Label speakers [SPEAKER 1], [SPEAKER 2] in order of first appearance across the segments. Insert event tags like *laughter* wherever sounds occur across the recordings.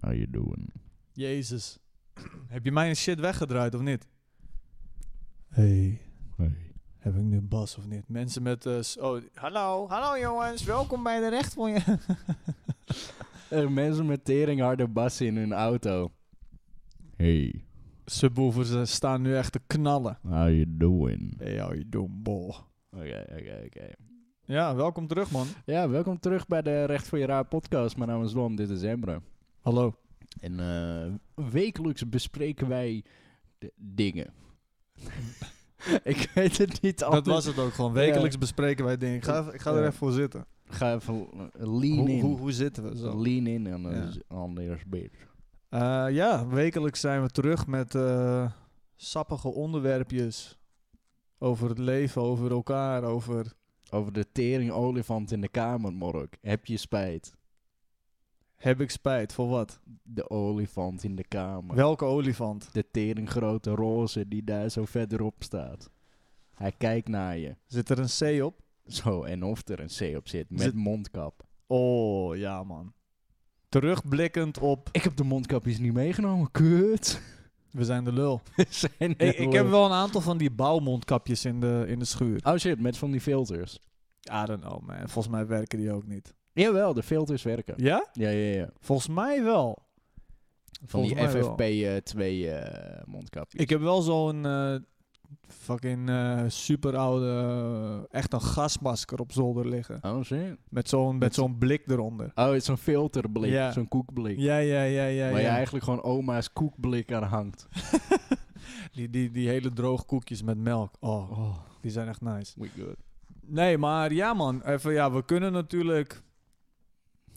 [SPEAKER 1] How you doing?
[SPEAKER 2] Jezus. Heb je mijn shit weggedraaid of niet? hey,
[SPEAKER 1] Hey.
[SPEAKER 2] heb ik nu Bas of niet? Mensen met... eh, s- oh, hallo, hallo jongens, welkom bij de recht van je... *laughs*
[SPEAKER 3] Eh, mensen met tering harde bassen in hun auto.
[SPEAKER 1] Hey.
[SPEAKER 2] Subwoofers eh, staan nu echt te knallen.
[SPEAKER 1] How you doing?
[SPEAKER 2] Hey, how you doing, bol?
[SPEAKER 3] Oké, oké, oké.
[SPEAKER 2] Ja, welkom terug man.
[SPEAKER 3] Ja, welkom terug bij de Recht voor je Raar podcast. Mijn naam is Dom, dit is Emre.
[SPEAKER 2] Hallo.
[SPEAKER 3] En eh, wekelijks bespreken wij de dingen. *laughs* ik weet het niet
[SPEAKER 2] Dat
[SPEAKER 3] anders.
[SPEAKER 2] was het ook gewoon. Wekelijks bespreken wij dingen. Ik ga, even- ik ga er
[SPEAKER 3] Ja.
[SPEAKER 2] even voor zitten.
[SPEAKER 3] Ga even eh, lean
[SPEAKER 2] Hoe,
[SPEAKER 3] in.
[SPEAKER 2] hoe, hoe zitten we zo?
[SPEAKER 3] Lean in en
[SPEAKER 2] Ja.
[SPEAKER 3] anders anders beter.
[SPEAKER 2] Eh, ja, wekelijks zijn we terug met eh, sappige onderwerpjes. Over het leven, over elkaar, over...
[SPEAKER 3] Over de tering olifant in de kamer, Morok. Heb je spijt?
[SPEAKER 2] Heb ik spijt voor wat?
[SPEAKER 3] De olifant in de kamer.
[SPEAKER 2] Welke olifant?
[SPEAKER 3] De teringgrote roze die daar zo verderop staat. Hij kijkt naar je.
[SPEAKER 2] Zit er een C op?
[SPEAKER 3] Zo, en of er een C op zit met
[SPEAKER 2] Zit-
[SPEAKER 3] mondkap.
[SPEAKER 2] Oh, ja man. Terugblikkend op...
[SPEAKER 3] Ik heb de mondkapjes niet meegenomen, *laughs* kut.
[SPEAKER 2] We zijn de lul.
[SPEAKER 3] We zijn
[SPEAKER 2] Ik,
[SPEAKER 3] er
[SPEAKER 2] ik heb
[SPEAKER 3] lul.
[SPEAKER 2] wel een aantal van die bouwmondkapjes in de, in de schuur.
[SPEAKER 3] Oh shit, met van die filters.
[SPEAKER 2] I don't know man. Volgens mij werken die ook niet.
[SPEAKER 3] Jawel, de filters werken.
[SPEAKER 2] Ja?
[SPEAKER 3] Ja, ja, ja.
[SPEAKER 2] Volgens mij wel.
[SPEAKER 3] Van
[SPEAKER 2] Volgens mij
[SPEAKER 3] die
[SPEAKER 2] wel.
[SPEAKER 3] FFP2 eh mondkapjes.
[SPEAKER 2] Ik heb wel zo'n eh, fucking super oude, echt een gasmasker op zolder liggen.
[SPEAKER 3] Oh shit.
[SPEAKER 2] Met zo'n met zo'n blik eronder.
[SPEAKER 3] Oh, het is zo'n filterblik,
[SPEAKER 2] Ja.
[SPEAKER 3] zo'n koekblik.
[SPEAKER 2] Ja, ja, ja, ja.
[SPEAKER 3] waar je
[SPEAKER 2] ja.
[SPEAKER 3] eigenlijk gewoon oma's koekblik aan hangt.
[SPEAKER 2] Die, die, die hele droog koekjes met melk. Oh,
[SPEAKER 3] Oh,
[SPEAKER 2] die zijn echt nice.
[SPEAKER 3] we good.
[SPEAKER 2] Nee, maar ja man, even, ja, we kunnen natuurlijk...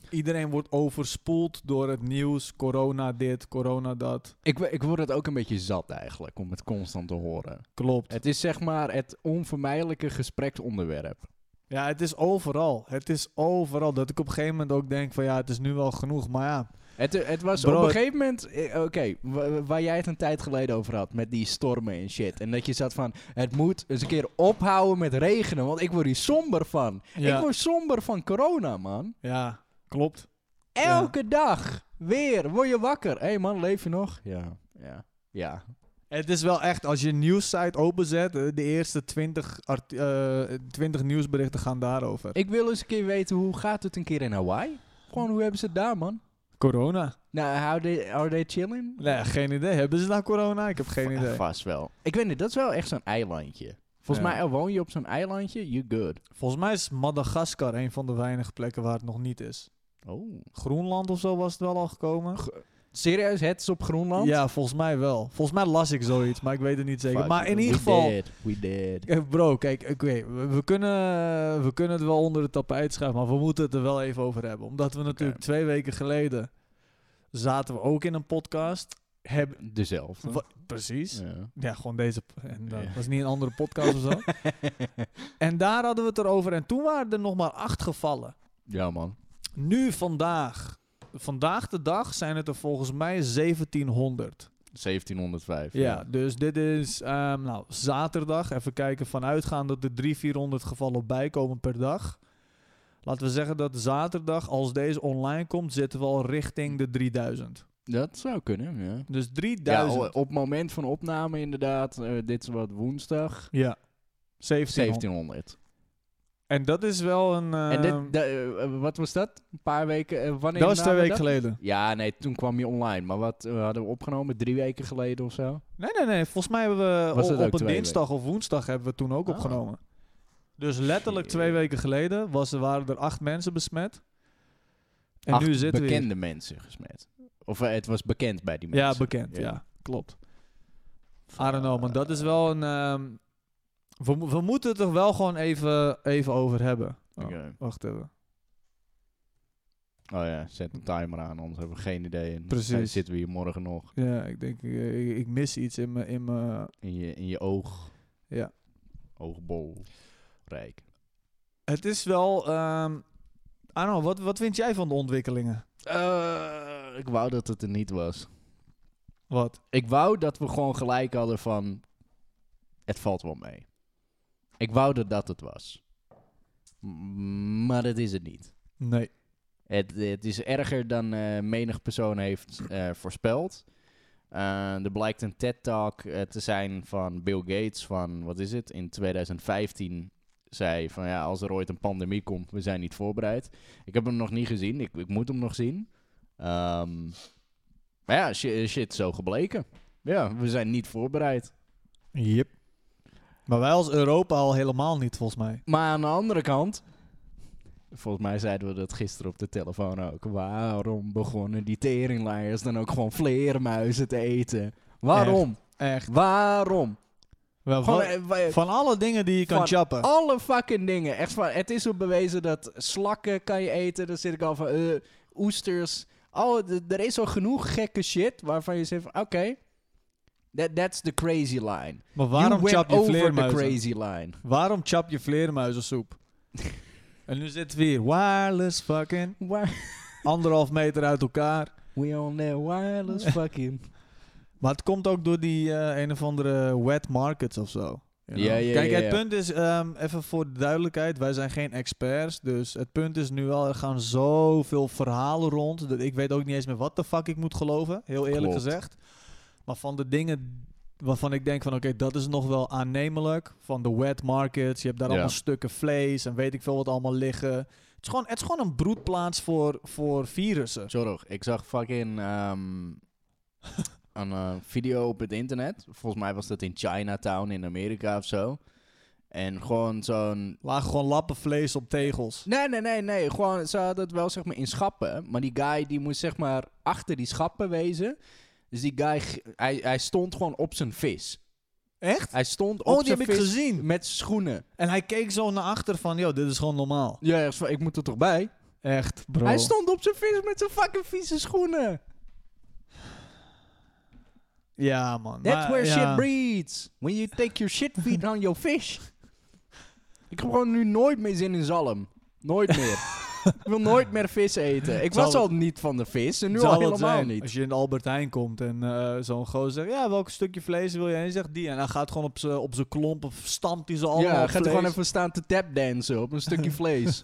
[SPEAKER 2] Iedereen wordt overspoeld door het nieuws. Corona dit, corona dat.
[SPEAKER 3] Ik, we- ik word het ook een beetje zat eigenlijk, om het constant te horen.
[SPEAKER 2] Klopt.
[SPEAKER 3] Het is zeg maar het onvermijdelijke gespreksonderwerp.
[SPEAKER 2] Ja, het is overal. Het is overal. Dat ik op een gegeven moment ook denk van ja, het is nu wel genoeg. Maar ja,
[SPEAKER 3] Het, het was
[SPEAKER 2] Bro,
[SPEAKER 3] op een
[SPEAKER 2] het-
[SPEAKER 3] gegeven moment, eh, oké, wa- waar jij het een tijd geleden over had, met die stormen en shit. En dat je zat van, het moet eens een keer ophouden met regenen, want ik word hier somber van.
[SPEAKER 2] Ja.
[SPEAKER 3] Ik word somber van corona, man.
[SPEAKER 2] ja klopt.
[SPEAKER 3] Elke dag, weer, word je wakker. Hé hey man, leef je nog? Ja, ja, ja.
[SPEAKER 2] Het is wel echt, als je een nieuwssite openzet, eh, de eerste 20, art- eh, 20 nieuwsberichten gaan daarover.
[SPEAKER 3] Ik wil eens een keer weten, hoe gaat het een keer in Hawaii? Gewoon, hoe hebben ze het daar, man?
[SPEAKER 2] Corona?
[SPEAKER 3] Nou, how they, are they chilling?
[SPEAKER 2] Nee, geen idee. Hebben ze nou corona? Ik heb geen idee.
[SPEAKER 3] Vast wel. Ik weet niet, dat is wel echt zo'n eilandje. Volgens
[SPEAKER 2] Ja.
[SPEAKER 3] mij oh, woon je op zo'n eilandje, you good.
[SPEAKER 2] Volgens mij is Madagaskar een van de weinige plekken waar het nog niet is.
[SPEAKER 3] Oh.
[SPEAKER 2] Groenland of zo was het wel al gekomen.
[SPEAKER 3] Serieus, het is op Groenland?
[SPEAKER 2] Ja, volgens mij wel. Volgens mij las ik zoiets, maar ik weet het niet zeker.
[SPEAKER 3] Fuck,
[SPEAKER 2] maar in
[SPEAKER 3] we
[SPEAKER 2] ieder geval...
[SPEAKER 3] Did, we did.
[SPEAKER 2] Eh, Bro, kijk, oké, we, we kunnen, we kunnen het wel onder het tapijt schuiven, maar we moeten het er wel even over hebben. Omdat we natuurlijk twee weken geleden zaten we ook in een podcast. Heb,
[SPEAKER 3] Dezelfde.
[SPEAKER 2] wa- precies. Ja.
[SPEAKER 3] Ja.
[SPEAKER 2] gewoon deze. p- En dat
[SPEAKER 3] Ja.
[SPEAKER 2] was niet een andere podcast *laughs* of zo. En daar hadden we het erover. En toen waren er nog maar acht gevallen.
[SPEAKER 3] ja, man.
[SPEAKER 2] Nu vandaag, vandaag de dag, zijn het er volgens mij 1700.
[SPEAKER 3] 1705.
[SPEAKER 2] Ja, dus dit is ehm, nou, zaterdag. Even kijken, vanuitgaan dat er 300, 400 gevallen bijkomen per dag. Laten we zeggen dat zaterdag, als deze online komt, zitten we al richting de 3000.
[SPEAKER 3] Dat zou kunnen, ja.
[SPEAKER 2] Dus
[SPEAKER 3] Ja,
[SPEAKER 2] 3000.
[SPEAKER 3] o-
[SPEAKER 2] Ja,
[SPEAKER 3] op het moment van opname inderdaad, eh, dit is wat
[SPEAKER 2] oh.
[SPEAKER 3] woensdag,
[SPEAKER 2] 1700.
[SPEAKER 3] 1700.
[SPEAKER 2] En dat is wel een...
[SPEAKER 3] en
[SPEAKER 2] ehm,
[SPEAKER 3] dit, da- eh, wat was dat? Een paar weken, eh, wanneer
[SPEAKER 2] dat was twee
[SPEAKER 3] namen we
[SPEAKER 2] weken
[SPEAKER 3] dat?
[SPEAKER 2] geleden.
[SPEAKER 3] Ja, nee, toen kwam je online. Maar wat eh, hadden we opgenomen? Drie weken geleden of zo?
[SPEAKER 2] Nee, nee, nee. Volgens mij hebben we
[SPEAKER 3] Was
[SPEAKER 2] o-
[SPEAKER 3] dat ook
[SPEAKER 2] op een
[SPEAKER 3] twee
[SPEAKER 2] dinsdag of woensdag hebben we toen ook
[SPEAKER 3] Ah.
[SPEAKER 2] opgenomen. Dus letterlijk
[SPEAKER 3] Shit.
[SPEAKER 2] twee weken geleden was, waren er acht mensen besmet. En
[SPEAKER 3] Acht
[SPEAKER 2] nu zitten we hier.
[SPEAKER 3] bekende mensen gesmet. Of eh, het was bekend bij die mensen. Ah.
[SPEAKER 2] Ja, bekend. Ja,
[SPEAKER 3] Ja.
[SPEAKER 2] klopt. I don't know, maar dat is wel een... ehm, we, mo- we moeten het er wel gewoon even, even over hebben. Oh,
[SPEAKER 3] Oké.
[SPEAKER 2] Wacht even.
[SPEAKER 3] eh, Oh ja, zet een timer aan, anders hebben we geen idee. En
[SPEAKER 2] Precies.
[SPEAKER 3] dan zitten we hier morgen nog
[SPEAKER 2] Ja, ik denk, eh, ik, ik mis iets in mijn... In mijn-
[SPEAKER 3] in je, in je oog.
[SPEAKER 2] Ja.
[SPEAKER 3] Oogbol. Rijk.
[SPEAKER 2] het is wel... ehm I don't know, wat, wat vind jij van de ontwikkelingen?
[SPEAKER 3] Eh, ik wou dat het er niet was.
[SPEAKER 2] Wat?
[SPEAKER 3] Ik wou dat we gewoon gelijk hadden van... Het valt wel mee. Ik wou dat dat het was. M- Maar dat is het niet.
[SPEAKER 2] Nee.
[SPEAKER 3] Het, het is erger dan eh, menig persoon heeft eh, voorspeld. Eh, er blijkt een TED-talk eh, te zijn van Bill Gates van, wat is het, in 2015 zei van ja, als er ooit een pandemie komt, we zijn niet voorbereid. Ik heb hem nog niet gezien, ik, ik moet hem nog zien. Ehm, maar ja, shit, shit, zo gebleken. Ja, we zijn niet voorbereid.
[SPEAKER 2] Yep. Maar wij als Europa al helemaal niet, volgens mij.
[SPEAKER 3] Maar aan de andere kant. Volgens mij zeiden we dat gisteren op de telefoon ook. Waarom begonnen die teringleiers dan ook gewoon vleermuizen te eten? Waarom?
[SPEAKER 2] Echt.
[SPEAKER 3] Waarom?
[SPEAKER 2] Wel,
[SPEAKER 3] Gewoon,
[SPEAKER 2] van,
[SPEAKER 3] eh, wa-
[SPEAKER 2] van alle dingen die je kan
[SPEAKER 3] Van
[SPEAKER 2] chappen.
[SPEAKER 3] alle fucking dingen. Echt van, het is zo bewezen dat slakken kan je eten. Dan zit ik al van eh, oesters. Al, d- er is al genoeg gekke shit waarvan je zegt van oké. that, that's the crazy line.
[SPEAKER 2] Maar
[SPEAKER 3] you
[SPEAKER 2] waarom
[SPEAKER 3] went
[SPEAKER 2] chap je
[SPEAKER 3] over
[SPEAKER 2] vleermuizen?
[SPEAKER 3] the crazy line.
[SPEAKER 2] Waarom chap je
[SPEAKER 3] *laughs*
[SPEAKER 2] vleermuizensoep? en nu zitten we hier wireless fucking.
[SPEAKER 3] Why-
[SPEAKER 2] Anderhalf meter uit elkaar.
[SPEAKER 3] We on the wireless
[SPEAKER 2] *laughs*
[SPEAKER 3] fucking...
[SPEAKER 2] Maar het komt ook door die eh, een of andere wet markets of zo. You know?
[SPEAKER 3] Ja, ja,
[SPEAKER 2] Kijk,
[SPEAKER 3] ja,
[SPEAKER 2] het
[SPEAKER 3] ja.
[SPEAKER 2] punt is, ehm, even voor de duidelijkheid, wij zijn geen experts. Dus het punt is nu wel, er gaan zoveel verhalen rond. Dat ik weet ook niet eens meer wat de fuck ik moet geloven, heel eerlijk
[SPEAKER 3] Klopt.
[SPEAKER 2] gezegd. Maar van de dingen waarvan ik denk van oké, dat is nog wel aannemelijk. Van de wet markets, je hebt daar
[SPEAKER 1] Ja.
[SPEAKER 2] allemaal stukken vlees en weet ik veel wat allemaal liggen. Het is gewoon, het is gewoon een broedplaats voor, voor virussen.
[SPEAKER 3] Zorg, ik zag fucking *laughs* ehm, een eh, video op het internet. Volgens mij was dat in Chinatown in Amerika of zo. En gewoon zo'n...
[SPEAKER 2] Laag gewoon lappen vlees op tegels.
[SPEAKER 3] Nee, nee, nee, nee. Gewoon, ze hadden het wel zeg maar in schappen. Maar die guy die moest zeg maar achter die schappen wezen. Dus die guy, g- hij, hij stond gewoon op zijn vis.
[SPEAKER 2] Echt?
[SPEAKER 3] Hij stond op
[SPEAKER 2] Oh, die
[SPEAKER 3] zijn
[SPEAKER 2] heb ik
[SPEAKER 3] vis
[SPEAKER 2] gezien.
[SPEAKER 3] met schoenen.
[SPEAKER 2] En hij keek zo naar achter van, joh, dit is gewoon normaal.
[SPEAKER 3] Ja, hij was van, ik moet er toch bij?
[SPEAKER 2] Echt, bro.
[SPEAKER 3] Hij stond op zijn vis met zijn fucking vieze schoenen.
[SPEAKER 2] Ja, man.
[SPEAKER 3] That's
[SPEAKER 2] Maar,
[SPEAKER 3] where
[SPEAKER 2] ja.
[SPEAKER 3] shit breeds. When you take your *laughs* shit feed on your fish. Ik heb gewoon nu nooit meer zin in zalm. Nooit meer. ik wil nooit meer vis eten. Ik
[SPEAKER 2] Zal
[SPEAKER 3] was
[SPEAKER 2] het-
[SPEAKER 3] al niet van de vis en nu
[SPEAKER 2] Zal
[SPEAKER 3] al
[SPEAKER 2] het
[SPEAKER 3] helemaal
[SPEAKER 2] zijn.
[SPEAKER 3] niet.
[SPEAKER 2] Als je in de Albert Heijn komt en eh, zo'n gozer zegt, ja, welk stukje vlees wil je? En je zegt die. En hij gaat gewoon op zijn op zijn klomp of stampt hij ze allemaal
[SPEAKER 3] ja,
[SPEAKER 2] op
[SPEAKER 3] gaat er
[SPEAKER 2] vlees.
[SPEAKER 3] gewoon even staan te tapdansen op een
[SPEAKER 2] *laughs*
[SPEAKER 3] stukje vlees.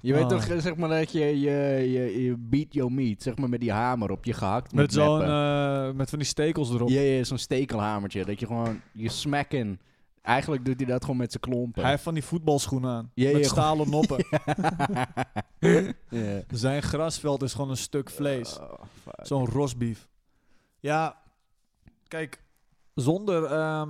[SPEAKER 3] Je weet
[SPEAKER 2] Ah.
[SPEAKER 3] toch, eh, zeg maar, dat je, je, je, je beat your meat, zeg maar, met die hamer op je gehakt.
[SPEAKER 2] Met
[SPEAKER 3] moet
[SPEAKER 2] zo'n,
[SPEAKER 3] meppen.
[SPEAKER 2] eh, met van die stekels erop.
[SPEAKER 3] Ja, ja, zo'n stekelhamertje, dat je gewoon, je smack in. Eigenlijk doet hij dat gewoon met zijn klompen.
[SPEAKER 2] Hij heeft van die voetbalschoenen aan.
[SPEAKER 3] Ja,
[SPEAKER 2] met
[SPEAKER 3] ja, *laughs*
[SPEAKER 2] stalen noppen.
[SPEAKER 3] Ja.
[SPEAKER 2] Zijn grasveld is gewoon een stuk vlees.
[SPEAKER 3] Oh, fuck.
[SPEAKER 2] Zo'n rosbief. Ja, kijk, zonder, ehm,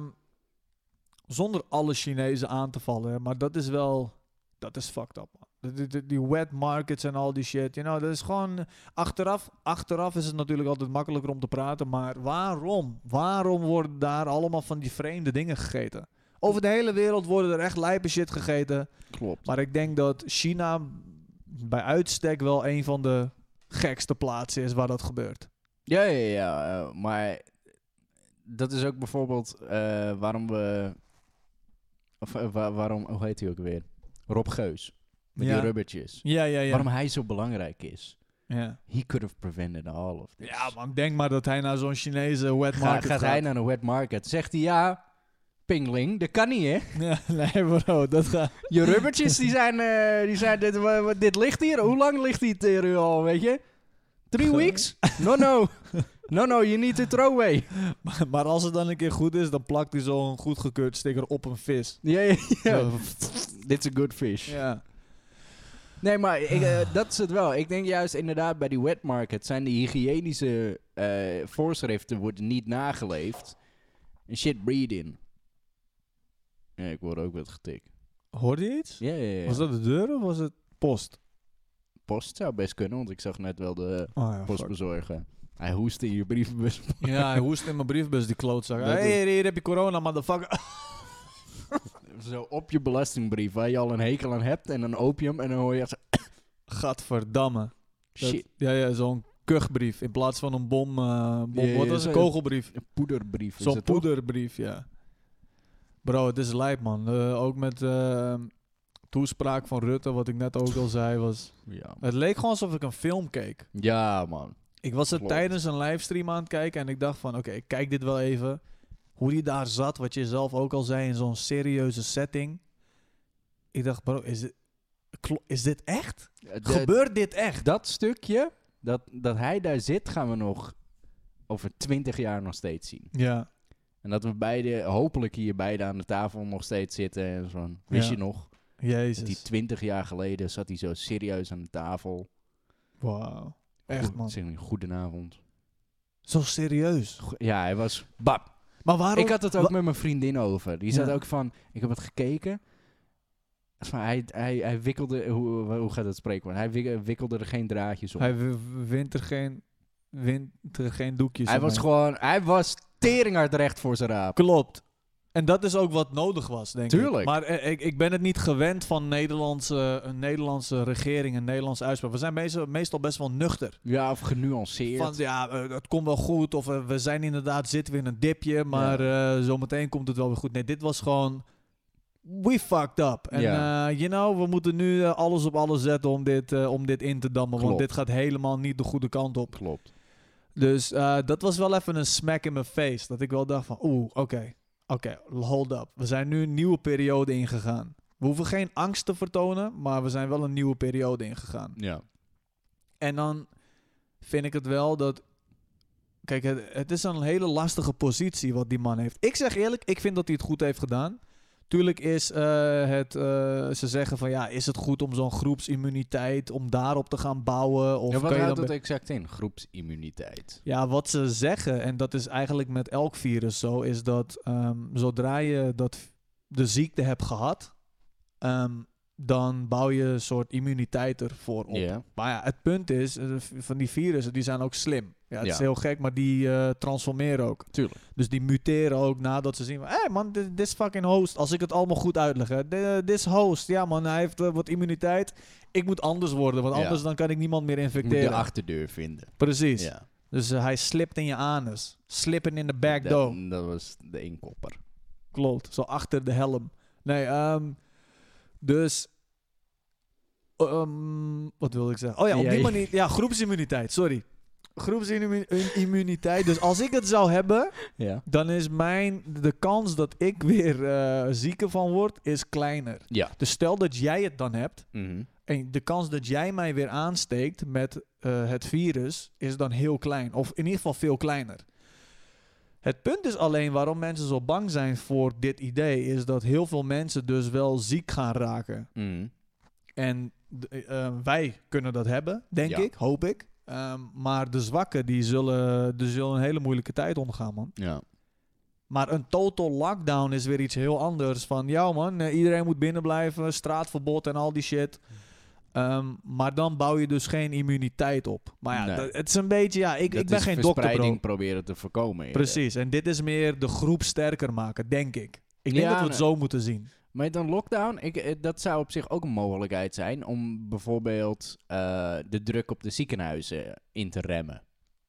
[SPEAKER 2] zonder alle Chinezen aan te vallen, hè, maar dat is wel, dat is fucked up, man. Dat- dat- dat- Die wet markets en al die shit, you know, dat is gewoon, achteraf, achteraf is het natuurlijk altijd makkelijker om te praten, maar waarom? Waarom worden daar allemaal van die vreemde dingen gegeten? Over de hele wereld worden er echt lijpe shit gegeten.
[SPEAKER 3] Klopt.
[SPEAKER 2] Maar ik denk dat China bij uitstek wel een van de gekste plaatsen is waar dat gebeurt.
[SPEAKER 3] Ja, ja, ja. eh, maar dat is ook bijvoorbeeld eh, waarom we... Of eh, wa- waarom... Hoe heet hij ook weer? Rob Geus. Met
[SPEAKER 2] ja.
[SPEAKER 3] die rubbertjes.
[SPEAKER 2] ja, ja, ja.
[SPEAKER 3] Waarom hij zo belangrijk is.
[SPEAKER 2] ja.
[SPEAKER 3] He could have prevented all of this.
[SPEAKER 2] Ja, man, denk maar dat hij naar zo'n Chinese
[SPEAKER 3] *laughs*
[SPEAKER 2] wet
[SPEAKER 3] Ga-
[SPEAKER 2] market
[SPEAKER 3] gaat, hij naar een wet market? Zegt hij ja... Pingling, dat kan niet, hè?
[SPEAKER 2] Ja, *laughs* nee, bro, dat gaat...
[SPEAKER 3] Je rubbertjes, die zijn... eh, die zijn dit, wa- wa- dit ligt hier. Hoe lang ligt die hier nu al, weet je? Three
[SPEAKER 2] Ge-
[SPEAKER 3] weeks? No, no. No, no, you need to throw away. *laughs*
[SPEAKER 2] Maar, maar als het dan een keer goed is, dan plakt hij zo'n goedgekeurd sticker op een vis.
[SPEAKER 3] Ja, ja, *laughs* ja.
[SPEAKER 2] Zo,
[SPEAKER 3] That's a good fish.
[SPEAKER 2] Ja.
[SPEAKER 3] Nee, maar ik, eh, dat is het wel. Ik denk juist inderdaad bij die wet market zijn de hygiënische eh, voorschriften worden niet nageleefd. En shit breed in. Ja, ik word ook wat getikt.
[SPEAKER 2] Hoorde je iets?
[SPEAKER 3] Ja, ja, ja.
[SPEAKER 2] Was dat de deur of was het post?
[SPEAKER 3] Post zou best kunnen, want ik zag net wel de
[SPEAKER 2] Oh
[SPEAKER 3] *laughs*
[SPEAKER 2] ja, fuck.
[SPEAKER 3] postbezorger. Hij hoest in je brievenbus. *laughs*
[SPEAKER 2] Ja, hij hoest in mijn briefbus, die klootzak.
[SPEAKER 3] Dat
[SPEAKER 2] Hey,
[SPEAKER 3] is-
[SPEAKER 2] hier, hier heb je corona, motherfucker. *laughs*
[SPEAKER 3] Zo op je belastingbrief waar je al een hekel aan hebt en dan opium en dan hoor je echt zo,
[SPEAKER 2] Gadverdamme. Dat-
[SPEAKER 3] shit,
[SPEAKER 2] ja, ja, zo'n kuchbrief in plaats van een bom. eh, bom
[SPEAKER 3] Ja, ja,
[SPEAKER 2] wat was een
[SPEAKER 3] zo-
[SPEAKER 2] kogelbrief?
[SPEAKER 3] een poederbrief. is
[SPEAKER 2] Zo'n
[SPEAKER 3] het toch?
[SPEAKER 2] poederbrief, ja. Bro, het is lijp, man. Eh, ook met eh, toespraak van Rutte, wat ik net ook al zei, was...
[SPEAKER 3] Ja, man.
[SPEAKER 2] Het leek gewoon alsof ik een film keek.
[SPEAKER 3] Ja, man.
[SPEAKER 2] Ik was er
[SPEAKER 3] Klopt.
[SPEAKER 2] tijdens een livestream aan het kijken en ik dacht van... Oké, ik kijk dit wel even. Hoe die daar zat, wat je zelf ook al zei, in zo'n serieuze setting. Ik dacht, bro, is dit, Klo- is dit echt?
[SPEAKER 3] De-
[SPEAKER 2] Gebeurt dit echt?
[SPEAKER 3] dat stukje, dat, dat hij daar zit, gaan we nog over twintig jaar nog steeds zien.
[SPEAKER 2] Ja.
[SPEAKER 3] En dat we beide, hopelijk hier beide aan de tafel nog steeds zitten. En zo van, wist
[SPEAKER 2] Ja.
[SPEAKER 3] je nog, dat die
[SPEAKER 2] Jezus.
[SPEAKER 3] twintig jaar geleden zat hij zo serieus aan de tafel.
[SPEAKER 2] Wauw. Echt,
[SPEAKER 3] Goed-
[SPEAKER 2] man.
[SPEAKER 3] Zeg, maar, goedenavond.
[SPEAKER 2] Zo serieus.
[SPEAKER 3] Go- Ja, hij was, bap,
[SPEAKER 2] Maar waarom...
[SPEAKER 3] Ik had het ook
[SPEAKER 2] Wa-
[SPEAKER 3] met mijn vriendin over. Die zat
[SPEAKER 2] Ja.
[SPEAKER 3] ook van, ik heb het gekeken. Van, hij, hij, hij wikkelde, hoe, hoe gaat het spreekwoord? Hij wik- wikkelde er geen draadjes om. Hij,
[SPEAKER 2] Hij w- wint er geen, wint er geen doekjes
[SPEAKER 3] was
[SPEAKER 2] omheen.
[SPEAKER 3] gewoon, hij was teringhard recht voor zijn raap.
[SPEAKER 2] Klopt. En dat is ook wat nodig was, denk ik.
[SPEAKER 3] Tuurlijk.
[SPEAKER 2] Maar eh, ik, ik ben het niet gewend van Nederlandse, een Nederlandse regering, een Nederlandse uitspraak. We zijn meestal, meestal best wel nuchter.
[SPEAKER 3] Ja, of genuanceerd.
[SPEAKER 2] Van ja, eh, het komt wel goed. Of eh, we zijn inderdaad, zitten we in een dipje. Maar eh, zometeen komt het wel weer goed. Nee, dit was gewoon. We fucked up. En
[SPEAKER 3] Ja.
[SPEAKER 2] eh, you know, we moeten nu eh, alles op alles zetten om dit, eh, om dit in te dammen. Want
[SPEAKER 3] Klopt.
[SPEAKER 2] dit gaat helemaal niet de goede kant op.
[SPEAKER 3] Klopt.
[SPEAKER 2] Dus eh, dat was wel even een smack in mijn face. Dat ik wel dacht van, oeh, oké, oké, hold up. We zijn nu een nieuwe periode ingegaan. We hoeven geen angst te vertonen, maar we zijn wel een nieuwe periode ingegaan.
[SPEAKER 3] Ja.
[SPEAKER 2] En dan vind ik het wel dat... Kijk, het, het is een hele lastige positie wat die man heeft. Ik zeg eerlijk, ik vind dat hij het goed heeft gedaan. Tuurlijk is eh, het... eh, ze zeggen van, ja, is het goed om zo'n groepsimmuniteit... om daarop te gaan bouwen? Of
[SPEAKER 3] ja
[SPEAKER 2] kan
[SPEAKER 3] wat
[SPEAKER 2] je
[SPEAKER 3] houdt
[SPEAKER 2] dan
[SPEAKER 3] dat exact in? Groepsimmuniteit.
[SPEAKER 2] ja, wat ze zeggen, en dat is eigenlijk met elk virus zo, is dat ehm, zodra je dat, de ziekte hebt gehad, ehm, dan bouw je een soort immuniteit ervoor op.
[SPEAKER 3] Ja.
[SPEAKER 2] Maar ja, het punt is, eh, v- van die virussen, die zijn ook slim. Ja, het
[SPEAKER 3] Ja.
[SPEAKER 2] is heel gek, maar die eh, transformeren ook.
[SPEAKER 3] Tuurlijk.
[SPEAKER 2] Dus die muteren ook nadat ze zien van... Hé hey man, thi- this fucking host. Als ik het allemaal goed uitleg. Hè. Thi- This host. Ja man, hij heeft eh, wat immuniteit. Ik moet anders worden. Want
[SPEAKER 3] Ja.
[SPEAKER 2] anders dan kan ik niemand meer
[SPEAKER 3] Ik moet de
[SPEAKER 2] infecteren.
[SPEAKER 3] achterdeur vinden.
[SPEAKER 2] Precies.
[SPEAKER 3] Ja.
[SPEAKER 2] Dus eh, hij slipt in je anus. Slippen in de back door.
[SPEAKER 3] Dat, dat was de inkopper.
[SPEAKER 2] Klopt. Zo achter de helm. Nee, ehm, dus. ehm, wat wilde ik zeggen? Oh ja, op
[SPEAKER 3] Ja,
[SPEAKER 2] die
[SPEAKER 3] je-
[SPEAKER 2] manier. Ja, groepsimmuniteit, sorry. Groepsimmuniteit. Dus als ik het zou hebben,
[SPEAKER 3] Ja.
[SPEAKER 2] dan is mijn. De kans dat ik weer eh zieker van word, is kleiner.
[SPEAKER 3] Ja.
[SPEAKER 2] Dus stel dat jij het dan hebt.
[SPEAKER 3] Mhm.
[SPEAKER 2] En de kans dat jij mij weer aansteekt met eh, het virus is dan heel klein. Of in ieder geval veel kleiner. Het punt is alleen waarom mensen zo bang zijn voor dit idee, is dat heel veel mensen dus wel ziek gaan raken.
[SPEAKER 3] Mhm.
[SPEAKER 2] En d- eh, eh, wij kunnen dat hebben, denk
[SPEAKER 3] Ja.
[SPEAKER 2] ik, hoop ik. Ehm, maar de zwakken, die zullen, die zullen een hele moeilijke tijd ondergaan, man.
[SPEAKER 3] Ja.
[SPEAKER 2] Maar een total lockdown is weer iets heel anders. Van ja man, eh, iedereen moet binnen blijven, straatverbod en al die shit. Ehm, maar dan bouw je dus geen immuniteit op. Maar ja,
[SPEAKER 3] Nee.
[SPEAKER 2] dat- het is een beetje, ja, ik,
[SPEAKER 3] Dat
[SPEAKER 2] ik ben
[SPEAKER 3] is
[SPEAKER 2] geen dokter
[SPEAKER 3] verspreiding
[SPEAKER 2] bro.
[SPEAKER 3] proberen te voorkomen. eerder.
[SPEAKER 2] Precies, en dit is meer de groep sterker maken, denk ik. Ik denk
[SPEAKER 3] Ja,
[SPEAKER 2] dat we het
[SPEAKER 3] nee.
[SPEAKER 2] zo moeten zien.
[SPEAKER 3] Maar dan lockdown, ik, eh, dat zou op zich ook een mogelijkheid zijn om bijvoorbeeld eh, de druk op de ziekenhuizen in te remmen.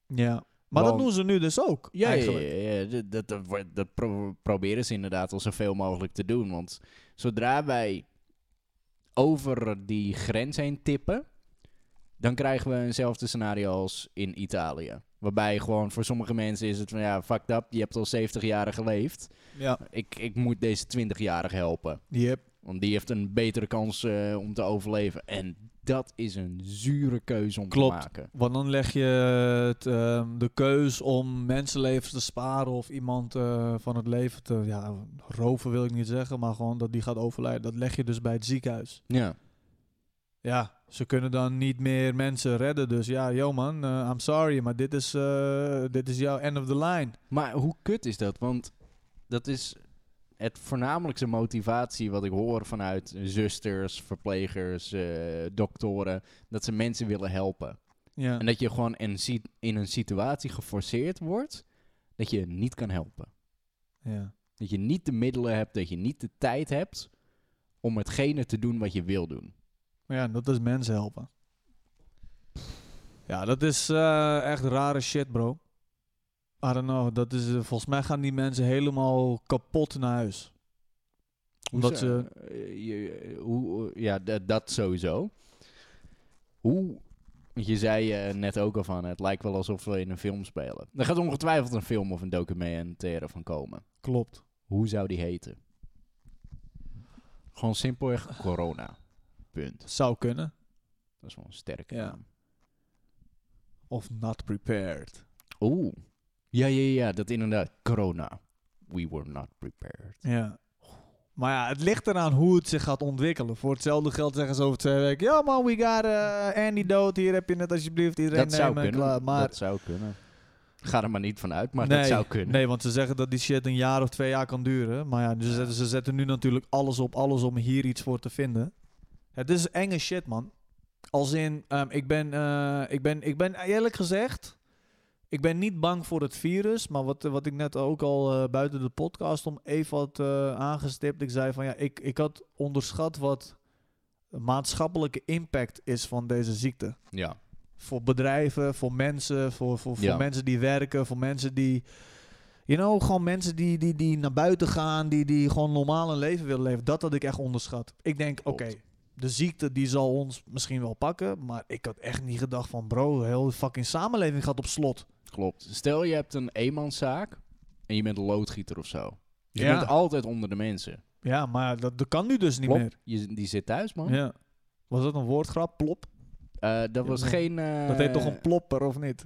[SPEAKER 2] Ja. Maar dat
[SPEAKER 3] Want-
[SPEAKER 2] doen ze nu dus ook,
[SPEAKER 3] Ja, ja,
[SPEAKER 2] eigenlijk.
[SPEAKER 3] ja, ja, dat, dat, dat wordt- dat pro- proberen ze inderdaad al zoveel mogelijk te doen. Want zodra wij over die grens heen tippen, dan krijgen we eenzelfde scenario als in Italië. Waarbij gewoon voor sommige mensen is het van ja, fuck dat, je hebt al 70 jaar geleefd.
[SPEAKER 2] Ja.
[SPEAKER 3] Ik, ik moet deze 20-jarige helpen.
[SPEAKER 2] Yep.
[SPEAKER 3] Want die heeft een betere kans eh, om te overleven. En dat is een zure keuze om
[SPEAKER 2] Klopt.
[SPEAKER 3] te maken.
[SPEAKER 2] Want dan leg je het, ehm, de keus om mensenlevens te sparen of iemand eh, van het leven te ja, roven, wil ik niet zeggen, maar gewoon dat die gaat overlijden. Dat leg je dus bij het ziekenhuis.
[SPEAKER 3] Ja.
[SPEAKER 2] Ja, ze kunnen dan niet meer mensen redden. Dus ja, yo man, eh, I'm sorry, maar dit is, eh, dit is jouw end of the line.
[SPEAKER 3] Maar hoe kut is dat? Want dat is het voornamelijkste motivatie wat ik hoor vanuit zusters, verplegers, eh, doktoren. Dat ze mensen willen helpen.
[SPEAKER 2] Ja,
[SPEAKER 3] En dat je gewoon in, een si- in een situatie geforceerd wordt dat je niet kan helpen.
[SPEAKER 2] ja.
[SPEAKER 3] Dat je niet de middelen hebt, dat je niet de tijd hebt om hetgene te doen wat je wil doen.
[SPEAKER 2] Maar ja dat is mensen helpen. Ja, dat is eh, echt rare shit, bro. I don't know. Dat is, eh, volgens mij gaan die mensen helemaal kapot naar huis. Omdat
[SPEAKER 3] Hoezo- eh, je- eh, hoe, ja, dat, dat sowieso. Hoe... want Je zei eh, net ook al van, het lijkt wel alsof we in een film spelen. Er gaat ongetwijfeld een film of een documentaire van komen.
[SPEAKER 2] Klopt.
[SPEAKER 3] Hoe zou die heten? Gewoon simpelweg corona.
[SPEAKER 1] punt.
[SPEAKER 2] Zou kunnen.
[SPEAKER 3] Dat is wel een sterke
[SPEAKER 2] Ja.
[SPEAKER 3] naam.
[SPEAKER 2] Of not prepared.
[SPEAKER 3] Oeh. Ja, ja, ja, dat inderdaad. Corona. We were not prepared.
[SPEAKER 2] Ja. Maar ja, het ligt eraan hoe het zich gaat ontwikkelen. Voor hetzelfde geld zeggen ze over twee weken... Ja man, we got eh, Andy dood. Hier heb je het alsjeblieft. Iedereen
[SPEAKER 3] dat zou
[SPEAKER 2] nemen en
[SPEAKER 3] kunnen.
[SPEAKER 2] klaar. Maar
[SPEAKER 3] Dat zou kunnen. Ga er maar niet van uit, maar
[SPEAKER 2] nee,
[SPEAKER 3] dat zou kunnen.
[SPEAKER 2] Nee, want ze zeggen dat die shit een jaar of twee jaar kan duren. Maar ja, dus ze zetten, ze zetten nu natuurlijk alles op alles om hier iets voor te vinden. Het is enge shit, man. Als in, ehm, ik, ben, eh, ik, ben, ik ben eerlijk gezegd... Ik ben niet bang voor het virus, maar wat, wat ik net ook al eh, buiten de podcast om even had eh, aangestipt. Ik zei van ja, ik, ik had onderschat wat de maatschappelijke impact is van deze ziekte
[SPEAKER 3] Ja.
[SPEAKER 2] voor bedrijven, voor mensen, voor, voor, voor
[SPEAKER 3] Ja.
[SPEAKER 2] mensen die werken, voor mensen die. You know, gewoon mensen die, die, die naar buiten gaan, die, die gewoon normaal een leven willen leven. Dat had ik echt onderschat. Ik denk, oké,
[SPEAKER 3] Klopt.
[SPEAKER 2] de ziekte die zal ons misschien wel pakken. Maar ik had echt niet gedacht van, bro, heel de fucking samenleving gaat op slot.
[SPEAKER 3] Klopt. Stel je hebt een eenmanszaak en je bent een loodgieter of zo. Dus
[SPEAKER 2] Ja.
[SPEAKER 3] je bent altijd onder de mensen.
[SPEAKER 2] Ja, maar dat, dat kan nu dus niet
[SPEAKER 3] Plop,
[SPEAKER 2] meer.
[SPEAKER 3] Je, die zit thuis, man.
[SPEAKER 2] Ja. Was dat een woordgrap? Plop?
[SPEAKER 3] Eh, dat was
[SPEAKER 2] Ja.
[SPEAKER 3] geen... eh,
[SPEAKER 2] Dat heet toch een plopper, of niet?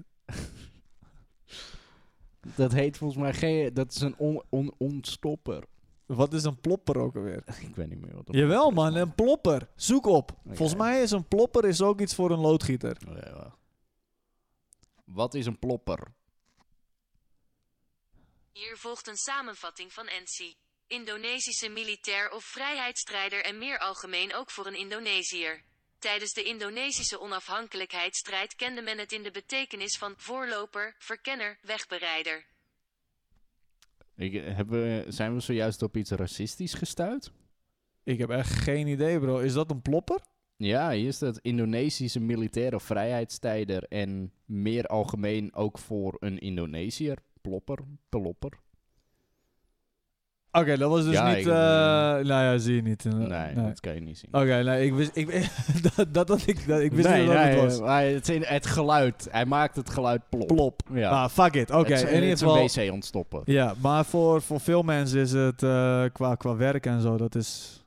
[SPEAKER 3] Dat heet volgens mij geen... Dat is een on, on- ontstopper. *laughs*
[SPEAKER 2] Wat is een plopper ook alweer?
[SPEAKER 3] Ik weet niet meer wat dat
[SPEAKER 2] Jawel man, een plopper. Zoek op.
[SPEAKER 3] Oké.
[SPEAKER 2] Volgens mij is een plopper is ook iets voor een loodgieter.
[SPEAKER 3] Oh, ja, wel. Wat is een plopper?
[SPEAKER 4] Hier volgt een samenvatting van Ensi. Indonesische militair of vrijheidsstrijder en meer algemeen ook voor een Indonesiër. Tijdens de Indonesische onafhankelijkheidsstrijd kende men het in de betekenis van voorloper, verkenner, wegbereider.
[SPEAKER 3] Ik, eh, hebben, we- zijn we zojuist op iets racistisch gestuurd?
[SPEAKER 2] Ik heb echt geen idee, bro. Is dat een plopper?
[SPEAKER 3] Ja, hier staat Indonesische militaire vrijheidstijder en meer algemeen ook voor een Indonesiër. Plopper, plopper.
[SPEAKER 2] Oké, dat was dus
[SPEAKER 3] Ja,
[SPEAKER 2] niet.
[SPEAKER 3] ik-
[SPEAKER 2] eh, nou ja, zie je niet. eh,
[SPEAKER 3] Nee,
[SPEAKER 2] nee.
[SPEAKER 3] dat kan je niet zien.
[SPEAKER 2] Oké, nee, ik wist, *laughs* ik, dat, dat had ik, dat, ik wist
[SPEAKER 3] nee,
[SPEAKER 2] niet dat
[SPEAKER 3] nee,
[SPEAKER 2] het was.
[SPEAKER 3] eh, maar het, is- het geluid. Hij maakt het geluid plop.
[SPEAKER 2] Plop.
[SPEAKER 3] Ja.
[SPEAKER 2] Maar fuck it. Oké,
[SPEAKER 3] Het is-
[SPEAKER 2] in ieder
[SPEAKER 3] het is
[SPEAKER 2] geval.
[SPEAKER 3] een wc ontstoppen.
[SPEAKER 2] Ja, maar voor, voor veel mensen is het eh, qua, qua werk en zo, dat is.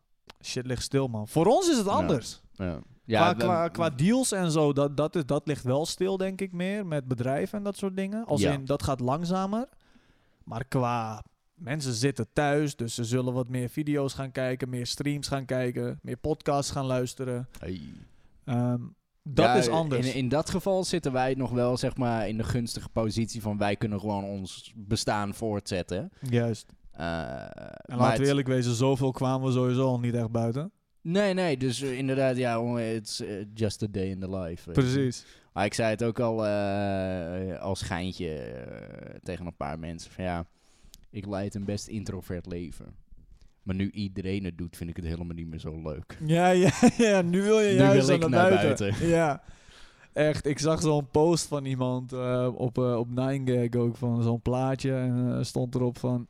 [SPEAKER 2] Shit ligt stil, man. Voor ons is het
[SPEAKER 3] Ja.
[SPEAKER 2] anders.
[SPEAKER 3] Ja.
[SPEAKER 2] qua,
[SPEAKER 3] Ja, dan-
[SPEAKER 2] qua, qua deals en zo, dat, dat, is, dat ligt wel stil, denk ik, meer met bedrijven en dat soort dingen. Als
[SPEAKER 3] Ja.
[SPEAKER 2] in, dat gaat langzamer. Maar qua mensen zitten thuis, dus ze zullen wat meer video's gaan kijken, meer streams gaan kijken, meer podcasts gaan luisteren.
[SPEAKER 3] Hey.
[SPEAKER 2] Ehm, dat
[SPEAKER 3] Ja,
[SPEAKER 2] is anders.
[SPEAKER 3] In, in dat geval zitten wij nog wel zeg maar, in de gunstige positie van wij kunnen gewoon ons bestaan voortzetten.
[SPEAKER 2] Juist.
[SPEAKER 3] Eh,
[SPEAKER 2] En
[SPEAKER 3] maar
[SPEAKER 2] laten we
[SPEAKER 3] het-
[SPEAKER 2] eerlijk wezen, zoveel kwamen we sowieso al niet echt buiten.
[SPEAKER 3] Nee, nee, dus eh, inderdaad, ja, jongen, it's eh, just a day in the life. weet je.
[SPEAKER 2] Precies.
[SPEAKER 3] Maar ik zei het ook al eh, als geintje eh, tegen een paar mensen van ja, ik leid een best introvert leven. Maar nu iedereen het doet, vind ik het helemaal niet meer zo leuk.
[SPEAKER 2] Ja, *laughs* ja, ja, nu wil je
[SPEAKER 3] Nu
[SPEAKER 2] juist
[SPEAKER 3] wil
[SPEAKER 2] aan
[SPEAKER 3] ik
[SPEAKER 2] de
[SPEAKER 3] naar
[SPEAKER 2] buiten.
[SPEAKER 3] buiten.
[SPEAKER 2] *laughs* Ja. Echt, ik zag zo'n post van iemand eh, op, eh op 9gag ook van zo'n plaatje. En eh, stond erop van...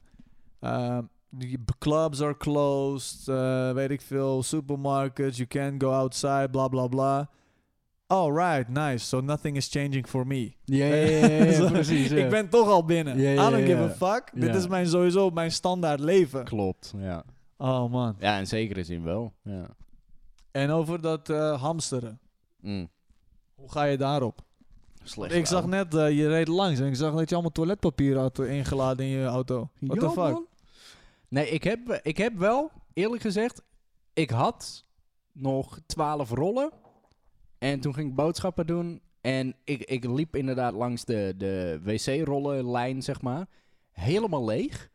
[SPEAKER 2] ehm, die b- clubs are closed, eh, weet ik veel, supermarkets, you can't go outside, bla bla bla. All right, nice, so nothing is changing for me.
[SPEAKER 3] Ja,
[SPEAKER 2] *laughs*
[SPEAKER 3] *laughs*
[SPEAKER 2] Zo, Ik ben toch al binnen.
[SPEAKER 3] Ja, ja,
[SPEAKER 2] I don't
[SPEAKER 3] ja.
[SPEAKER 2] give a fuck. Dit
[SPEAKER 3] Ja.
[SPEAKER 2] is mijn, sowieso mijn standaard leven.
[SPEAKER 3] Klopt, ja.
[SPEAKER 2] Oh man.
[SPEAKER 3] Ja, in zekere zin wel. Ja.
[SPEAKER 2] En over dat eh, hamsteren.
[SPEAKER 3] Mm.
[SPEAKER 2] Hoe ga je daarop?
[SPEAKER 3] Slecht
[SPEAKER 2] Ik zag net, eh, je reed langs en ik zag dat je allemaal toiletpapier had eh, ingeladen in je auto. What the
[SPEAKER 3] Ja,
[SPEAKER 2] fuck?
[SPEAKER 3] man. Nee, ik heb, ik heb wel, eerlijk gezegd, ik had nog twaalf rollen. En toen ging ik boodschappen doen. En ik, ik liep inderdaad langs de, de wc-rollenlijn, zeg maar. Helemaal leeg.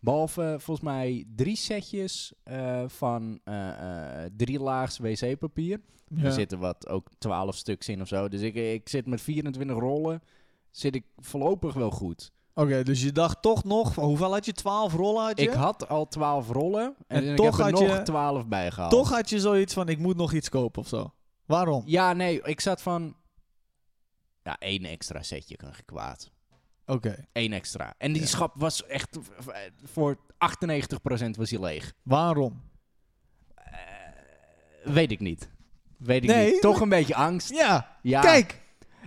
[SPEAKER 3] Behalve eh, volgens mij drie setjes eh, van eh eh drie laags wc-papier.
[SPEAKER 2] Ja.
[SPEAKER 3] Er zitten wat, ook twaalf stuks in of zo. Dus ik, ik zit met 24 rollen. Zit ik voorlopig wel goed.
[SPEAKER 2] Oké, dus je dacht toch nog, van hoeveel had je? 12 rollen had je?
[SPEAKER 3] Ik had al 12 rollen en,
[SPEAKER 2] En
[SPEAKER 3] ik
[SPEAKER 2] toch
[SPEAKER 3] heb er
[SPEAKER 2] had je-
[SPEAKER 3] nog 12 bij gehaald.
[SPEAKER 2] toch had je zoiets van, ik moet nog iets kopen of zo. Waarom?
[SPEAKER 3] Ja, nee, ik zat van. Ja, één extra setje kan geen kwaad.
[SPEAKER 2] Oké.
[SPEAKER 3] Eén extra. En die
[SPEAKER 2] Ja.
[SPEAKER 3] schap was echt. v- v- Voor 98% was hij leeg.
[SPEAKER 2] Waarom?
[SPEAKER 3] Weet ik niet. Weet ik
[SPEAKER 2] Nee,
[SPEAKER 3] niet. Toch
[SPEAKER 2] maar-
[SPEAKER 3] een beetje angst.
[SPEAKER 2] Ja,
[SPEAKER 3] Ja.
[SPEAKER 2] kijk.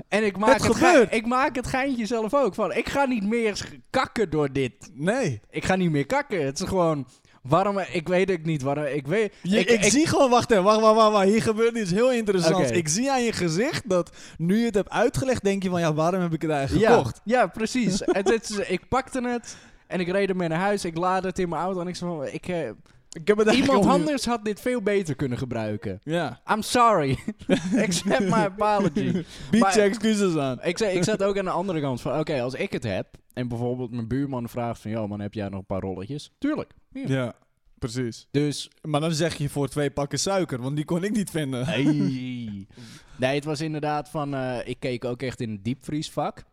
[SPEAKER 3] En ik maak
[SPEAKER 2] het
[SPEAKER 3] het,
[SPEAKER 2] gebeurt.
[SPEAKER 3] gein- ik maak het geintje zelf ook. Van, ik ga niet meer sch- kakken door dit.
[SPEAKER 2] Nee.
[SPEAKER 3] Ik ga niet meer kakken. Het is gewoon. Waarom? Ik weet het niet. Waarom, ik weet,
[SPEAKER 2] Je- ik,
[SPEAKER 3] ik, ik-
[SPEAKER 2] zie gewoon, wacht even, wacht, wacht, wacht, wacht, hier gebeurt iets heel interessants.
[SPEAKER 3] Oké.
[SPEAKER 2] Ik zie aan je gezicht dat nu je het hebt uitgelegd, denk je van, ja, waarom heb ik het eigenlijk
[SPEAKER 3] ja,
[SPEAKER 2] gekocht?
[SPEAKER 3] ja, precies. het, het is- ik pakte het en ik reed ermee naar huis. Ik laadde het in mijn auto en ik zei van... Ik,
[SPEAKER 2] *laughs*
[SPEAKER 3] eh,
[SPEAKER 2] Ik heb het eigenlijk
[SPEAKER 3] iemand
[SPEAKER 2] ook niet-
[SPEAKER 3] anders had dit veel beter kunnen gebruiken.
[SPEAKER 2] Ja,
[SPEAKER 3] I'm sorry. *laughs* Accept my apology.
[SPEAKER 2] bied
[SPEAKER 3] Maar-
[SPEAKER 2] je excuses aan.
[SPEAKER 3] Ik, zei, ik zat ook aan de andere kant van, oké, als ik het heb... en bijvoorbeeld mijn buurman vraagt van... joh man, heb jij nog een paar rolletjes? Tuurlijk. Hier.
[SPEAKER 2] Ja, precies.
[SPEAKER 3] Dus...
[SPEAKER 2] Maar dan zeg je voor twee pakken suiker, want die kon ik niet vinden.
[SPEAKER 3] *laughs* Nee. het was inderdaad van... eh, ik keek ook echt in het diepvriesvak.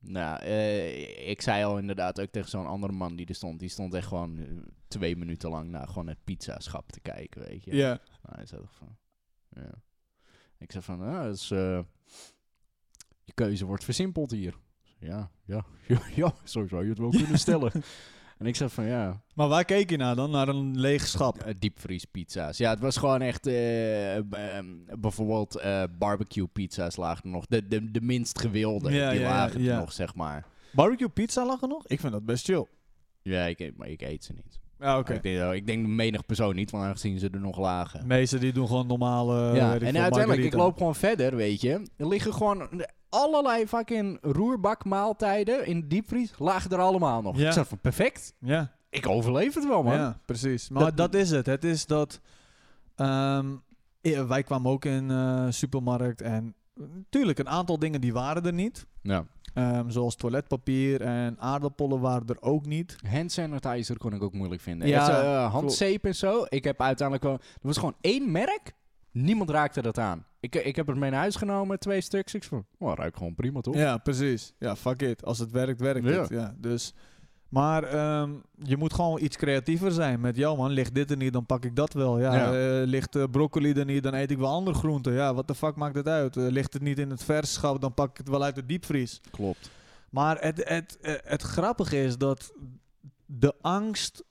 [SPEAKER 3] Nou, eh, ik zei al inderdaad ook tegen zo'n andere man die er stond. Die stond echt gewoon eh, twee minuten lang naar gewoon het pizzaschap te kijken, weet je.
[SPEAKER 2] *laughs* Ja.
[SPEAKER 3] Nou, hij zei toch van... Ja. Ik zei van, ah, dus, eh, je keuze wordt versimpeld hier. Ja, ja, *laughs* ja, ja, zo zou je het wel kunnen stellen. en ik zei van, ja,
[SPEAKER 2] Maar waar keek je naar dan? Naar een leeg schap.
[SPEAKER 3] eh, diepvriespizza's. Ja, het was gewoon echt, eh, b- ehm, bijvoorbeeld eh, barbecue pizza's lagen er nog. De, de, de minst gewilde,
[SPEAKER 2] Ja,
[SPEAKER 3] die
[SPEAKER 2] ja, ja,
[SPEAKER 3] lagen er
[SPEAKER 2] ja.
[SPEAKER 3] nog, zeg maar.
[SPEAKER 2] Barbecue pizza lag er nog? Ik vind dat best chill.
[SPEAKER 3] Ja, ik, eet- maar ik eet ze niet.
[SPEAKER 2] Ja,
[SPEAKER 3] Ik, denk, ik denk menig persoon niet, want aangezien ze er nog lagen.
[SPEAKER 2] De meesten die doen gewoon normale.
[SPEAKER 3] ja,
[SPEAKER 2] Eh, weet ik
[SPEAKER 3] en
[SPEAKER 2] veel,
[SPEAKER 3] uiteindelijk, ik
[SPEAKER 2] margarita.
[SPEAKER 3] loop gewoon verder, weet je. Er liggen gewoon allerlei fucking roerbakmaaltijden in de diepvries. Lagen er allemaal nog.
[SPEAKER 2] Ja.
[SPEAKER 3] Ik zat van, perfect.
[SPEAKER 2] Ja.
[SPEAKER 3] Ik overleef het wel, man.
[SPEAKER 2] Ja, precies. Maar dat,
[SPEAKER 3] Dat-
[SPEAKER 2] is het. Het is dat... ehm, i- wij kwamen ook in eh supermarkt en... Natuurlijk, een aantal dingen die waren er niet.
[SPEAKER 3] Ja.
[SPEAKER 2] Ehm, zoals toiletpapier en aardappelen waren er ook niet.
[SPEAKER 3] Hand sanitizer kon ik ook moeilijk vinden.
[SPEAKER 2] Ja,
[SPEAKER 3] Ja, handzeep en zo. Ik heb uiteindelijk wel... Er was gewoon één merk. Niemand raakte dat aan. Ik, eh, ik heb het mee naar huis genomen, twee stuks. Ik van, oh, ruikt gewoon prima, toch?
[SPEAKER 2] Ja, precies. Ja, fuck it. Als het werkt, werkt
[SPEAKER 3] Ja.
[SPEAKER 2] het. Ja, dus... Maar ehm, je moet gewoon iets creatiever zijn. Met, jou man, ligt dit er niet, dan pak ik dat wel. Ja,
[SPEAKER 3] Ja.
[SPEAKER 2] eh, ligt eh, broccoli er niet, dan eet ik wel andere groenten. Ja, wat de fuck maakt het uit? Eh, ligt het niet in het verschap, dan pak ik het wel uit de diepvries.
[SPEAKER 3] Klopt.
[SPEAKER 2] Maar het, het, eh, het grappige is dat de angst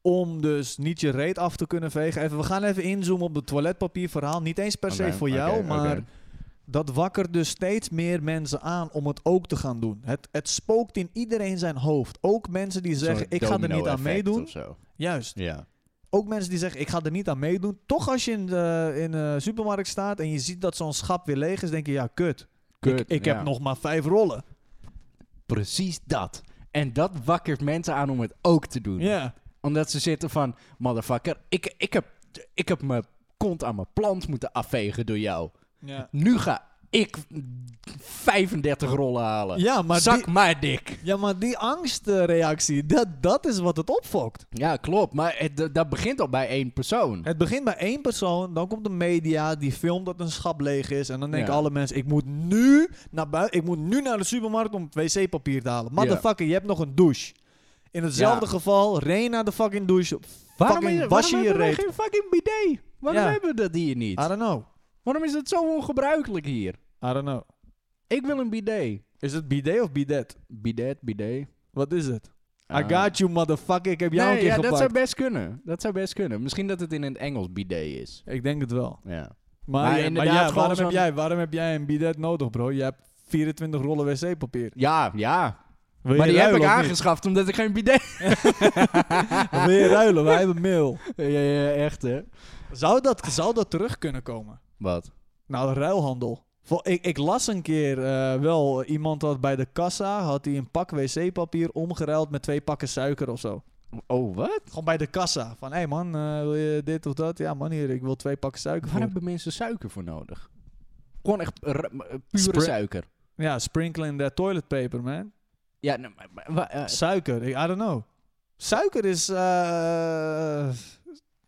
[SPEAKER 2] om dus niet je reet af te kunnen vegen. Even, we gaan even inzoomen op het toiletpapierverhaal. Niet eens per se
[SPEAKER 3] Oké,
[SPEAKER 2] voor
[SPEAKER 3] oké,
[SPEAKER 2] jou,
[SPEAKER 3] oké.
[SPEAKER 2] maar dat wakkert dus steeds meer mensen aan om het ook te gaan doen. Het, het spookt in iedereen zijn hoofd. Ook mensen die
[SPEAKER 3] Zo'n
[SPEAKER 2] zeggen, ik ga er niet aan
[SPEAKER 3] domino-effect
[SPEAKER 2] meedoen.
[SPEAKER 3] of zo.
[SPEAKER 2] Juist.
[SPEAKER 3] Ja.
[SPEAKER 2] Ook mensen die zeggen, ik ga er niet aan meedoen. Toch als je in de, in de supermarkt staat en je ziet dat zo'n schap weer leeg is, denk je, ja, kut. ik ik
[SPEAKER 3] ja.
[SPEAKER 2] heb nog maar vijf rollen.
[SPEAKER 3] Precies dat. En dat wakkert mensen aan om het ook te doen.
[SPEAKER 2] Ja.
[SPEAKER 3] Omdat ze zitten van, motherfucker, ik, ik, heb, ik heb mijn kont aan mijn plant moeten afvegen door jou.
[SPEAKER 2] Ja.
[SPEAKER 3] Nu ga ik 35 rollen halen.
[SPEAKER 2] Ja, maar,
[SPEAKER 3] Zak
[SPEAKER 2] die,
[SPEAKER 3] maar dik.
[SPEAKER 2] ja, maar die angstreactie, dat, dat is wat het opfokt.
[SPEAKER 3] Ja, klopt. Maar het, d- dat begint al bij één persoon.
[SPEAKER 2] Het begint bij één persoon, dan komt de media, die filmt dat een schap leeg is. En dan denken
[SPEAKER 3] Ja.
[SPEAKER 2] alle mensen, ik moet nu naar buiten, ik moet nu naar de supermarkt om wc-papier te halen. Motherfucker, je hebt nog een douche. In hetzelfde
[SPEAKER 3] Ja.
[SPEAKER 2] geval, ren naar de fucking douche. fucking
[SPEAKER 3] waarom
[SPEAKER 2] was je je
[SPEAKER 3] hebben we
[SPEAKER 2] reet.
[SPEAKER 3] geen fucking bidet? Waarom
[SPEAKER 2] Ja.
[SPEAKER 3] hebben we dat hier niet?
[SPEAKER 2] I don't know.
[SPEAKER 3] Waarom is het zo ongebruikelijk hier?
[SPEAKER 2] I don't know.
[SPEAKER 3] Ik wil een bidet.
[SPEAKER 2] Is het bidet of bidet?
[SPEAKER 3] Bidet, bidet.
[SPEAKER 2] Wat is het? I
[SPEAKER 3] Ah.
[SPEAKER 2] got you, motherfucker. Ik heb jou
[SPEAKER 3] Nee,
[SPEAKER 2] een keer
[SPEAKER 3] ja, dat
[SPEAKER 2] gepakt.
[SPEAKER 3] zou best kunnen. Dat zou best kunnen. Misschien dat het in het Engels bidet is.
[SPEAKER 2] Ik denk het wel.
[SPEAKER 3] Ja.
[SPEAKER 2] Maar,
[SPEAKER 3] Maar
[SPEAKER 2] ja, maar
[SPEAKER 3] inderdaad,
[SPEAKER 2] ja,
[SPEAKER 3] gewoon
[SPEAKER 2] waarom, heb
[SPEAKER 3] zo'n-
[SPEAKER 2] jij, waarom heb jij een bidet nodig, bro? Je hebt 24 rollen wc-papier.
[SPEAKER 3] Ja, ja.
[SPEAKER 2] Wil
[SPEAKER 3] Maar
[SPEAKER 2] je
[SPEAKER 3] die heb ik
[SPEAKER 2] ruilen of
[SPEAKER 3] aangeschaft omdat ik geen *laughs* bidet...
[SPEAKER 2] niet? Wil je ruilen? Wij hebben mail.
[SPEAKER 3] ja, ja, echt hè.
[SPEAKER 2] Zou dat, zou dat terug kunnen komen?
[SPEAKER 3] Wat?
[SPEAKER 2] Nou, ruilhandel. Vol- Ik, ik las een keer eh, wel, iemand had bij de kassa had hij een pak wc-papier omgeruild met twee pakken suiker of zo.
[SPEAKER 3] Oh, wat?
[SPEAKER 2] Gewoon bij de kassa. Van, hé hey man, eh, wil je dit of dat? Ja man, hier, ik wil twee pakken suiker
[SPEAKER 3] Waar
[SPEAKER 2] voor.
[SPEAKER 3] hebben mensen suiker voor nodig? Gewoon echt r- m- eh, pure
[SPEAKER 2] Spray-
[SPEAKER 3] suiker.
[SPEAKER 2] Ja, sprinkling that toilet paper, man.
[SPEAKER 3] Ja, nee, maar- maar- maar, eh,
[SPEAKER 2] Suiker, ik, I don't know. Suiker is, eh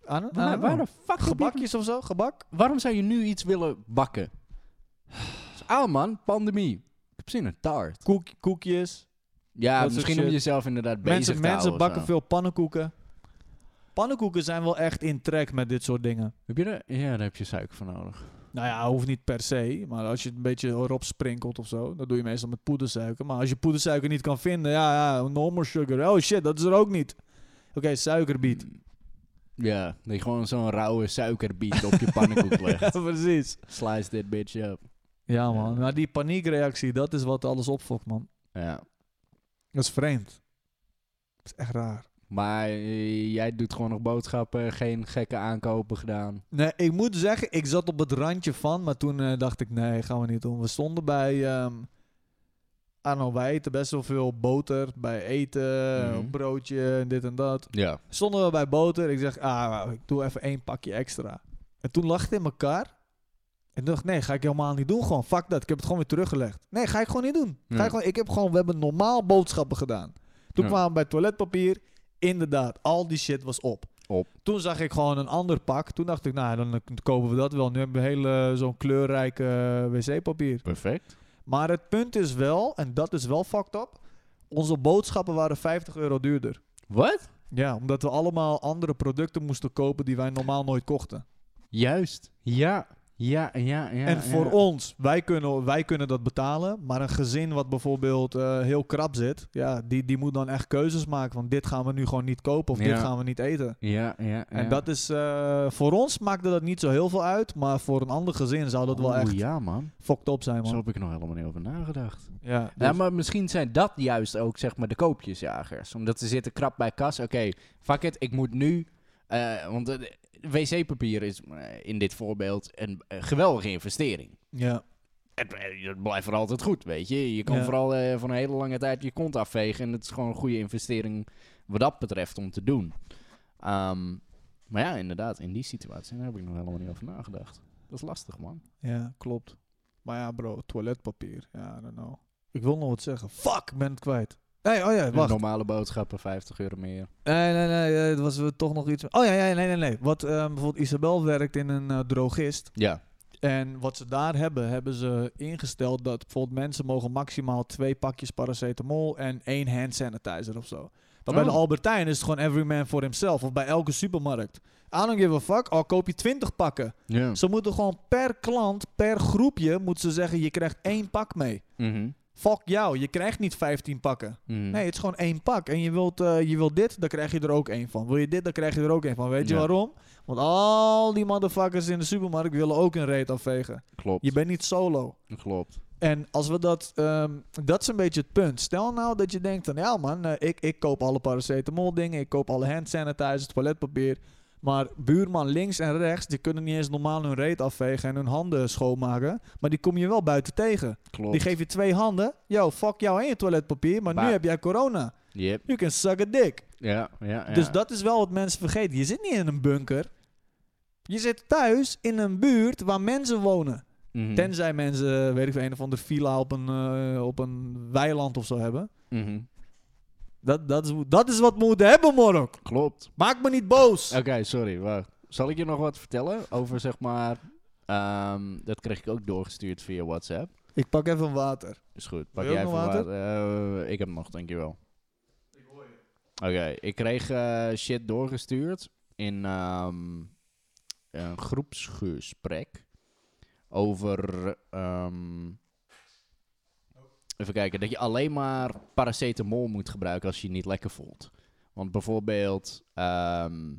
[SPEAKER 2] I don't- I
[SPEAKER 3] waar,
[SPEAKER 2] don't
[SPEAKER 3] waar
[SPEAKER 2] know.
[SPEAKER 3] de fuck heb je-
[SPEAKER 2] Oh. Gebakjes of zo? Gebak?
[SPEAKER 3] Waarom zou je nu iets willen
[SPEAKER 2] *sighs*
[SPEAKER 3] bakken? Dus, ah man, pandemie. Ik heb zin in taart.
[SPEAKER 2] Koek, koekjes.
[SPEAKER 3] Ja,
[SPEAKER 2] Dat soort
[SPEAKER 3] misschien om
[SPEAKER 2] shit.
[SPEAKER 3] jezelf inderdaad bezig
[SPEAKER 2] Mensen,
[SPEAKER 3] te
[SPEAKER 2] mensen
[SPEAKER 3] houden of
[SPEAKER 2] bakken
[SPEAKER 3] zo.
[SPEAKER 2] veel pannenkoeken. Pannenkoeken zijn wel echt in trek met dit soort dingen.
[SPEAKER 3] Heb je er? Ja, daar heb je suiker voor nodig.
[SPEAKER 2] Nou ja, hoeft niet per se. Maar als je het een beetje erop sprinkelt of zo, dat doe je meestal met poedersuiker. Maar als je poedersuiker niet kan vinden, ja, ja normal sugar. Oh shit, dat is er ook niet. Oké, suikerbiet.
[SPEAKER 3] Mm. Ja, dat je gewoon zo'n rauwe suikerbiet op je pannenkoek
[SPEAKER 2] *laughs*
[SPEAKER 3] legt.
[SPEAKER 2] Precies.
[SPEAKER 3] Slice that bitch up.
[SPEAKER 2] Ja man, maar die paniekreactie, dat is wat alles opfokt man.
[SPEAKER 3] Ja,
[SPEAKER 2] Dat is vreemd. Dat is echt raar.
[SPEAKER 3] Maar eh, jij doet gewoon nog boodschappen, geen gekke aankopen gedaan.
[SPEAKER 2] Nee, ik moet zeggen, ik zat op het randje van, maar toen eh, dacht ik, nee, gaan we niet doen. We stonden bij, ehm I don't know, wij eten best wel veel boter bij eten,
[SPEAKER 3] Mhm.
[SPEAKER 2] broodje, en dit en dat.
[SPEAKER 3] Ja.
[SPEAKER 2] Stonden we bij boter, ik zeg, ah, wauw, ik doe even één pakje extra. En toen lag het in elkaar. En toen dacht ik, nee, ga ik helemaal niet doen. Gewoon, fuck dat, ik heb het gewoon weer teruggelegd. Nee, ga ik gewoon niet doen. Ga
[SPEAKER 3] Ja.
[SPEAKER 2] ik, gewoon, ik heb gewoon, we hebben normaal boodschappen gedaan. Toen
[SPEAKER 3] Ja.
[SPEAKER 2] kwamen we bij toiletpapier, inderdaad, al die shit was op.
[SPEAKER 3] Op.
[SPEAKER 2] Toen zag ik gewoon een ander pak. Toen dacht ik, nou, dan eh, kopen we dat wel. Nu hebben we hele eh, zo'n kleurrijke eh, wc-papier.
[SPEAKER 3] Perfect.
[SPEAKER 2] Maar het punt is wel, en dat is wel fucked up, onze boodschappen waren 50 euro duurder.
[SPEAKER 3] Wat?
[SPEAKER 2] Ja, omdat we allemaal andere producten moesten kopen die wij normaal nooit kochten.
[SPEAKER 3] Juist. Ja. Ja, ja, ja.
[SPEAKER 2] en voor
[SPEAKER 3] ja.
[SPEAKER 2] ons, wij kunnen, wij kunnen dat betalen. Maar een gezin wat bijvoorbeeld eh, heel krap zit, ja, die, die moet dan echt keuzes maken. Want dit gaan we nu gewoon niet kopen of dit
[SPEAKER 3] Ja.
[SPEAKER 2] gaan we niet eten.
[SPEAKER 3] Ja, ja, ja.
[SPEAKER 2] En dat is, eh, voor ons maakte dat niet zo heel veel uit. Maar voor een ander gezin zou dat wel
[SPEAKER 3] Oeh,
[SPEAKER 2] echt
[SPEAKER 3] ja, man.
[SPEAKER 2] fucked up zijn,
[SPEAKER 3] Zo
[SPEAKER 2] man.
[SPEAKER 3] heb ik er nog helemaal niet over nagedacht.
[SPEAKER 2] Ja, dus-
[SPEAKER 3] Ja, maar misschien zijn dat juist ook, zeg maar, de koopjesjagers. Omdat ze zitten krap bij kas. Oké, fuck it, ik moet nu... eh, want eh, wc-papier is eh, in dit voorbeeld een eh, geweldige investering.
[SPEAKER 2] ja.
[SPEAKER 3] Het, eh, het blijft voor altijd goed, weet je. Je kan
[SPEAKER 2] Ja.
[SPEAKER 3] vooral eh, voor een hele lange tijd je kont afvegen. En het is gewoon een goede investering wat dat betreft om te doen. Ehm, maar ja, inderdaad, in die situatie daar heb ik nog helemaal niet over nagedacht. Dat is lastig, man.
[SPEAKER 2] ja, klopt. Maar ja, bro, toiletpapier. Ja, I don't know. Ik wil nog wat zeggen. Fuck, ik ben het kwijt. Nee, oh ja,
[SPEAKER 3] De
[SPEAKER 2] wacht.
[SPEAKER 3] Normale boodschappen, 50 euro meer.
[SPEAKER 2] Nee, nee, nee, eh, het was eh, toch nog iets. Oh ja, ja nee, nee, nee. Wat eh, bijvoorbeeld Isabel werkt in een eh, drogist.
[SPEAKER 3] Ja.
[SPEAKER 2] En wat ze daar hebben, hebben ze ingesteld dat bijvoorbeeld mensen mogen maximaal twee pakjes paracetamol en één hand sanitizer of zo. Maar bij
[SPEAKER 3] Oh.
[SPEAKER 2] de Albertijn is het gewoon every man for himself. Of bij elke supermarkt. I don't give a fuck, al koop je twintig pakken.
[SPEAKER 3] Ja.
[SPEAKER 2] Ze moeten gewoon per klant, per groepje, moeten ze zeggen je krijgt één pak mee.
[SPEAKER 3] Mhm.
[SPEAKER 2] Fuck jou, je krijgt niet 15 pakken.
[SPEAKER 3] Mhm.
[SPEAKER 2] Nee, het is gewoon één pak. En je wilt, eh, je wilt dit, dan krijg je er ook één van. Wil je dit, dan krijg je er ook één van. Weet je
[SPEAKER 3] Ja.
[SPEAKER 2] waarom? Want al die motherfuckers in de supermarkt willen ook een reet afvegen.
[SPEAKER 3] Klopt.
[SPEAKER 2] Je bent niet solo.
[SPEAKER 3] Klopt.
[SPEAKER 2] En als we dat, ehm, dat is een beetje het punt. Stel nou dat je denkt van, ja man, eh, ik, ik koop alle paracetamol dingen, ik koop alle hand sanitizer, toiletpapier. Maar buurman links en rechts, die kunnen niet eens normaal hun reet afvegen en hun handen schoonmaken. Maar die kom je wel buiten tegen.
[SPEAKER 3] Klopt.
[SPEAKER 2] Die geef je twee handen. Yo, fuck jou en je toiletpapier, maar nu
[SPEAKER 3] Ba-
[SPEAKER 2] heb jij corona.
[SPEAKER 3] Yep.
[SPEAKER 2] You can suck a dick.
[SPEAKER 3] Ja, ja, ja.
[SPEAKER 2] Dus dat is wel wat mensen vergeten. Je zit niet in een bunker. Je zit thuis in een buurt waar mensen wonen.
[SPEAKER 3] Mhm.
[SPEAKER 2] Tenzij mensen, eh, weet ik veel, een of andere villa op een, eh, op een weiland of zo hebben.
[SPEAKER 3] Mhm.
[SPEAKER 2] Dat, dat, is, dat is wat we moeten hebben, Morok.
[SPEAKER 3] Klopt.
[SPEAKER 2] Maak me niet boos.
[SPEAKER 3] Oké, sorry. Wacht. Zal ik je nog wat vertellen over, zeg maar... ehm, dat kreeg ik ook doorgestuurd via WhatsApp.
[SPEAKER 2] Ik pak even water.
[SPEAKER 3] Is goed.
[SPEAKER 2] Wil
[SPEAKER 3] Pak
[SPEAKER 2] je ook
[SPEAKER 3] jij even
[SPEAKER 2] nog water?
[SPEAKER 3] water? Eh, ik heb nog, dankjewel. Ik hoor je. Oké, ik kreeg eh, shit doorgestuurd in ehm, een groepsgesprek over... ehm, even kijken, dat je alleen maar paracetamol moet gebruiken als je je niet lekker voelt. Want bijvoorbeeld ehm,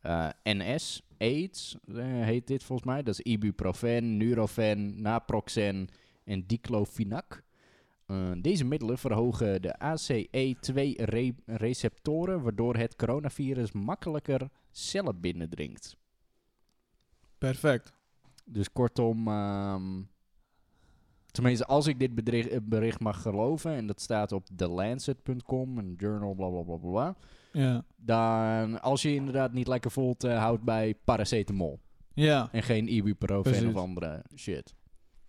[SPEAKER 3] eh, NS, AIDS eh, heet dit volgens mij. Dat is ibuprofen, nurofen, naproxen en diclofenac. Eh, deze middelen verhogen de E ACE2-receptoren, waardoor het coronavirus makkelijker cellen binnendringt.
[SPEAKER 2] Perfect.
[SPEAKER 3] Dus kortom, ehm, tenminste, als ik dit bedricht- eh, bericht mag geloven, en dat staat op thelancet.com, een journal, bla bla bla bla, bla.
[SPEAKER 2] Ja.
[SPEAKER 3] Dan, als je inderdaad niet lekker voelt, eh, houd bij paracetamol.
[SPEAKER 2] Ja.
[SPEAKER 3] En geen ibuprofen
[SPEAKER 2] Precies.
[SPEAKER 3] of andere shit.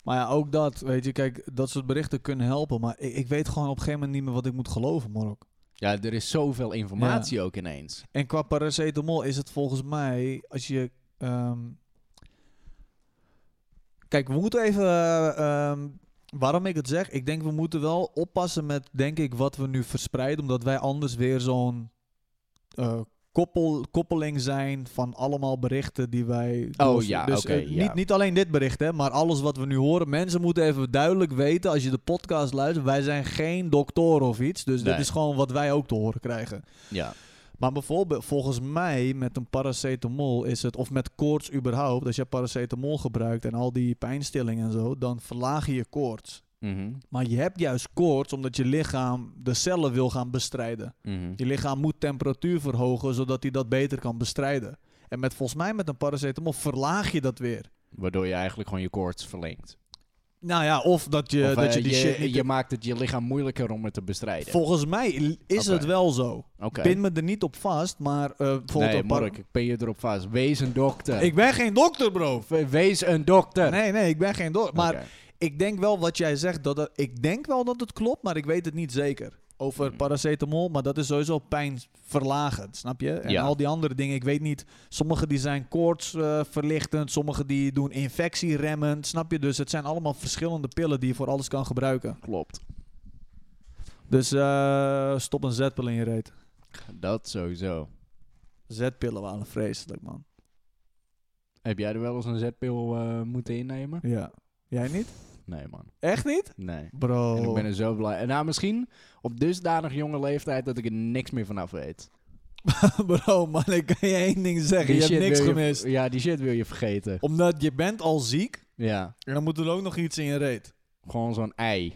[SPEAKER 2] Maar ja, ook dat, weet je, kijk, dat soort berichten kunnen helpen. Maar ik, ik weet gewoon op een gegeven moment niet meer wat ik moet geloven, Morok.
[SPEAKER 3] Ja, er is zoveel informatie ook ineens.
[SPEAKER 2] En qua paracetamol is het volgens mij, als je... ehm, Kijk, we moeten even... eh, ehm, waarom ik het zeg? Ik denk we moeten wel oppassen met, denk ik, wat we nu verspreiden. Omdat wij anders weer zo'n eh, koppel, koppeling zijn van allemaal berichten die wij...
[SPEAKER 3] Oh ja,
[SPEAKER 2] dus,
[SPEAKER 3] oké,
[SPEAKER 2] eh,
[SPEAKER 3] ja.
[SPEAKER 2] niet, niet alleen dit bericht, hè, maar alles wat we nu horen. Mensen moeten even duidelijk weten, als je de podcast luistert, wij zijn geen doktoren of iets. Dus dit
[SPEAKER 3] Nee.
[SPEAKER 2] is gewoon wat wij ook te horen krijgen.
[SPEAKER 3] Ja.
[SPEAKER 2] Maar bijvoorbeeld, volgens mij met een paracetamol is het, of met koorts überhaupt, als je paracetamol gebruikt en al die pijnstilling en zo, dan verlaag je je koorts.
[SPEAKER 3] Mhm.
[SPEAKER 2] Maar je hebt juist koorts omdat je lichaam de cellen wil gaan bestrijden.
[SPEAKER 3] Mhm.
[SPEAKER 2] Je lichaam moet temperatuur verhogen zodat hij dat beter kan bestrijden. En met volgens mij met een paracetamol verlaag je dat weer.
[SPEAKER 3] Waardoor je eigenlijk gewoon je koorts verlengt.
[SPEAKER 2] Nou ja, of dat je,
[SPEAKER 3] Of,
[SPEAKER 2] dat
[SPEAKER 3] eh,
[SPEAKER 2] je die
[SPEAKER 3] je,
[SPEAKER 2] shit niet...
[SPEAKER 3] je maakt het je lichaam moeilijker om het te bestrijden.
[SPEAKER 2] Volgens mij l- is
[SPEAKER 3] Oké.
[SPEAKER 2] het wel zo.
[SPEAKER 3] Oké.
[SPEAKER 2] Pin me er niet op vast, maar eh bijvoorbeeld...
[SPEAKER 3] Nee,
[SPEAKER 2] een par-
[SPEAKER 3] Mark, ik ben je erop vast. Wees een dokter.
[SPEAKER 2] Ik ben geen dokter, bro.
[SPEAKER 3] We- Wees een dokter.
[SPEAKER 2] *laughs* Nee, nee, ik ben geen dokter. Maar
[SPEAKER 3] Oké.
[SPEAKER 2] ik denk wel wat jij zegt. Dat het- ik denk wel dat het klopt, maar ik weet het niet zeker. Over
[SPEAKER 3] Mm.
[SPEAKER 2] paracetamol, maar dat is sowieso pijnverlagend, snap je? En
[SPEAKER 3] Ja.
[SPEAKER 2] al die andere dingen, ik weet niet. Sommige die zijn koortsverlichtend, verlichtend, sommige die doen infectieremmend, snap je? Dus het zijn allemaal verschillende pillen die je voor alles kan gebruiken.
[SPEAKER 3] Klopt.
[SPEAKER 2] Dus eh, stop een zetpil in je reet.
[SPEAKER 3] Dat sowieso.
[SPEAKER 2] Zetpillen waren vreselijk, man.
[SPEAKER 3] Heb jij er wel eens een zetpil eh, moeten innemen?
[SPEAKER 2] Ja. Jij niet?
[SPEAKER 3] Nee, man.
[SPEAKER 2] Echt niet?
[SPEAKER 3] Nee.
[SPEAKER 2] Bro.
[SPEAKER 3] En ik ben er zo blij. En nou, misschien op dusdanig jonge leeftijd dat ik er niks meer vanaf weet.
[SPEAKER 2] *laughs* Bro, man, ik kan je één ding zeggen. Je
[SPEAKER 3] shit
[SPEAKER 2] hebt niks
[SPEAKER 3] wil
[SPEAKER 2] gemist.
[SPEAKER 3] Ja, die shit wil je vergeten.
[SPEAKER 2] Omdat je bent al ziek
[SPEAKER 3] Ja.
[SPEAKER 2] en dan moet er ook nog iets in je reet.
[SPEAKER 3] Gewoon zo'n ei. *laughs*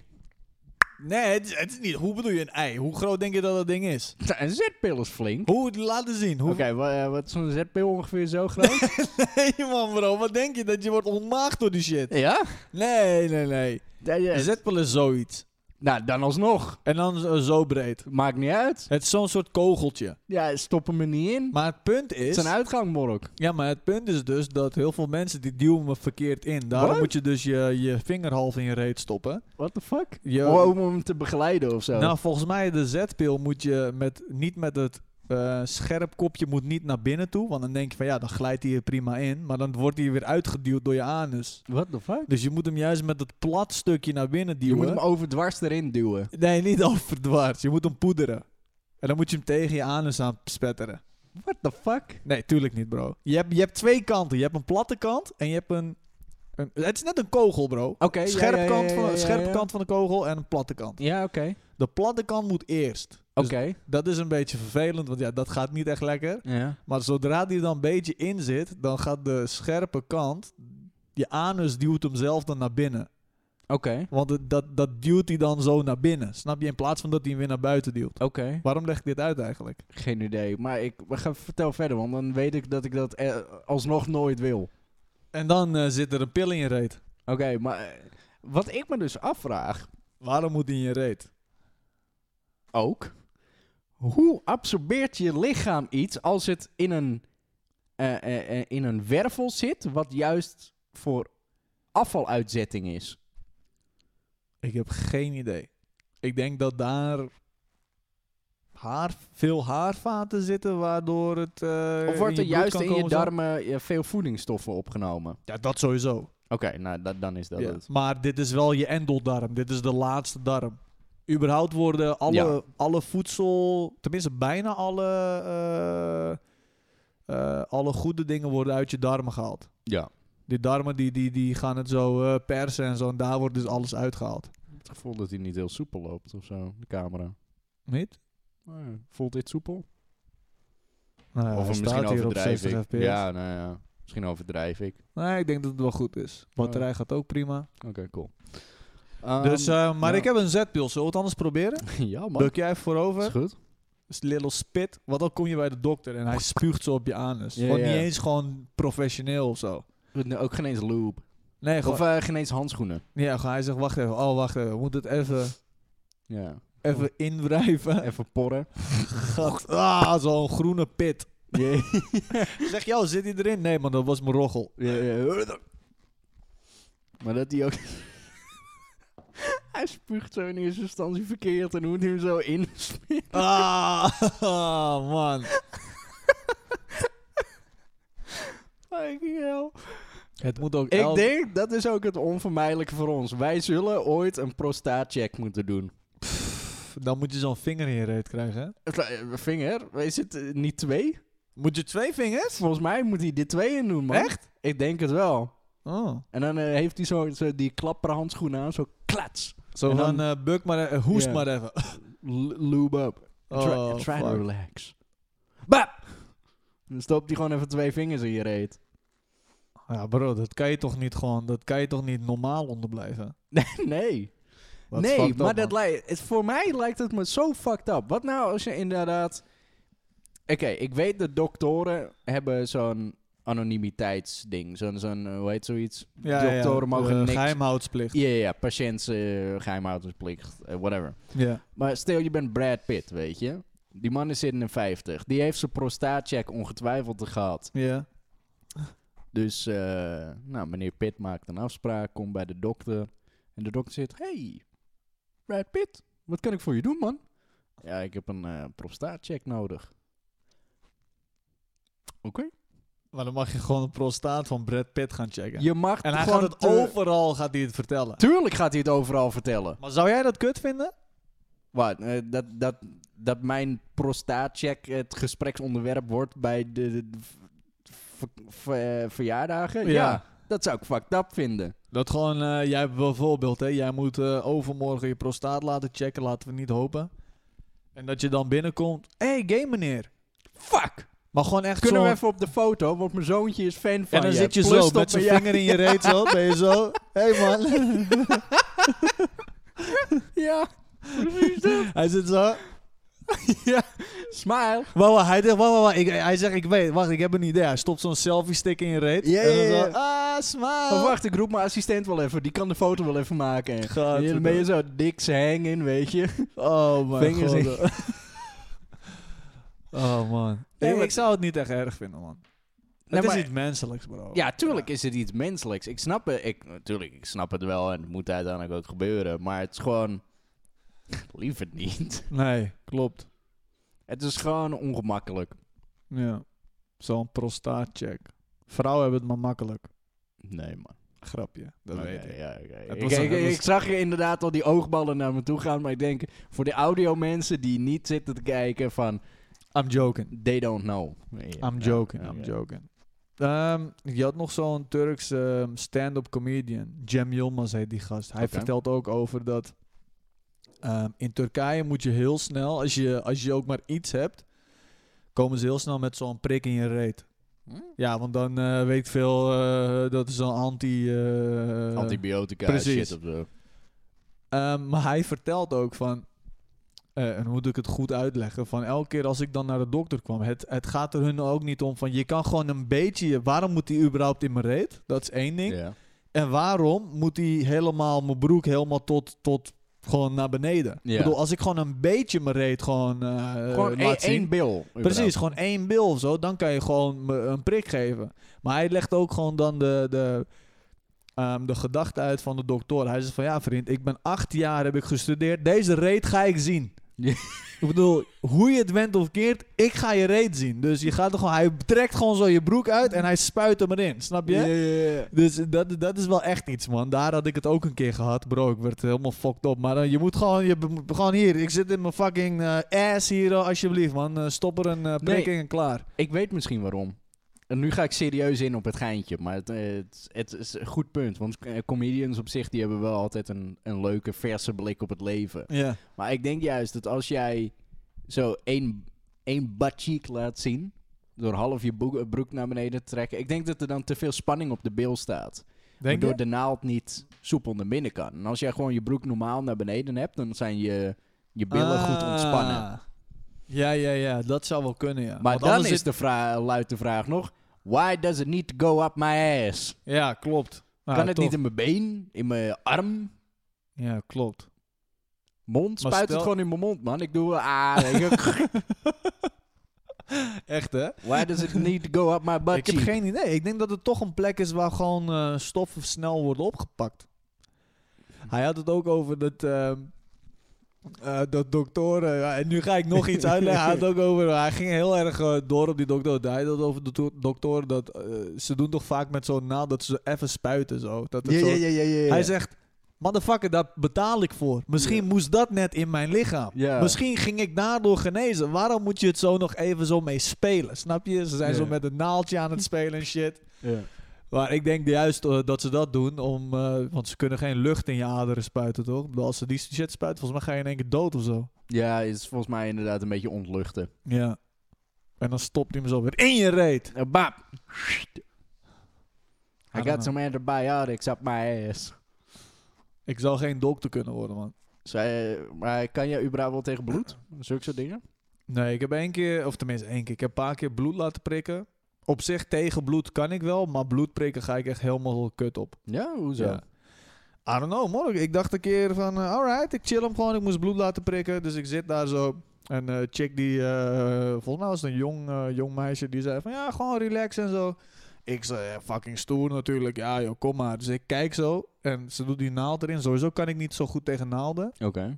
[SPEAKER 2] Nee, het is, het is niet. Hoe bedoel je een ei? Hoe groot denk je dat dat ding is?
[SPEAKER 3] Nou, Een zetpil is flink.
[SPEAKER 2] Hoe het laten zien? Hoe...
[SPEAKER 3] Oké,
[SPEAKER 2] *laughs*
[SPEAKER 3] wa- eh, wat is zo'n zetpil ongeveer zo groot?
[SPEAKER 2] Nee, man, bro. Wat denk je? Dat je wordt ontmaagd door die shit?
[SPEAKER 3] ja?
[SPEAKER 2] Nee, nee, nee.
[SPEAKER 3] Ja, ja.
[SPEAKER 2] Een zetpil is zoiets.
[SPEAKER 3] Nou, dan alsnog.
[SPEAKER 2] En dan zo- zo breed.
[SPEAKER 3] Maakt niet uit.
[SPEAKER 2] Het is zo'n soort kogeltje.
[SPEAKER 3] Ja, stop hem er niet in.
[SPEAKER 2] Maar het punt
[SPEAKER 3] het
[SPEAKER 2] is...
[SPEAKER 3] is een uitgangborrel.
[SPEAKER 2] Ja, maar het punt is dus dat heel veel mensen die duwen me verkeerd in. Daarom
[SPEAKER 3] Wat?
[SPEAKER 2] moet je dus je, je vinger half in je reet stoppen.
[SPEAKER 3] What the fuck?
[SPEAKER 2] Je-
[SPEAKER 3] Oh, Om hem te begeleiden of zo.
[SPEAKER 2] Nou, volgens mij de zetpil moet je met, niet met het eh, scherp kopje moet niet naar binnen toe. Want dan denk je van ja, dan glijdt hij er prima in. Maar dan wordt hij weer uitgeduwd door je anus.
[SPEAKER 3] What the fuck?
[SPEAKER 2] Dus je moet hem juist met het plat stukje naar binnen
[SPEAKER 3] Je moet
[SPEAKER 2] duwen.
[SPEAKER 3] hem overdwars erin duwen.
[SPEAKER 2] Nee, niet *laughs* overdwars. Je moet hem poederen. En dan moet je hem tegen je anus aan spetteren.
[SPEAKER 3] What the fuck?
[SPEAKER 2] Nee, tuurlijk niet, bro. Je hebt, je hebt twee kanten. Je hebt een platte kant en je hebt een... een het is net een kogel, bro.
[SPEAKER 3] Oké, ja,
[SPEAKER 2] Scherp
[SPEAKER 3] ja, ja,
[SPEAKER 2] kant van,
[SPEAKER 3] ja, ja,
[SPEAKER 2] scherpe
[SPEAKER 3] ja.
[SPEAKER 2] kant van de kogel en een platte kant.
[SPEAKER 3] Ja, oké.
[SPEAKER 2] De platte kant moet eerst. Dus
[SPEAKER 3] Oké.
[SPEAKER 2] Dat is een beetje vervelend, want ja, dat gaat niet echt lekker.
[SPEAKER 3] Ja.
[SPEAKER 2] Maar zodra die er dan een beetje in zit, dan gaat de scherpe kant, je anus duwt hem zelf dan naar binnen.
[SPEAKER 3] Oké.
[SPEAKER 2] Want het- dat, dat duwt hij dan zo naar binnen, snap je? In plaats van dat hij hem weer naar buiten duwt.
[SPEAKER 3] Oké.
[SPEAKER 2] Waarom leg ik dit uit eigenlijk?
[SPEAKER 3] Geen idee. Maar ik we gaan vertel verder, want dan weet ik dat ik dat eh, alsnog nooit wil.
[SPEAKER 2] En dan eh, zit er een pil in je reet.
[SPEAKER 3] Oké, maar eh, wat ik me dus afvraag
[SPEAKER 2] Waarom moet die in je reet?
[SPEAKER 3] ook. Hoe absorbeert je lichaam iets als het in een, eh, eh, eh, in een wervel zit, wat juist voor afvaluitzetting is?
[SPEAKER 2] Ik heb geen idee. Ik denk dat daar haar, veel haarvaten zitten, waardoor het. eh,
[SPEAKER 3] Of wordt
[SPEAKER 2] je
[SPEAKER 3] er
[SPEAKER 2] bloed
[SPEAKER 3] juist
[SPEAKER 2] kan
[SPEAKER 3] in je
[SPEAKER 2] komen zo?
[SPEAKER 3] darmen eh, veel voedingsstoffen opgenomen?
[SPEAKER 2] Ja, dat sowieso.
[SPEAKER 3] Oké, nou da- dan is dat
[SPEAKER 2] Ja,
[SPEAKER 3] het.
[SPEAKER 2] Maar dit is wel je endeldarm. Dit is de laatste darm. Überhaupt worden alle,
[SPEAKER 3] Ja.
[SPEAKER 2] alle voedsel, tenminste bijna alle, eh, eh, alle goede dingen worden uit je darmen gehaald.
[SPEAKER 3] Ja.
[SPEAKER 2] Die darmen die, die, die gaan het zo eh, persen en zo. En daar wordt dus alles uitgehaald.
[SPEAKER 3] Het gevoel dat hij niet heel soepel loopt of zo, de camera.
[SPEAKER 2] Niet?
[SPEAKER 3] Maar voelt dit soepel?
[SPEAKER 2] Nou, ja,
[SPEAKER 3] of
[SPEAKER 2] hij
[SPEAKER 3] misschien
[SPEAKER 2] staat hier op
[SPEAKER 3] overdrijf
[SPEAKER 2] 60
[SPEAKER 3] ik.
[SPEAKER 2] fps.
[SPEAKER 3] Ja, nou ja, misschien overdrijf ik.
[SPEAKER 2] Nee, ik denk dat het wel goed is. Batterij gaat ook prima.
[SPEAKER 3] Oké, cool.
[SPEAKER 2] dus,
[SPEAKER 3] Ehm,
[SPEAKER 2] eh, maar
[SPEAKER 3] ja.
[SPEAKER 2] ik heb een zetpil. Zullen we het anders proberen?
[SPEAKER 3] *laughs* ja man,
[SPEAKER 2] Duk jij even voorover?
[SPEAKER 3] is goed.
[SPEAKER 2] is Dus little spit. Want dan kom je bij de dokter en hij spuugt zo op je anus.
[SPEAKER 3] Ja,
[SPEAKER 2] Gewoon
[SPEAKER 3] ja.
[SPEAKER 2] niet eens gewoon professioneel of zo.
[SPEAKER 3] Goed, nou, Ook geen eens lube.
[SPEAKER 2] Nee, gewoon,
[SPEAKER 3] Of eh geen eens handschoenen.
[SPEAKER 2] ja, gewoon hij zegt, wacht even. Oh, wacht even. We moeten het even,
[SPEAKER 3] Ja.
[SPEAKER 2] even inwrijven.
[SPEAKER 3] Even *laughs* porren.
[SPEAKER 2] *laughs* Gat. Ah, zo'n groene pit. Zeg, joh, zit hij erin? Nee, man, dat was mijn roggel.
[SPEAKER 3] Ja, ja. Maar dat hij ook... *laughs* hij spuugt zo in eerste instantie verkeerd en hoe hij hem zo *laughs* insmeert.
[SPEAKER 2] Ah, *laughs* man.
[SPEAKER 3] Fucking hell.
[SPEAKER 2] Het moet ook
[SPEAKER 3] Ik
[SPEAKER 2] elk-
[SPEAKER 3] denk, dat is ook het onvermijdelijke voor ons. Wij zullen ooit een prostaatcheck moeten doen.
[SPEAKER 2] Pff, Dan moet je zo'n vinger in je reet krijgen, hè?
[SPEAKER 3] Het, eh, Vinger, is het eh, niet twee?
[SPEAKER 2] Moet je twee vingers?
[SPEAKER 3] Volgens mij moet hij dit twee in doen, man. Echt? Ik denk het wel.
[SPEAKER 2] Oh.
[SPEAKER 3] En dan eh, heeft hij zo, zo die klappere handschoenen aan, zo klats.
[SPEAKER 2] Zo
[SPEAKER 3] En dan-
[SPEAKER 2] van, eh, buk maar, eh, hoest
[SPEAKER 3] Ja.
[SPEAKER 2] maar even. *laughs*
[SPEAKER 3] L- lube up. Try,
[SPEAKER 2] Oh,
[SPEAKER 3] try to
[SPEAKER 2] fuck.
[SPEAKER 3] relax. Bap! Dan stopt hij gewoon even twee vingers in je reet.
[SPEAKER 2] Ja, bro, dat kan je toch niet gewoon, dat kan je toch niet normaal onderblijven?
[SPEAKER 3] *laughs* nee.
[SPEAKER 2] Wat
[SPEAKER 3] nee,
[SPEAKER 2] fucked up,
[SPEAKER 3] maar
[SPEAKER 2] man.
[SPEAKER 3] dat lijkt. het- Voor mij lijkt het me zo fucked up. Wat nou als je inderdaad. Oké, ik weet dat doktoren hebben zo'n anonimiteitsding. Zo'n, zo'n eh, hoe heet zoiets?
[SPEAKER 2] Ja, ja,
[SPEAKER 3] doktoren mogen
[SPEAKER 2] eh,
[SPEAKER 3] niks-
[SPEAKER 2] Geheimhoudsplicht.
[SPEAKER 3] Ja, ja, ja, patiënts, eh, geheimhoudingsplicht, eh, whatever.
[SPEAKER 2] Ja.
[SPEAKER 3] Maar stel je bent Brad Pitt, weet je. Die man is in de 50. Die heeft zijn prostaatcheck ongetwijfeld gehad.
[SPEAKER 2] Ja.
[SPEAKER 3] Dus, eh, nou, meneer Pitt maakt een afspraak, komt bij de dokter. En de dokter zegt, hey, Brad Pitt, wat kan ik voor je doen, man? Ja, ik heb een eh, prostaatcheck nodig. Oké.
[SPEAKER 2] Maar dan mag je gewoon een prostaat van Brad Pitt gaan checken.
[SPEAKER 3] Je mag
[SPEAKER 2] En hij
[SPEAKER 3] gewoon
[SPEAKER 2] gaat het
[SPEAKER 3] te-
[SPEAKER 2] overal gaat hij het vertellen.
[SPEAKER 3] Tuurlijk gaat hij het overal vertellen.
[SPEAKER 2] Maar zou jij dat kut vinden?
[SPEAKER 3] Wat, eh, dat, dat, dat mijn prostaatcheck het gespreksonderwerp wordt bij de, de- de ver- ver- eh, verjaardagen? Ja.
[SPEAKER 2] Ja.
[SPEAKER 3] dat zou ik fucked up vinden.
[SPEAKER 2] Dat gewoon, eh, jij bijvoorbeeld, hè, jij moet eh, overmorgen je prostaat laten checken, laten we niet hopen. En dat je dan binnenkomt, hé, hey, game meneer.
[SPEAKER 3] Fuck!
[SPEAKER 2] Maar gewoon echt
[SPEAKER 3] Kunnen
[SPEAKER 2] zo.
[SPEAKER 3] we even op de foto, want mijn zoontje is fan van
[SPEAKER 2] en dan
[SPEAKER 3] je.
[SPEAKER 2] zit je
[SPEAKER 3] Plus
[SPEAKER 2] zo
[SPEAKER 3] dat
[SPEAKER 2] met zo'n *laughs*
[SPEAKER 3] we- ja,
[SPEAKER 2] vinger in je reet zo, ben je zo. Hé hey man. *laughs*
[SPEAKER 3] Ja,
[SPEAKER 2] hij zit zo.
[SPEAKER 3] ja. Smile.
[SPEAKER 2] Wauw, wauw, hij, zegt, wauw, wauw, wauw. Ik, hij zegt, ik weet, wacht, ik heb een idee. Hij stopt zo'n selfie stick in je reet.
[SPEAKER 3] Ja,
[SPEAKER 2] en dan
[SPEAKER 3] ja, ja.
[SPEAKER 2] zo, ah,
[SPEAKER 3] Maar
[SPEAKER 2] smile.
[SPEAKER 3] wacht, ik roep mijn assistent wel even. Die kan de foto wel even maken.
[SPEAKER 2] Gaat
[SPEAKER 3] En dan ben je zo diks hangen, weet je.
[SPEAKER 2] Oh mijn
[SPEAKER 3] Vingers *laughs* in-
[SPEAKER 2] god. oh man.
[SPEAKER 3] Nee,
[SPEAKER 2] ik,
[SPEAKER 3] maar-
[SPEAKER 2] ik zou het niet echt erg vinden, man.
[SPEAKER 3] Nee,
[SPEAKER 2] het
[SPEAKER 3] maar-
[SPEAKER 2] is iets menselijks, bro.
[SPEAKER 3] Ja, tuurlijk is het iets menselijks. Ik snap het, ik, natuurlijk, ik snap het wel en het moet uiteindelijk ook gebeuren. Maar het is gewoon... *laughs* Liever niet.
[SPEAKER 2] Nee, klopt.
[SPEAKER 3] Het is gewoon ongemakkelijk.
[SPEAKER 2] Ja. Zo'n prostaatcheck. Vrouwen hebben het maar makkelijk.
[SPEAKER 3] Nee, man.
[SPEAKER 2] Grapje, dat
[SPEAKER 3] Oké,
[SPEAKER 2] weet ik.
[SPEAKER 3] Oh, ja, oké.
[SPEAKER 2] Het
[SPEAKER 3] Ik,
[SPEAKER 2] was-
[SPEAKER 3] ik,
[SPEAKER 2] het was-
[SPEAKER 3] ik zag je inderdaad al die oogballen naar me toe gaan. Maar ik denk, voor de audio mensen die niet zitten te kijken van...
[SPEAKER 2] I'm joking.
[SPEAKER 3] They don't know.
[SPEAKER 2] I'm joking, I'm
[SPEAKER 3] oké.
[SPEAKER 2] joking. Ehm, je had nog zo'n Turks ehm, stand-up comedian. Cem Yilmaz heet die gast. Hij
[SPEAKER 3] Oké.
[SPEAKER 2] vertelt ook over dat... ehm, in Turkije moet je heel snel... Als je, als je ook maar iets hebt... komen ze heel snel met zo'n prik in je reet.
[SPEAKER 3] Hm?
[SPEAKER 2] Ja, want dan eh, weet ik veel... eh, dat is zo'n anti... eh,
[SPEAKER 3] Antibiotica
[SPEAKER 2] precies.
[SPEAKER 3] shit of zo.
[SPEAKER 2] Ehm, maar hij vertelt ook van. eh, en hoe moet ik het goed uitleggen? Van elke keer als ik dan naar de dokter kwam, het, het gaat er hun ook niet om van je kan gewoon een beetje. Waarom moet die überhaupt in mijn reet? Dat is één ding.
[SPEAKER 3] Ja.
[SPEAKER 2] En waarom moet die helemaal mijn broek helemaal tot, tot gewoon naar beneden?
[SPEAKER 3] Ja.
[SPEAKER 2] Ik bedoel, als ik gewoon een beetje mijn reet gewoon, eh
[SPEAKER 3] Gewoon
[SPEAKER 2] laat
[SPEAKER 3] één,
[SPEAKER 2] zien.
[SPEAKER 3] één bil. überhaupt.
[SPEAKER 2] Precies, gewoon één bil of zo. Dan kan je gewoon me een prik geven. Maar hij legt ook gewoon dan de, de, ehm, de gedachte uit van de dokter. Hij zegt van ja vriend, ik ben acht jaar, heb ik gestudeerd. Deze reet ga ik zien.
[SPEAKER 3] *laughs* Ja.
[SPEAKER 2] Ik bedoel, hoe je het went of keert, ik ga je reet zien. Dus je gaat er gewoon, hij trekt gewoon zo je broek uit en hij spuit hem erin. Snap je?
[SPEAKER 3] Ja, ja, ja.
[SPEAKER 2] Dus dat, dat is wel echt iets, man. Daar had ik het ook een keer gehad, bro. Ik werd helemaal fucked op. Maar eh, je moet gewoon, je moet gewoon hier. Ik zit in mijn fucking eh, ass hier, eh, alsjeblieft, man. Eh, stop er een eh prik
[SPEAKER 3] Nee.
[SPEAKER 2] in en klaar.
[SPEAKER 3] Ik weet misschien waarom. En nu ga ik serieus in op het geintje, maar het, eh, het, het is een goed punt. Want eh, comedians op zich, die hebben wel altijd een, een leuke, verse blik op het leven.
[SPEAKER 2] Ja.
[SPEAKER 3] Maar ik denk juist dat als jij zo één, één butt cheek laat zien, door half je boek- eh, broek naar beneden te trekken, ik denk dat er dan te veel spanning op de bil staat.
[SPEAKER 2] Denk
[SPEAKER 3] waardoor
[SPEAKER 2] je?
[SPEAKER 3] de naald niet soepel naar binnen kan. En als jij gewoon je broek normaal naar beneden hebt, dan zijn je, je billen goed ontspannen.
[SPEAKER 2] Ah. Ja, ja, ja. Dat zou wel kunnen, ja.
[SPEAKER 3] Maar
[SPEAKER 2] Want
[SPEAKER 3] dan
[SPEAKER 2] anders
[SPEAKER 3] is de vra- luidt de vraag nog... Why does it need to go up my ass?
[SPEAKER 2] Ja, klopt. Ja,
[SPEAKER 3] kan het
[SPEAKER 2] toch.
[SPEAKER 3] niet in mijn been? In mijn arm?
[SPEAKER 2] Ja, klopt.
[SPEAKER 3] Mond?
[SPEAKER 2] Maar
[SPEAKER 3] Spuit
[SPEAKER 2] stel-
[SPEAKER 3] het gewoon in mijn mond, man. Ik doe... wel, Ah, weet
[SPEAKER 2] *laughs*
[SPEAKER 3] je,
[SPEAKER 2] Echt, hè?
[SPEAKER 3] why does it need to go up my butt
[SPEAKER 2] ik heb
[SPEAKER 3] cheek?
[SPEAKER 2] geen idee. Ik denk dat het toch een plek is waar gewoon eh, stoffen snel worden opgepakt. Hij had het ook over dat, ehm, eh, dat doktoren... ja, en nu ga ik nog iets uitleggen. Hij, had het ook over, hij ging heel erg eh, door op die dokter. Hij had het over de to- doktoren. Dat, eh, ze doen toch vaak met zo'n naald dat ze zo even spuiten. Zo. Dat het
[SPEAKER 3] Ja,
[SPEAKER 2] zo
[SPEAKER 3] ja, ja, ja, ja, ja.
[SPEAKER 2] Hij zegt... Motherfucker, daar betaal ik voor. Misschien moest dat net in mijn lichaam.
[SPEAKER 3] Ja.
[SPEAKER 2] Misschien ging ik daardoor genezen. Waarom moet je het zo nog even zo mee spelen? Snap je? Ze zijn
[SPEAKER 3] Ja.
[SPEAKER 2] zo met een naaldje aan het spelen en shit.
[SPEAKER 3] Ja.
[SPEAKER 2] Maar ik denk juist eh, dat ze dat doen om... eh, want ze kunnen geen lucht in je aderen spuiten, toch? Ik bedoel, Als ze die shit spuiten, volgens mij ga je in één keer dood of zo.
[SPEAKER 3] Ja, is volgens mij inderdaad een beetje ontluchten.
[SPEAKER 2] Ja. En dan stopt hij hem zo weer in je reet.
[SPEAKER 3] Uh, bap! I
[SPEAKER 2] I don't
[SPEAKER 3] got some antibiotics up my ass.
[SPEAKER 2] Ik zou geen dokter kunnen worden, man.
[SPEAKER 3] Zij, maar kan jij überhaupt wel tegen bloed? Zulke soort dingen?
[SPEAKER 2] Nee, ik heb één keer, of tenminste één keer, ik heb een paar keer bloed laten prikken. Op zich tegen bloed kan ik wel, maar bloed prikken ga ik echt helemaal kut op.
[SPEAKER 3] Ja, hoezo?
[SPEAKER 2] Ja. I don't know, man. Ik dacht een keer van, eh, alright, ik chill hem gewoon. Ik moest bloed laten prikken. Dus ik zit daar zo. En eh chick die, eh, volgens mij was het een jong, eh, jong meisje, die zei van, ja, gewoon relax en zo. Ik zei, eh, fucking stoer natuurlijk. Ja joh, kom maar. Dus ik kijk zo en ze doet die naald erin. Sowieso kan ik niet zo goed tegen naalden.
[SPEAKER 3] Oké.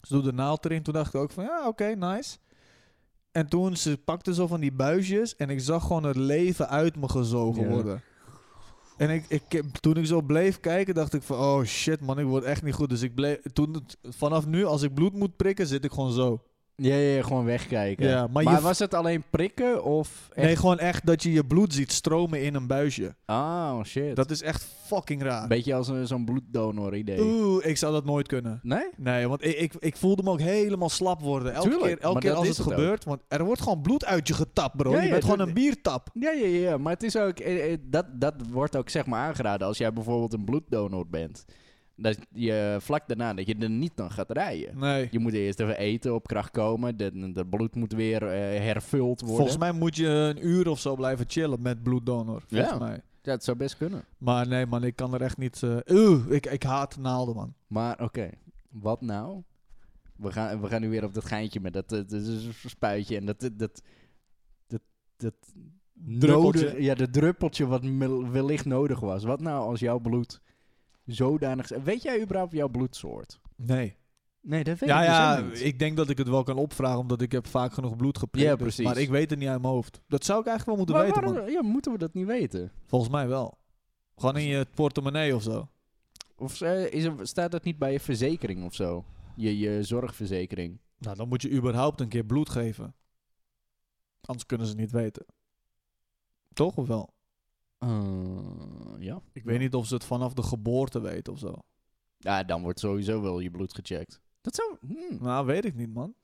[SPEAKER 2] Ze doet de naald erin. Toen dacht ik ook van, ja, oké, nice. En toen, ze pakte zo van die buisjes en ik zag gewoon het leven uit me gezogen
[SPEAKER 3] Ja.
[SPEAKER 2] worden. En ik, ik, heb- toen ik zo bleef kijken, dacht ik van, oh shit man, ik word echt niet goed. Dus ik bleef, toen, vanaf nu, als ik bloed moet prikken, zit ik gewoon zo.
[SPEAKER 3] Ja, ja, ja, gewoon wegkijken.
[SPEAKER 2] Ja, maar
[SPEAKER 3] maar
[SPEAKER 2] je v-
[SPEAKER 3] was het alleen prikken of echt?
[SPEAKER 2] Nee, gewoon echt dat je je bloed ziet stromen in een buisje.
[SPEAKER 3] Oh, shit.
[SPEAKER 2] Dat is echt fucking raar.
[SPEAKER 3] Beetje als een- zo'n bloeddonor idee.
[SPEAKER 2] Oeh, ik zou dat nooit kunnen.
[SPEAKER 3] Nee?
[SPEAKER 2] Nee, want ik, ik, ik voelde me ook helemaal slap worden. Elke
[SPEAKER 3] Tuurlijk,
[SPEAKER 2] keer, elke
[SPEAKER 3] maar
[SPEAKER 2] keer
[SPEAKER 3] dat
[SPEAKER 2] als
[SPEAKER 3] is
[SPEAKER 2] het,
[SPEAKER 3] het ook.
[SPEAKER 2] gebeurt. Want er wordt gewoon bloed uit je getapt, bro.
[SPEAKER 3] Ja,
[SPEAKER 2] je
[SPEAKER 3] ja,
[SPEAKER 2] bent gewoon
[SPEAKER 3] dat-
[SPEAKER 2] een biertap.
[SPEAKER 3] Ja, ja, ja, ja, maar het is ook, eh, eh, dat, dat wordt ook zeg maar aangeraden als jij bijvoorbeeld een bloeddonor bent. Dat je vlak daarna, dat je er niet dan gaat rijden.
[SPEAKER 2] Nee.
[SPEAKER 3] Je moet eerst even eten, op kracht komen, de- dat bloed moet weer eh, hervuld worden.
[SPEAKER 2] Volgens mij moet je een uur of zo blijven chillen met bloeddonor. Volgens
[SPEAKER 3] Ja.
[SPEAKER 2] mij.
[SPEAKER 3] Ja, het zou best kunnen.
[SPEAKER 2] Maar nee, man, ik kan er echt niet. eh Oeh, ik, ik haat naalden, man.
[SPEAKER 3] Maar oké, wat nou? We gaan, we gaan nu weer op dat geintje met dat, eh, dat, is een spuitje en dat... dat, dat dat- dat
[SPEAKER 2] Druppeltje.
[SPEAKER 3] nodig- ja, dat druppeltje wat mel- wellicht nodig was. Wat nou als jouw bloed zodanig... is- Weet jij überhaupt jouw bloedsoort?
[SPEAKER 2] Nee.
[SPEAKER 3] Nee, dat weet
[SPEAKER 2] Ja,
[SPEAKER 3] ik
[SPEAKER 2] ja,
[SPEAKER 3] dus ook niet.
[SPEAKER 2] ik denk dat ik het wel kan opvragen, omdat ik heb vaak genoeg bloed geprikt.
[SPEAKER 3] Ja,
[SPEAKER 2] dus-
[SPEAKER 3] precies.
[SPEAKER 2] Maar ik weet het niet uit mijn hoofd. Dat zou ik eigenlijk wel moeten
[SPEAKER 3] Maar
[SPEAKER 2] weten,
[SPEAKER 3] waarom
[SPEAKER 2] man.
[SPEAKER 3] ja, moeten we dat niet weten?
[SPEAKER 2] Volgens mij wel. Gewoon in je portemonnee of zo.
[SPEAKER 3] Of eh, is er, staat dat niet bij je verzekering of zo? Je, je zorgverzekering.
[SPEAKER 2] Nou, dan moet je überhaupt een keer bloed geven. Anders kunnen ze niet weten. Toch of wel?
[SPEAKER 3] Eh, ja.
[SPEAKER 2] Ik weet niet of ze het vanaf de geboorte weten of zo.
[SPEAKER 3] Ja, dan wordt sowieso wel je bloed gecheckt. Dat zou... hmm,
[SPEAKER 2] Nou, weet ik niet, man.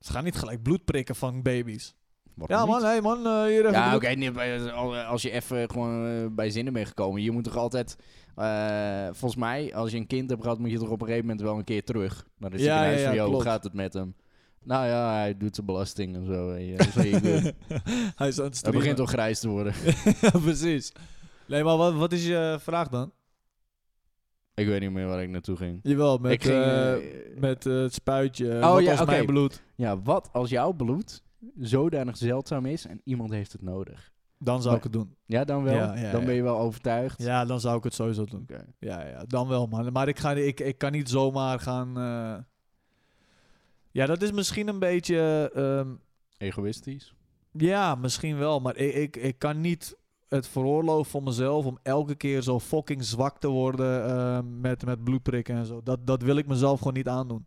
[SPEAKER 2] Ze gaan niet gelijk bloed prikken van baby's.
[SPEAKER 3] waarom
[SPEAKER 2] Ja,
[SPEAKER 3] niet?
[SPEAKER 2] man, hé, man, eh, hier even
[SPEAKER 3] Ja, oké,
[SPEAKER 2] *laughs* bloed.
[SPEAKER 3] nee, bij- al- als je even gewoon eh, bij zinnen bent gekomen, je moet toch altijd, eh, volgens mij, als je een kind hebt gehad, moet je toch op een gegeven moment wel een keer terug. Maar dan zit
[SPEAKER 2] Ja,
[SPEAKER 3] je in
[SPEAKER 2] ja,
[SPEAKER 3] huis
[SPEAKER 2] ja,
[SPEAKER 3] van, "Yo, hoe
[SPEAKER 2] klopt.
[SPEAKER 3] gaat het met hem? Nou ja, hij doet zijn belasting en zo.
[SPEAKER 2] *laughs*
[SPEAKER 3] en, eh, zo, je-
[SPEAKER 2] Hij is aan eh. het
[SPEAKER 3] Hij
[SPEAKER 2] streamen.
[SPEAKER 3] begint toch grijs te worden.
[SPEAKER 2] ja, *laughs* precies. Nee, maar wat, wat is je vraag dan?
[SPEAKER 3] ik weet niet meer waar ik naartoe ging.
[SPEAKER 2] Jawel, met,
[SPEAKER 3] ik ging,
[SPEAKER 2] eh,
[SPEAKER 3] eh,
[SPEAKER 2] met eh, het spuitje. Oh
[SPEAKER 3] ja,
[SPEAKER 2] als
[SPEAKER 3] oké.
[SPEAKER 2] mijn bloed.
[SPEAKER 3] Ja, wat als jouw bloed zodanig zeldzaam is en iemand heeft het nodig?
[SPEAKER 2] Dan zou ik het doen.
[SPEAKER 3] Ja, dan wel.
[SPEAKER 2] Ja, ja,
[SPEAKER 3] dan
[SPEAKER 2] ja.
[SPEAKER 3] ben je wel overtuigd.
[SPEAKER 2] Ja, dan zou ik het sowieso doen.
[SPEAKER 3] Oké.
[SPEAKER 2] Ja, ja, dan wel, man. Maar ik, ga, ik, ik kan niet zomaar gaan... eh, Ja, dat is misschien een beetje... ehm,
[SPEAKER 3] Egoïstisch.
[SPEAKER 2] Ja, misschien wel. Maar ik, ik, ik kan niet het veroorloven voor mezelf om elke keer zo fucking zwak te worden eh, met, met bloedprikken en zo. Dat, dat wil ik mezelf gewoon niet aandoen.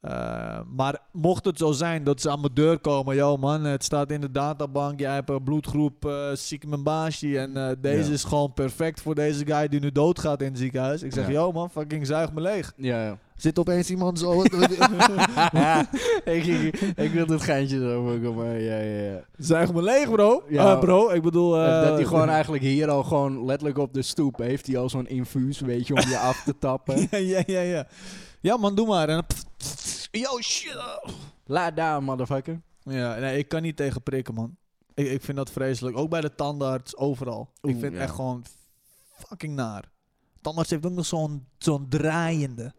[SPEAKER 2] Eh, maar mocht het zo zijn dat ze aan mijn deur komen, yo man, het staat in de databank, jij hebt een bloedgroep eh Baasje en eh, deze
[SPEAKER 3] Ja.
[SPEAKER 2] is gewoon perfect voor deze guy die nu doodgaat in het ziekenhuis. Ik zeg,
[SPEAKER 3] Ja.
[SPEAKER 2] yo man, fucking zuig me leeg.
[SPEAKER 3] Ja,
[SPEAKER 2] *laughs*
[SPEAKER 3] ja.
[SPEAKER 2] Zit opeens iemand zo...
[SPEAKER 3] *laughs* ik, ik, ik wil dat geintje zo maken, maar ja, ja, ja.
[SPEAKER 2] *laughs* zuig me leeg, bro.
[SPEAKER 3] Ja.
[SPEAKER 2] Eh, bro, ik bedoel... eh,
[SPEAKER 3] dat hij gewoon eigenlijk hier al gewoon letterlijk op de stoep heeft hij al zo'n infuus, weet je, om je af
[SPEAKER 2] *laughs*
[SPEAKER 3] te tappen.
[SPEAKER 2] ja, ja, ja, ja. Ja, man, doe maar. En dan pff, pff, pff. Yo, shit.
[SPEAKER 3] Laat daar, motherfucker.
[SPEAKER 2] Ja, nee, ik kan niet tegen prikken, man. Ik, ik vind dat vreselijk. Ook bij de tandarts, overal. ik
[SPEAKER 3] Oeh,
[SPEAKER 2] vind
[SPEAKER 3] ja.
[SPEAKER 2] echt gewoon fucking naar. Tandarts heeft ook nog zo'n zo'n draaiende.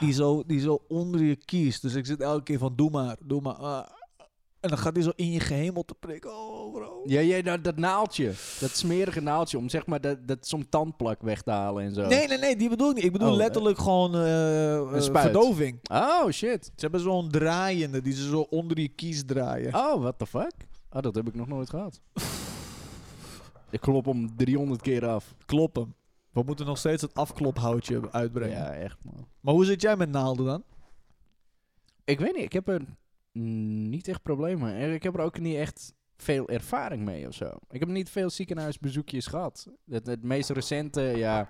[SPEAKER 2] Die zo, die zo onder je kiest. Dus ik zit elke keer van, doe maar, doe maar. Ah. en dan gaat hij zo in je gehemel te prikken. Oh, bro.
[SPEAKER 3] Ja, ja dat, dat naaldje, dat smerige naaldje, om zeg maar dat, dat zo'n tandplak weg te halen en zo.
[SPEAKER 2] Nee, nee, nee, die bedoel ik niet. Ik bedoel
[SPEAKER 3] Oh,
[SPEAKER 2] letterlijk gewoon eh, eh,
[SPEAKER 3] spuit.
[SPEAKER 2] verdoving.
[SPEAKER 3] Oh, shit.
[SPEAKER 2] Ze hebben zo'n draaiende die ze zo onder je kies draaien.
[SPEAKER 3] Oh, what the fuck? Oh, dat heb ik nog nooit gehad. ik klop hem 300 keer af.
[SPEAKER 2] Kloppen. We moeten nog steeds het afklophoutje uitbrengen.
[SPEAKER 3] Ja, echt man.
[SPEAKER 2] Maar hoe zit jij met naalden dan?
[SPEAKER 3] Ik weet niet, ik heb er mm, niet echt problemen mee. En Ik heb er ook niet echt veel ervaring mee of zo. Ik heb niet veel ziekenhuisbezoekjes gehad. Het, het meest recente, ja.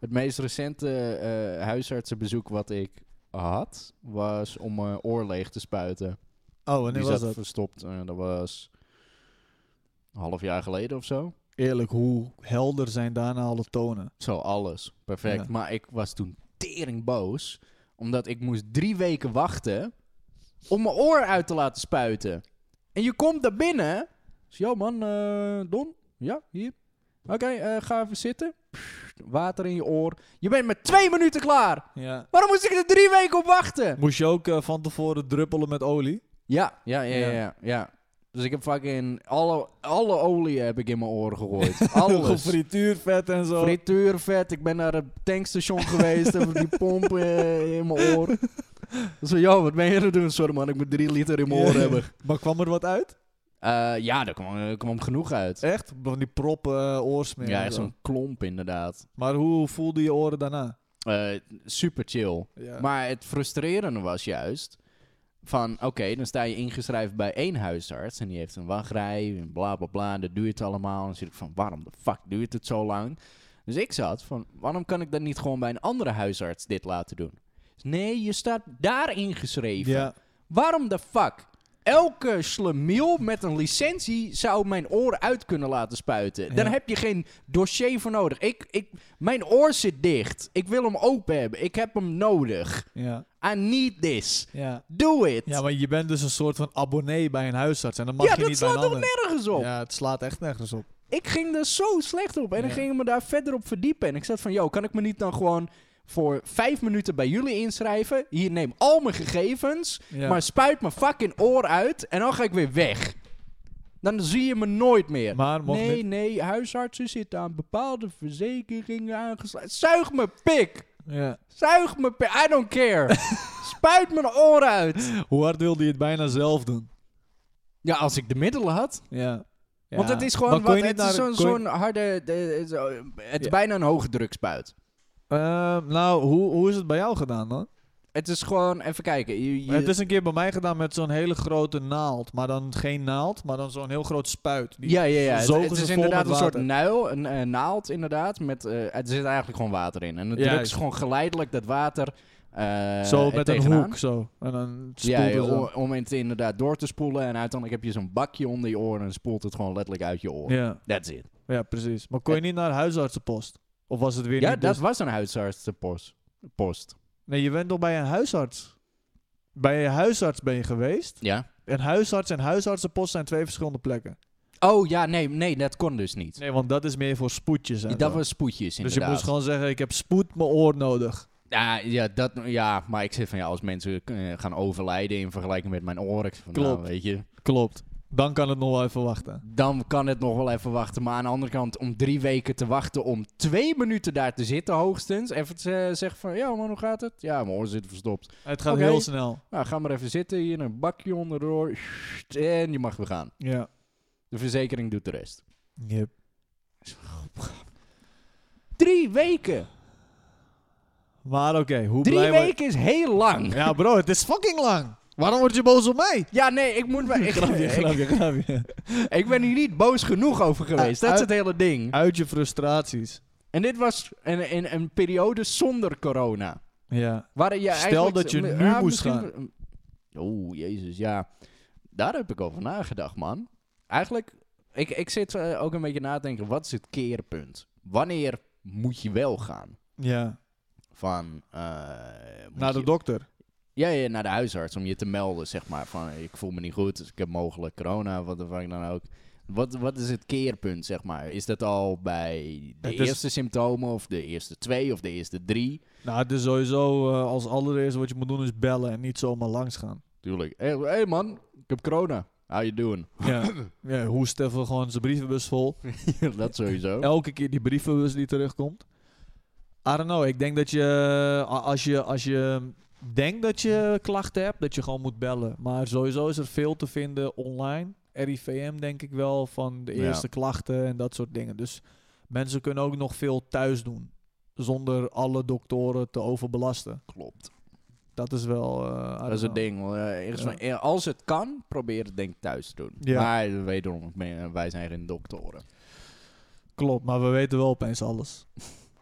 [SPEAKER 3] Het meest recente eh, huisartsenbezoek wat ik had, was om mijn oor leeg te spuiten.
[SPEAKER 2] Oh,
[SPEAKER 3] Die
[SPEAKER 2] wanneer
[SPEAKER 3] zat
[SPEAKER 2] was dat?
[SPEAKER 3] verstopt. eh, dat was een half jaar geleden of zo.
[SPEAKER 2] eerlijk, hoe helder zijn daarna alle tonen?
[SPEAKER 3] Zo, alles. Perfect.
[SPEAKER 2] Ja.
[SPEAKER 3] Maar ik was toen tering boos. Omdat ik moest drie weken wachten om mijn oor uit te laten spuiten. En je komt daar binnen. Dus, Yo man, eh, Don. Ja, hier. Oké, eh, ga even zitten. Pssst, water in je oor. Je bent met twee minuten klaar.
[SPEAKER 2] Ja.
[SPEAKER 3] Waarom moest ik er drie weken op wachten?
[SPEAKER 2] Moest je ook eh, van tevoren druppelen met olie?
[SPEAKER 3] Ja, ja, ja, ja.
[SPEAKER 2] Ja.
[SPEAKER 3] ja, Dus ik heb fucking alle, alle olie heb ik in mijn oren *laughs* gegooid. Alles.
[SPEAKER 2] Frituurvet en zo.
[SPEAKER 3] Frituurvet, ik ben naar het tankstation geweest, heb die pomp eh, in mijn oor. Zo, joh, wat ben je aan het doen? Sorry man, ik moet drie liter in mijn oor
[SPEAKER 2] Ja.
[SPEAKER 3] hebben.
[SPEAKER 2] Maar kwam er wat uit?
[SPEAKER 3] Eh, ja, daar kwam, daar kwam genoeg uit.
[SPEAKER 2] Echt? Van die proppen eh, oorsmeer.
[SPEAKER 3] Ja,
[SPEAKER 2] en
[SPEAKER 3] echt
[SPEAKER 2] zo.
[SPEAKER 3] zo'n klomp inderdaad.
[SPEAKER 2] Maar hoe voelde je oren daarna?
[SPEAKER 3] Eh, super chill.
[SPEAKER 2] Ja.
[SPEAKER 3] Maar het frustrerende was juist van, oké, dan sta je ingeschreven bij één huisarts en die heeft een wachtrij en bla bla bla, en dat duurt allemaal. En dan zit ik van, waarom de fuck duurt het zo lang? Dus ik zat van, waarom kan ik dan niet gewoon bij een andere huisarts dit laten doen? Dus Nee, je staat daar ingeschreven.
[SPEAKER 2] ja.
[SPEAKER 3] Waarom de fuck? Elke slemiel met een licentie zou mijn oor uit kunnen laten spuiten. Daar
[SPEAKER 2] Ja.
[SPEAKER 3] heb je geen dossier voor nodig. Ik, ik, mijn oor zit dicht. Ik wil hem open hebben. Ik heb hem nodig.
[SPEAKER 2] Ja.
[SPEAKER 3] I need this.
[SPEAKER 2] Ja.
[SPEAKER 3] Do it.
[SPEAKER 2] ja, maar je bent dus een soort van abonnee bij een huisarts. En dan mag
[SPEAKER 3] Ja,
[SPEAKER 2] je
[SPEAKER 3] dat
[SPEAKER 2] niet bij een
[SPEAKER 3] slaat toch
[SPEAKER 2] ander.
[SPEAKER 3] nergens op.
[SPEAKER 2] Ja, het slaat echt nergens op.
[SPEAKER 3] Ik ging er zo slecht op. En
[SPEAKER 2] Ja.
[SPEAKER 3] ik ging me daar verder op verdiepen. En ik zat van, yo, kan ik me niet dan gewoon voor vijf minuten bij jullie inschrijven? Hier, neem al mijn gegevens.
[SPEAKER 2] Ja.
[SPEAKER 3] Maar spuit mijn fucking oor uit. En dan ga ik weer weg. Dan zie je me nooit meer.
[SPEAKER 2] Maar mocht
[SPEAKER 3] nee,
[SPEAKER 2] niet-
[SPEAKER 3] nee, huisartsen zitten aan bepaalde verzekeringen aangesloten. Zuig mijn pik.
[SPEAKER 2] Ja.
[SPEAKER 3] Zuig mijn pik. I don't *laughs* care. spuit mijn oor uit.
[SPEAKER 2] Hoe hard wilde je het bijna zelf doen?
[SPEAKER 3] Ja, als ik de middelen had.
[SPEAKER 2] Ja.
[SPEAKER 3] Want
[SPEAKER 2] Ja.
[SPEAKER 3] het is gewoon
[SPEAKER 2] Maar kon
[SPEAKER 3] wat,
[SPEAKER 2] je
[SPEAKER 3] het
[SPEAKER 2] niet
[SPEAKER 3] is
[SPEAKER 2] naar-
[SPEAKER 3] zo'n
[SPEAKER 2] kon je-
[SPEAKER 3] zo'n harde... de- zo- het is
[SPEAKER 2] Ja.
[SPEAKER 3] bijna een hoge drukspuit.
[SPEAKER 2] Ehm, nou, hoe, hoe is het bij jou gedaan dan?
[SPEAKER 3] Het is gewoon... Even kijken. Je, je-
[SPEAKER 2] Het is een keer bij mij gedaan met zo'n hele grote naald. Maar dan geen naald, maar dan zo'n heel groot spuit. Die-
[SPEAKER 3] ja, ja, ja. Het,
[SPEAKER 2] zogen
[SPEAKER 3] het
[SPEAKER 2] ze
[SPEAKER 3] is
[SPEAKER 2] vol
[SPEAKER 3] inderdaad
[SPEAKER 2] met
[SPEAKER 3] een soort
[SPEAKER 2] water.
[SPEAKER 3] nuil, een, eh, naald inderdaad. Met, eh, er zit eigenlijk gewoon water in. En het
[SPEAKER 2] Ja,
[SPEAKER 3] drukt
[SPEAKER 2] ik-
[SPEAKER 3] gewoon geleidelijk dat water eh,
[SPEAKER 2] zo
[SPEAKER 3] er
[SPEAKER 2] met een
[SPEAKER 3] tegenaan.
[SPEAKER 2] hoek, zo. En dan spoelt
[SPEAKER 3] Ja,
[SPEAKER 2] het
[SPEAKER 3] ja,
[SPEAKER 2] zo.
[SPEAKER 3] om, om het inderdaad door te spoelen. En uiteindelijk heb je zo'n bakje onder je oor en spoelt het gewoon letterlijk uit je oor.
[SPEAKER 2] Ja,
[SPEAKER 3] That's it.
[SPEAKER 2] ja, precies. Maar kon je niet naar de huisartsenpost? Of was het weer
[SPEAKER 3] Ja,
[SPEAKER 2] niet...
[SPEAKER 3] dat
[SPEAKER 2] dus-
[SPEAKER 3] was een huisartsenpost. Post.
[SPEAKER 2] Nee, je bent toch bij een huisarts? Bij je huisarts ben je geweest.
[SPEAKER 3] Ja.
[SPEAKER 2] En huisarts en huisartsenpost zijn twee verschillende plekken.
[SPEAKER 3] Oh ja, nee, nee, dat kon dus niet.
[SPEAKER 2] Nee, want dat is meer voor spoedjes. en
[SPEAKER 3] dat
[SPEAKER 2] zo.
[SPEAKER 3] was spoedjes
[SPEAKER 2] dus je
[SPEAKER 3] inderdaad.
[SPEAKER 2] moest gewoon zeggen, ik heb spoed mijn oor nodig.
[SPEAKER 3] Ja, ja, dat, ja, maar ik zeg van ja, als mensen eh, gaan overlijden in vergelijking met mijn oren, ik zeg van,
[SPEAKER 2] Klopt.
[SPEAKER 3] nou, weet je,
[SPEAKER 2] Klopt. Dan kan het nog wel even wachten.
[SPEAKER 3] dan kan het nog wel even wachten. Maar aan de andere kant, om drie weken te wachten, om twee minuten daar te zitten hoogstens, even te eh, zeggen van ja man, hoe gaat het? Ja, mijn oor zit verstopt.
[SPEAKER 2] Het gaat
[SPEAKER 3] Oké.
[SPEAKER 2] heel snel.
[SPEAKER 3] Nou, ga maar even zitten, hier een bakje onder de oor, en je mag weer gaan.
[SPEAKER 2] Ja.
[SPEAKER 3] De verzekering doet de rest.
[SPEAKER 2] Yep.
[SPEAKER 3] Drie weken!
[SPEAKER 2] Maar oké, hoe
[SPEAKER 3] Drie
[SPEAKER 2] blij wa-
[SPEAKER 3] weken is heel lang!
[SPEAKER 2] Ja, bro, het is fucking lang. Waarom word je boos op mij?
[SPEAKER 3] Ja, nee, ik
[SPEAKER 2] *laughs*
[SPEAKER 3] moet... maar- Ik,
[SPEAKER 2] Grapje,
[SPEAKER 3] ik,
[SPEAKER 2] grapje, grapje.
[SPEAKER 3] ik ben hier niet boos genoeg over geweest. Dat is
[SPEAKER 2] uit-
[SPEAKER 3] het hele ding.
[SPEAKER 2] Uit je frustraties.
[SPEAKER 3] En dit was een, een, een periode zonder corona.
[SPEAKER 2] Ja.
[SPEAKER 3] Waarin je
[SPEAKER 2] Stel
[SPEAKER 3] eigenlijk-
[SPEAKER 2] dat je
[SPEAKER 3] m-
[SPEAKER 2] nu moest
[SPEAKER 3] misschien- Oeh, jezus, ja. Daar heb ik over nagedacht, man. Eigenlijk, ik, ik zit eh, ook een beetje na te denken, wat is het keerpunt? Wanneer moet je wel gaan?
[SPEAKER 2] Ja.
[SPEAKER 3] Van, eh, moet
[SPEAKER 2] Naar de
[SPEAKER 3] je-
[SPEAKER 2] dokter.
[SPEAKER 3] ja, ja, naar de huisarts om je te melden, zeg maar. Van, eh, ik voel me niet goed, dus ik heb mogelijk corona, wat de fuck dan ook. Wat, wat is het keerpunt, zeg maar? Is dat al bij de
[SPEAKER 2] Het is-
[SPEAKER 3] eerste symptomen of de eerste twee of de eerste drie?
[SPEAKER 2] Nou, het is sowieso eh, als allereerste wat je moet doen is bellen en niet zomaar langs gaan.
[SPEAKER 3] Tuurlijk. Hé hey man, ik heb corona. How you doing? *laughs*
[SPEAKER 2] Ja. ja hoest even gewoon zijn brievenbus vol.
[SPEAKER 3] dat
[SPEAKER 2] *laughs*
[SPEAKER 3] sowieso.
[SPEAKER 2] Elke keer die brievenbus die terugkomt. I don't know, ik denk dat je eh, a- als je, als je denkt dat je klachten hebt, dat je gewoon moet bellen. Maar sowieso is er veel te vinden online. RIVM denk ik wel, van de
[SPEAKER 3] Ja.
[SPEAKER 2] eerste klachten en dat soort dingen. Dus mensen kunnen ook nog veel thuis doen. Zonder alle doktoren te overbelasten.
[SPEAKER 3] Klopt.
[SPEAKER 2] Dat is wel... eh, I
[SPEAKER 3] Dat
[SPEAKER 2] don't
[SPEAKER 3] is het
[SPEAKER 2] know.
[SPEAKER 3] ding. hoor. Eh, eerst
[SPEAKER 2] Ja.
[SPEAKER 3] maar- eh, Als het kan, probeer het denk ik thuis te doen.
[SPEAKER 2] Ja.
[SPEAKER 3] Maar wederom, ik ben- eh, wij zijn geen doktoren.
[SPEAKER 2] Klopt, maar we weten wel opeens alles.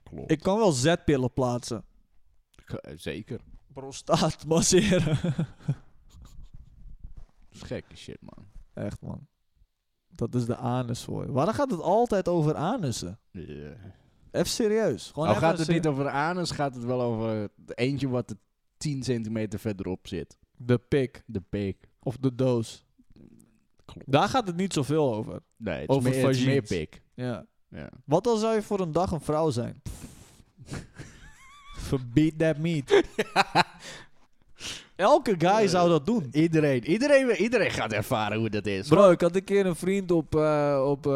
[SPEAKER 3] Klopt.
[SPEAKER 2] Ik kan wel zetpillen plaatsen.
[SPEAKER 3] Zeker.
[SPEAKER 2] Prostaat masseren. *laughs*
[SPEAKER 3] Dat is gekke shit, man.
[SPEAKER 2] Echt man. Dat is de anus voor je. Waarom gaat het altijd over anussen? Even serieus. Gewoon
[SPEAKER 3] Nou
[SPEAKER 2] even
[SPEAKER 3] gaat het
[SPEAKER 2] ser-
[SPEAKER 3] niet over de anus, gaat het wel over het eentje wat er 10 centimeter verderop zit.
[SPEAKER 2] De pik
[SPEAKER 3] De pik.
[SPEAKER 2] of de doos.
[SPEAKER 3] Klopt.
[SPEAKER 2] Daar gaat het niet zoveel over.
[SPEAKER 3] Nee, het is
[SPEAKER 2] Over
[SPEAKER 3] meer, het is meer
[SPEAKER 2] vagines.
[SPEAKER 3] pik.
[SPEAKER 2] Ja.
[SPEAKER 3] Ja.
[SPEAKER 2] Wat al zou je voor een dag een vrouw *laughs* zijn? Verbied that meat. *laughs* Eh, Elke guy zou dat doen.
[SPEAKER 3] Iedereen, iedereen, iedereen gaat ervaren hoe dat is.
[SPEAKER 2] Bro, ik had een keer een vriend op, eh, op eh,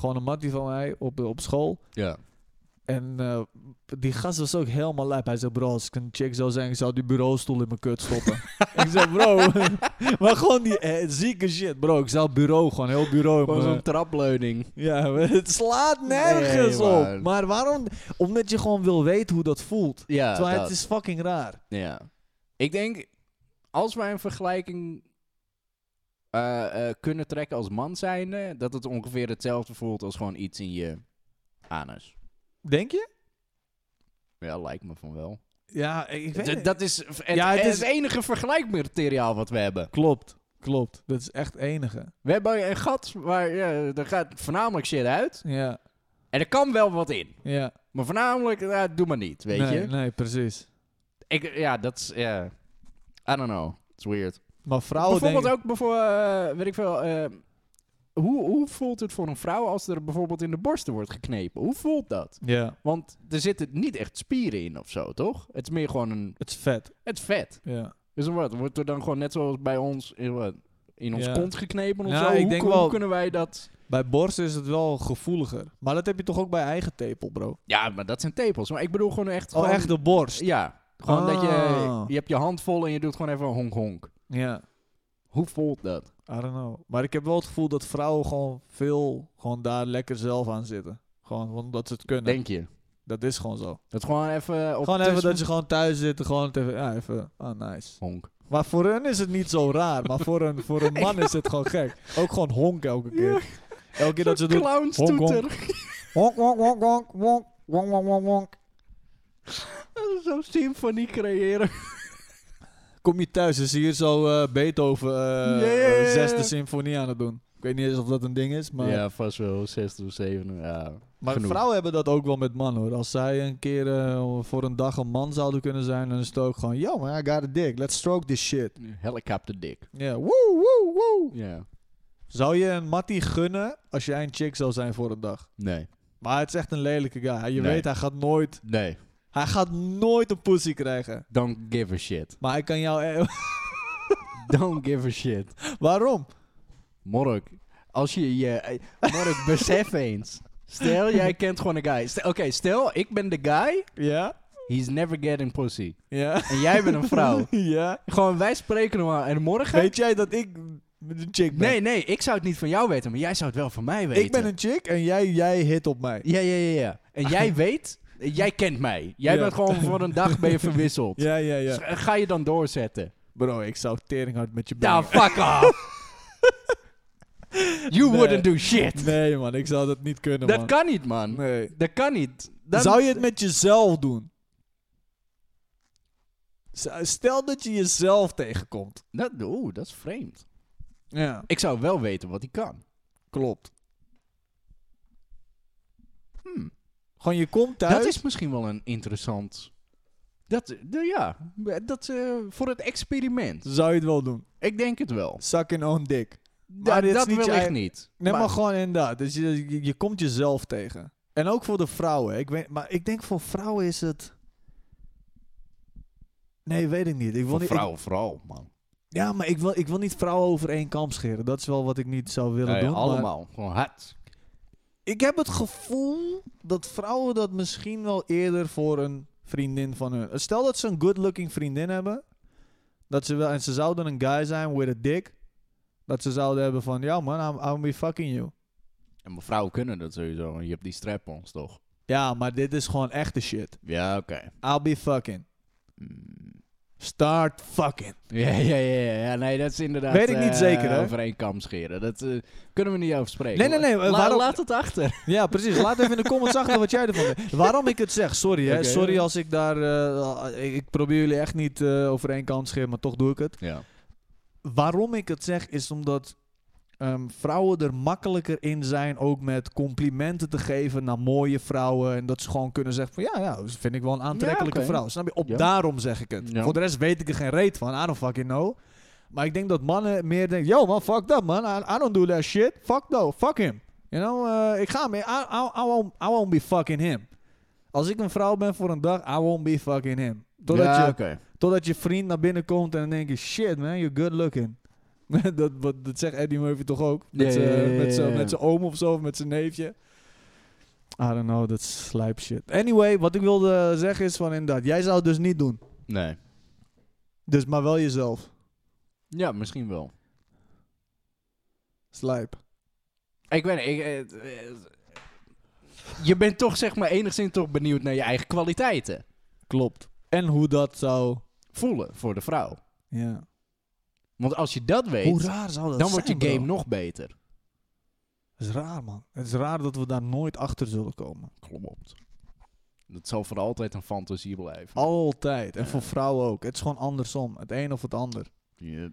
[SPEAKER 2] gewoon een mattie van mij op, op school.
[SPEAKER 3] Ja.
[SPEAKER 2] En eh, die gast was ook helemaal lijp. Hij zei, bro, als ik een chick zou zijn, ik zou die bureaustoel in mijn kut
[SPEAKER 3] *laughs*
[SPEAKER 2] stoppen. ik zei, bro, *laughs* maar gewoon die eh, zieke shit, bro. Ik zou het bureau, gewoon heel bureau. in
[SPEAKER 3] Gewoon
[SPEAKER 2] mijn-
[SPEAKER 3] zo'n trapleuning.
[SPEAKER 2] Ja, *laughs* maar het slaat nergens
[SPEAKER 3] Nee, maar-
[SPEAKER 2] op. Maar waarom? Omdat je gewoon wil weten hoe dat voelt.
[SPEAKER 3] Ja,
[SPEAKER 2] Terwijl
[SPEAKER 3] dat.
[SPEAKER 2] het is fucking raar.
[SPEAKER 3] Ja. Ik denk, als wij een vergelijking eh, eh, kunnen trekken als man zijnde, dat het ongeveer hetzelfde voelt als gewoon iets in je anus.
[SPEAKER 2] Denk je?
[SPEAKER 3] Ja, lijkt me van wel.
[SPEAKER 2] Ja, ik weet
[SPEAKER 3] D-
[SPEAKER 2] het.
[SPEAKER 3] dat is het,
[SPEAKER 2] Ja, het
[SPEAKER 3] het
[SPEAKER 2] is-
[SPEAKER 3] enige vergelijkmateriaal wat we hebben.
[SPEAKER 2] Klopt, klopt. Dat is echt enige.
[SPEAKER 3] We hebben een gat waar ja, er gaat voornamelijk shit uit.
[SPEAKER 2] Ja,
[SPEAKER 3] En er kan wel wat in.
[SPEAKER 2] ja.
[SPEAKER 3] Maar voornamelijk, ja, doe maar niet, weet
[SPEAKER 2] nee,
[SPEAKER 3] je?
[SPEAKER 2] Nee, precies.
[SPEAKER 3] Ik, ja, dat is... ja. I don't know. It's weird.
[SPEAKER 2] Maar vrouwen
[SPEAKER 3] bijvoorbeeld
[SPEAKER 2] denken...
[SPEAKER 3] ook, bijvoorbeeld, eh, weet ik veel, eh, hoe, hoe voelt het voor een vrouw als er bijvoorbeeld in de borsten wordt geknepen? Hoe voelt dat?
[SPEAKER 2] Ja,
[SPEAKER 3] Want er zitten niet echt spieren in of zo, toch? Het is meer gewoon een,
[SPEAKER 2] het is vet.
[SPEAKER 3] het is vet.
[SPEAKER 2] Ja.
[SPEAKER 3] Dus wat, wordt er dan gewoon net zoals bij ons in, wat, in ons
[SPEAKER 2] Ja.
[SPEAKER 3] kont geknepen of
[SPEAKER 2] Ja,
[SPEAKER 3] zo?
[SPEAKER 2] ik
[SPEAKER 3] hoe,
[SPEAKER 2] denk
[SPEAKER 3] hoe
[SPEAKER 2] wel-
[SPEAKER 3] kunnen wij dat?
[SPEAKER 2] Bij borsten is het wel gevoeliger. Maar dat heb je toch ook bij eigen tepel, bro?
[SPEAKER 3] Ja, maar dat zijn tepels. Maar ik bedoel gewoon echt...
[SPEAKER 2] Oh,
[SPEAKER 3] gewoon-
[SPEAKER 2] echt de borst.
[SPEAKER 3] Ja, gewoon dat je,
[SPEAKER 2] Ah.
[SPEAKER 3] je hebt je hand vol en je doet gewoon even een honk honk.
[SPEAKER 2] Ja,
[SPEAKER 3] Hoe voelt dat?
[SPEAKER 2] I don't know. Maar ik heb wel het gevoel dat vrouwen gewoon veel gewoon daar lekker zelf aan zitten. Gewoon omdat ze het kunnen.
[SPEAKER 3] Denk je?
[SPEAKER 2] Dat is gewoon zo.
[SPEAKER 3] Dat gewoon even op
[SPEAKER 2] Gewoon even
[SPEAKER 3] tussen-
[SPEAKER 2] dat je gewoon thuis zit, gewoon even, ja, even, ah nice.
[SPEAKER 3] honk.
[SPEAKER 2] Maar voor hun is het niet zo raar, maar voor een, voor
[SPEAKER 3] *laughs*
[SPEAKER 2] een man is het gewoon gek. Ook gewoon honk elke keer. Elke keer dat ze doen,
[SPEAKER 3] clownstoeter.
[SPEAKER 2] honk, honk, honk, honk, honk, honk, honk, honk, honk.
[SPEAKER 3] Zo'n symfonie creëren.
[SPEAKER 2] Kom je thuis en zie je zo eh, Beethoven eh
[SPEAKER 3] ja, ja.
[SPEAKER 2] zesde symfonie aan het doen. Ik weet niet eens of dat een ding is, maar,
[SPEAKER 3] Ja, vast wel. 60 of 7. Ja.
[SPEAKER 2] maar
[SPEAKER 3] genoeg.
[SPEAKER 2] vrouwen hebben dat ook wel met mannen hoor. Als zij een keer eh, voor een dag een man zouden kunnen zijn, dan is het ook gewoon, yo man, I got a dick, let's stroke this shit.
[SPEAKER 3] Helicopter dik.
[SPEAKER 2] Ja, woe, woe, woe.
[SPEAKER 3] Ja.
[SPEAKER 2] Zou je een mattie gunnen als jij een chick zou zijn voor een dag?
[SPEAKER 3] Nee.
[SPEAKER 2] Maar het is echt een lelijke guy. Je
[SPEAKER 3] Nee.
[SPEAKER 2] weet, hij gaat, nooit,
[SPEAKER 3] Nee.
[SPEAKER 2] hij gaat nooit een pussy krijgen.
[SPEAKER 3] Don't give a shit.
[SPEAKER 2] Maar hij kan jou... eh,
[SPEAKER 3] Don't give a shit.
[SPEAKER 2] *laughs* Waarom?
[SPEAKER 3] Mork. Als je je... eh, Mork,
[SPEAKER 2] *laughs*
[SPEAKER 3] besef eens. Stel, jij kent gewoon een guy. Stel- Oké, stel, ik ben de guy.
[SPEAKER 2] Ja?
[SPEAKER 3] He's never getting pussy.
[SPEAKER 2] Ja?
[SPEAKER 3] En jij bent een
[SPEAKER 2] *laughs*
[SPEAKER 3] vrouw.
[SPEAKER 2] ja?
[SPEAKER 3] Gewoon, wij spreken normaal. En morgen...
[SPEAKER 2] Weet jij dat ik een chick ben?
[SPEAKER 3] Nee, nee, ik zou het niet van jou weten, maar jij zou het wel van mij weten.
[SPEAKER 2] Ik ben een chick en jij, jij hit op mij.
[SPEAKER 3] Ja, ja, ja, ja. En jij weet, jij kent mij. Jij
[SPEAKER 2] Ja.
[SPEAKER 3] bent gewoon voor een dag ben je verwisseld.
[SPEAKER 2] Ja, ja,
[SPEAKER 3] Dus,
[SPEAKER 2] ja.
[SPEAKER 3] eh, Ga je dan doorzetten?
[SPEAKER 2] Bro, ik zou teringhard met je
[SPEAKER 3] Nou,
[SPEAKER 2] bangen.
[SPEAKER 3] fuck
[SPEAKER 2] *laughs*
[SPEAKER 3] off. You
[SPEAKER 2] Nee.
[SPEAKER 3] wouldn't do shit.
[SPEAKER 2] Nee man, ik zou dat niet kunnen
[SPEAKER 3] dat
[SPEAKER 2] man.
[SPEAKER 3] kan niet, man.
[SPEAKER 2] Nee.
[SPEAKER 3] Dat kan niet. Dan-
[SPEAKER 2] Zou je het met jezelf doen? Z- Stel dat je jezelf tegenkomt.
[SPEAKER 3] Dat, oeh, dat is vreemd.
[SPEAKER 2] Ja,
[SPEAKER 3] Ik zou wel weten wat hij kan.
[SPEAKER 2] klopt.
[SPEAKER 3] Hmm.
[SPEAKER 2] Gewoon je komt thuis.
[SPEAKER 3] Dat is misschien wel een interessant... Dat, eh, nou ja, dat eh, voor het experiment.
[SPEAKER 2] Zou je het wel doen?
[SPEAKER 3] Ik denk het wel.
[SPEAKER 2] Zak in own dik.
[SPEAKER 3] Da-
[SPEAKER 2] dit is
[SPEAKER 3] dat
[SPEAKER 2] niet je
[SPEAKER 3] wil ik
[SPEAKER 2] eigen-
[SPEAKER 3] niet.
[SPEAKER 2] Nee, maar,
[SPEAKER 3] Maar-
[SPEAKER 2] gewoon inderdaad. Dus je, je, je komt jezelf tegen. En ook voor de vrouwen. Ik weet, maar ik denk voor vrouwen is het. Nee, weet ik niet. Ik wil
[SPEAKER 3] voor
[SPEAKER 2] niet ik-
[SPEAKER 3] vrouwen vooral, man.
[SPEAKER 2] ja, maar ik wil, ik wil niet vrouwen over één kam scheren. Dat is wel wat ik niet zou willen
[SPEAKER 3] Nee,
[SPEAKER 2] doen. maar
[SPEAKER 3] allemaal. Gewoon hard.
[SPEAKER 2] ik heb het gevoel dat vrouwen dat misschien wel eerder voor een vriendin van hun. Stel dat ze een good-looking vriendin hebben. Dat ze wel, en ze zouden een guy zijn with a dick. Dat ze zouden hebben van, ja man, I'm, I'm be fucking you.
[SPEAKER 3] En mijn vrouwen kunnen dat sowieso. want Je hebt die strap-ons, toch?
[SPEAKER 2] Ja, maar dit is gewoon echte shit.
[SPEAKER 3] Ja, oké. Mm.
[SPEAKER 2] I'll be fucking. Start fucking.
[SPEAKER 3] Ja, ja, ja, ja, ja. Nee, dat is inderdaad...
[SPEAKER 2] Weet ik niet
[SPEAKER 3] eh,
[SPEAKER 2] zeker, hè?
[SPEAKER 3] Over één kam scheren. Dat eh, kunnen we niet over spreken.
[SPEAKER 2] Nee, nee, nee, eh,
[SPEAKER 3] La-
[SPEAKER 2] waarom-
[SPEAKER 3] Laat het achter.
[SPEAKER 2] Ja, precies. Laat even in de comments achter wat jij ervan vindt. Waarom ik het zeg, sorry hè.
[SPEAKER 3] Oké.
[SPEAKER 2] Sorry als ik daar... eh, ik- ik probeer jullie echt niet eh over één kant te scheren, maar toch doe ik het.
[SPEAKER 3] Ja.
[SPEAKER 2] Waarom ik het zeg is omdat ehm, vrouwen er makkelijker in zijn ook met complimenten te geven naar mooie vrouwen. En dat ze gewoon kunnen zeggen van ja, ja dat vind ik wel een aantrekkelijke
[SPEAKER 3] oké.
[SPEAKER 2] vrouw. Snap je? Op
[SPEAKER 3] Ja.
[SPEAKER 2] daarom zeg ik het.
[SPEAKER 3] Ja.
[SPEAKER 2] Voor de rest weet ik er geen reet van. I don't fucking know. Maar ik denk dat mannen meer denken, yo man, fuck that man. I, I don't do that shit. Fuck no, fuck him. You know, eh, ik ga hem. I, I, I, won't, I won't be fucking him. Als ik een vrouw ben voor een dag, I won't be fucking him. Totdat
[SPEAKER 3] ja,
[SPEAKER 2] je
[SPEAKER 3] oké.
[SPEAKER 2] Totdat je vriend naar binnen komt en dan denk je... Shit man, you're good looking. *laughs* dat, wat, dat zegt Eddie Murphy toch ook? Met
[SPEAKER 3] Ja, ja, ja,
[SPEAKER 2] zijn-
[SPEAKER 3] ja,
[SPEAKER 2] met zijn-
[SPEAKER 3] ja.
[SPEAKER 2] met zijn oom of zo, of met zijn neefje. I don't know, dat is slijp shit. Anyway, wat ik wilde zeggen is van inderdaad... Jij zou het dus niet doen.
[SPEAKER 3] Nee.
[SPEAKER 2] Dus maar wel jezelf.
[SPEAKER 3] Ja, misschien wel.
[SPEAKER 2] Slijp.
[SPEAKER 3] Ik weet niet, ik, eh, eh, je bent toch zeg maar enigszins toch benieuwd naar je eigen kwaliteiten.
[SPEAKER 2] Klopt. En hoe dat zou...
[SPEAKER 3] Voelen voor de vrouw.
[SPEAKER 2] Ja.
[SPEAKER 3] Want als je dat weet,
[SPEAKER 2] Hoe raar zou dat
[SPEAKER 3] dan
[SPEAKER 2] zijn,
[SPEAKER 3] wordt je game
[SPEAKER 2] bro?
[SPEAKER 3] nog beter.
[SPEAKER 2] Het is raar, man. Het is raar dat we daar nooit achter zullen komen.
[SPEAKER 3] Klopt. Dat zal voor altijd een fantasie blijven.
[SPEAKER 2] Altijd. En
[SPEAKER 3] Ja.
[SPEAKER 2] voor vrouwen ook. Het is gewoon andersom. Het een of het ander.
[SPEAKER 1] Yep.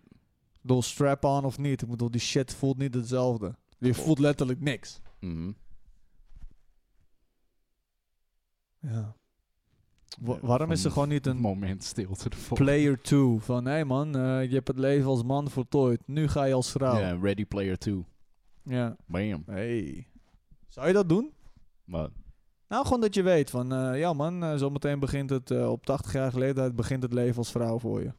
[SPEAKER 2] bedoel, strap-on of niet. Ik bedoel, die shit voelt niet hetzelfde. Je
[SPEAKER 3] Klopt.
[SPEAKER 2] voelt letterlijk niks.
[SPEAKER 3] Mhm.
[SPEAKER 2] Ja.
[SPEAKER 3] Ja,
[SPEAKER 2] waarom is
[SPEAKER 3] van-
[SPEAKER 2] er gewoon niet een
[SPEAKER 3] moment stilte ervoor.
[SPEAKER 2] player 2 van... Hé hey man, eh, je hebt het leven als man voltooid. Nu ga je als vrouw.
[SPEAKER 3] Ja,
[SPEAKER 2] Ja.
[SPEAKER 3] Ready Player 2. Bam.
[SPEAKER 2] Hey. Zou je dat doen?
[SPEAKER 3] Maar
[SPEAKER 2] Nou, gewoon dat je weet van... eh, ja man, eh, zometeen begint het... eh, op 80-jarige leeftijd begint het leven als vrouw voor je.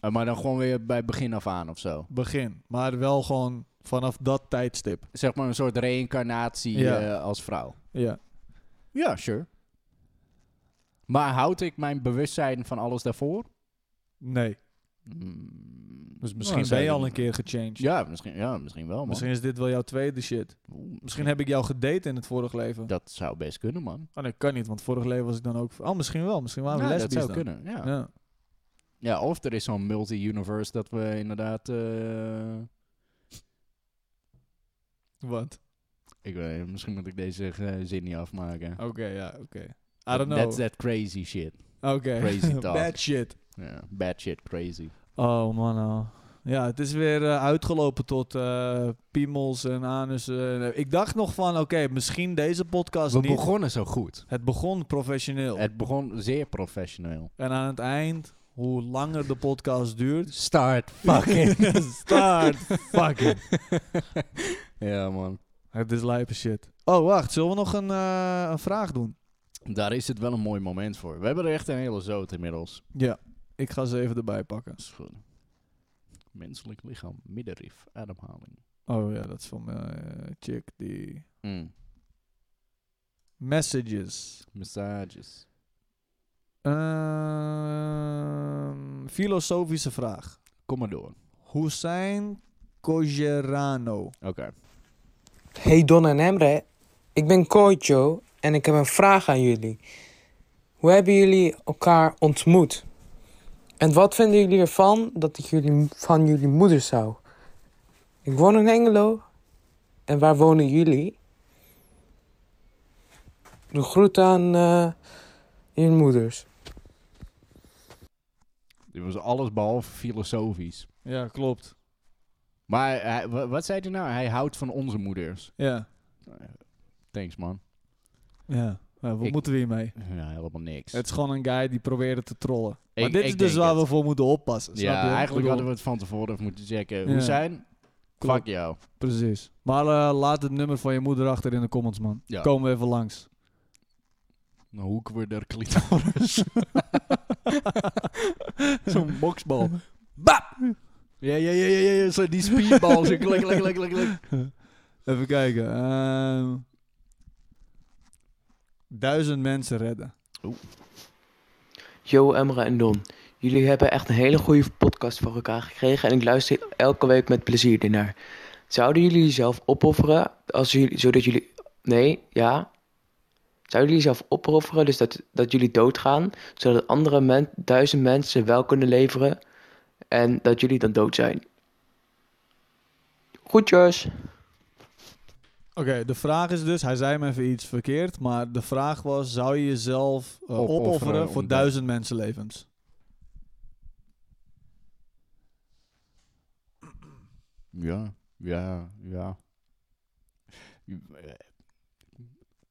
[SPEAKER 3] Eh, maar dan gewoon weer bij begin af aan of zo.
[SPEAKER 2] Begin. Maar wel gewoon vanaf dat tijdstip.
[SPEAKER 3] Zeg maar een soort reïncarnatie
[SPEAKER 2] Ja.
[SPEAKER 3] eh, als vrouw.
[SPEAKER 2] Ja.
[SPEAKER 3] Ja, sure. Maar houd ik mijn bewustzijn van alles daarvoor?
[SPEAKER 2] Nee.
[SPEAKER 3] Mm,
[SPEAKER 2] Dus
[SPEAKER 3] nou,
[SPEAKER 2] misschien ben
[SPEAKER 3] zou
[SPEAKER 2] je
[SPEAKER 3] ik-
[SPEAKER 2] al een keer gechanged.
[SPEAKER 3] Ja, misschien, ja, misschien wel, man.
[SPEAKER 2] Misschien is dit wel jouw tweede shit.
[SPEAKER 3] Oeh,
[SPEAKER 2] Misschien heb ik jou gedate in het vorige leven.
[SPEAKER 3] Dat zou best kunnen, man.
[SPEAKER 2] Oh nee, kan niet, want vorig leven was ik dan ook... Oh, misschien wel. Misschien waren we
[SPEAKER 3] Ja, dat
[SPEAKER 2] lesbisch
[SPEAKER 3] zou
[SPEAKER 2] dan.
[SPEAKER 3] kunnen, ja. ja.
[SPEAKER 2] Ja.
[SPEAKER 3] of er is zo'n multi-universe dat we inderdaad... eh,
[SPEAKER 2] Wat?
[SPEAKER 3] ik weet niet, misschien moet ik deze eh, zin niet afmaken.
[SPEAKER 2] Oké, ja, oké. I don't know.
[SPEAKER 3] That's that crazy shit.
[SPEAKER 2] Oké. *laughs*
[SPEAKER 3] crazy talk.
[SPEAKER 2] Bad shit.
[SPEAKER 3] Ja, bad shit, crazy.
[SPEAKER 2] Oh man, oh. Ja, het is weer eh, uitgelopen tot eh, piemels en anussen. Ik dacht nog van, oké, misschien deze podcast
[SPEAKER 3] We
[SPEAKER 2] niet.
[SPEAKER 3] begonnen zo goed.
[SPEAKER 2] Het begon professioneel.
[SPEAKER 3] Het begon zeer professioneel.
[SPEAKER 2] En aan het eind, hoe langer de podcast duurt...
[SPEAKER 3] Start *laughs*
[SPEAKER 2] *laughs*
[SPEAKER 3] fucking.
[SPEAKER 2] Start fucking.
[SPEAKER 3] *laughs* ja, man.
[SPEAKER 2] Het is lijpe shit. Oh, wacht. Zullen we nog een, eh, een vraag doen?
[SPEAKER 3] Daar is het wel een mooi moment voor. We hebben er echt een hele zoot inmiddels.
[SPEAKER 2] Ja. Ik ga ze even erbij pakken.
[SPEAKER 3] Dat is goed. Menselijk lichaam, middenrif, ademhaling.
[SPEAKER 2] Oh ja, dat is van eh chick die...
[SPEAKER 3] Mm.
[SPEAKER 2] Messages.
[SPEAKER 3] Massages.
[SPEAKER 2] Ehm, filosofische vraag.
[SPEAKER 3] Kom maar door.
[SPEAKER 2] Hussein Kojerano.
[SPEAKER 3] Oké.
[SPEAKER 5] Hey Don en Emre, ik ben Koicho en ik heb een vraag aan jullie. Hoe hebben jullie elkaar ontmoet? En wat vinden jullie ervan dat ik jullie, van jullie moeder zou? Ik woon in Engelo. En waar wonen jullie? De groet aan eh jullie moeders.
[SPEAKER 3] Dit was alles behalve filosofisch.
[SPEAKER 2] Ja, klopt.
[SPEAKER 3] Maar eh, hij- wa- wat zei hij nou? Hij houdt van onze moeders.
[SPEAKER 2] Ja.
[SPEAKER 3] Thanks, man.
[SPEAKER 2] ja. Nou, wat
[SPEAKER 3] Ik-
[SPEAKER 2] moeten we hiermee?
[SPEAKER 3] Ja, helemaal niks.
[SPEAKER 2] Het is gewoon een guy die probeerde te trollen. Maar
[SPEAKER 3] Ik-
[SPEAKER 2] dit
[SPEAKER 3] ik
[SPEAKER 2] is dus
[SPEAKER 3] denk
[SPEAKER 2] waar
[SPEAKER 3] het.
[SPEAKER 2] we voor moeten oppassen. snap
[SPEAKER 3] Ja,
[SPEAKER 2] je?
[SPEAKER 3] eigenlijk
[SPEAKER 2] Ik
[SPEAKER 3] hadden
[SPEAKER 2] bedoel,
[SPEAKER 3] we het van tevoren even moeten checken.
[SPEAKER 2] Ja.
[SPEAKER 3] Hoe zijn?
[SPEAKER 2] Klopt.
[SPEAKER 3] Fuck jou.
[SPEAKER 2] Precies. Maar eh, laat het nummer van je moeder achter in de comments, man.
[SPEAKER 3] Ja.
[SPEAKER 2] Komen we even langs.
[SPEAKER 3] Dan hoeken Nou, we de *laughs*
[SPEAKER 2] *laughs*
[SPEAKER 3] clitoris. Zo'n boksbal. Bap! Ja, ja, ja, ja, ja, ja, zo die speedbal. Zo klik, klik, klik, klik, klik.
[SPEAKER 2] Even kijken. ehm, duizend mensen redden.
[SPEAKER 6] Yo, Emra en Don. Jullie hebben echt een hele goede podcast voor elkaar gekregen en ik luister elke week met plezier ernaar. Zouden jullie jezelf opofferen als jullie, zodat jullie. Nee, ja. Zouden jullie jezelf opofferen, dus dat, dat jullie doodgaan, zodat andere men, duizend mensen wel kunnen leveren en dat jullie dan dood zijn? Groetjes!
[SPEAKER 2] Oké, de vraag is dus, hij zei me even iets verkeerd, maar de vraag was, zou je jezelf eh,
[SPEAKER 3] Opofferen
[SPEAKER 2] opofferen
[SPEAKER 3] om
[SPEAKER 2] voor
[SPEAKER 3] dat-
[SPEAKER 2] duizend mensenlevens?
[SPEAKER 3] Ja, ja, ja. Eh,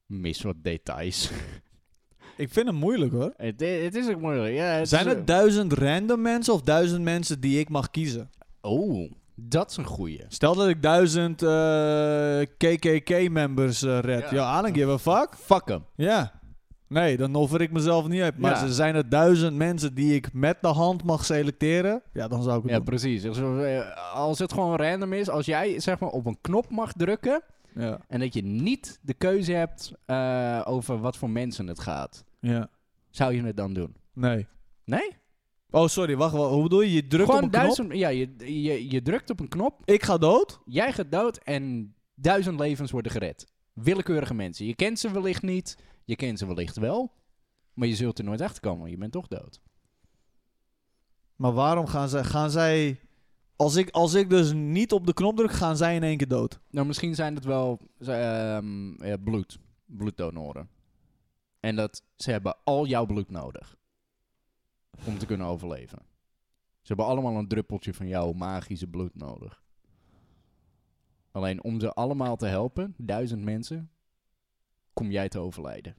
[SPEAKER 3] Mis wat details.
[SPEAKER 2] Ik vind hem moeilijk hoor.
[SPEAKER 3] *laughs* het, i- het is ook moeilijk. Ja, het
[SPEAKER 2] Zijn
[SPEAKER 3] is, eh,
[SPEAKER 2] het duizend random mensen of duizend mensen die ik mag kiezen?
[SPEAKER 3] eh, Oh, dat is een goeie.
[SPEAKER 2] Stel dat ik duizend eh, KKK-members eh, red.
[SPEAKER 3] Ja.
[SPEAKER 2] Ja, I don't give a fuck.
[SPEAKER 3] Fuck hem.
[SPEAKER 2] Ja. Nee, dan offer ik mezelf niet uit. Maar
[SPEAKER 3] Ja.
[SPEAKER 2] ze zijn er duizend mensen die ik met de hand mag selecteren. Ja, dan zou ik het
[SPEAKER 3] Ja,
[SPEAKER 2] doen.
[SPEAKER 3] precies. Dus, eh, als het gewoon random is, als jij zeg maar op een knop mag drukken
[SPEAKER 2] Ja.
[SPEAKER 3] en dat je niet de keuze hebt eh, over wat voor mensen het gaat,
[SPEAKER 2] ja.
[SPEAKER 3] zou je het dan doen?
[SPEAKER 2] Nee.
[SPEAKER 3] Nee?
[SPEAKER 2] Oh, sorry. Wacht wel. Hoe bedoel je? Je drukt
[SPEAKER 3] gewoon
[SPEAKER 2] op een
[SPEAKER 3] duizend. Ja, je, je, je drukt op een knop,
[SPEAKER 2] knop. Ik ga dood.
[SPEAKER 3] jij gaat dood en duizend levens worden gered. Willekeurige mensen. Je kent ze wellicht niet, je kent ze wellicht wel, maar je zult er nooit achter komen, want je bent toch dood.
[SPEAKER 2] Maar waarom gaan zij... Gaan zij als, ik, als ik dus niet op de knop druk, gaan zij in één keer dood.
[SPEAKER 3] Nou, misschien zijn het wel ehm, eh, bloed, bloeddonoren. En dat ze hebben al jouw bloed nodig om te kunnen overleven. Ze hebben allemaal een druppeltje van jouw magische bloed nodig. Alleen om ze allemaal te helpen, duizend mensen, kom jij te overlijden.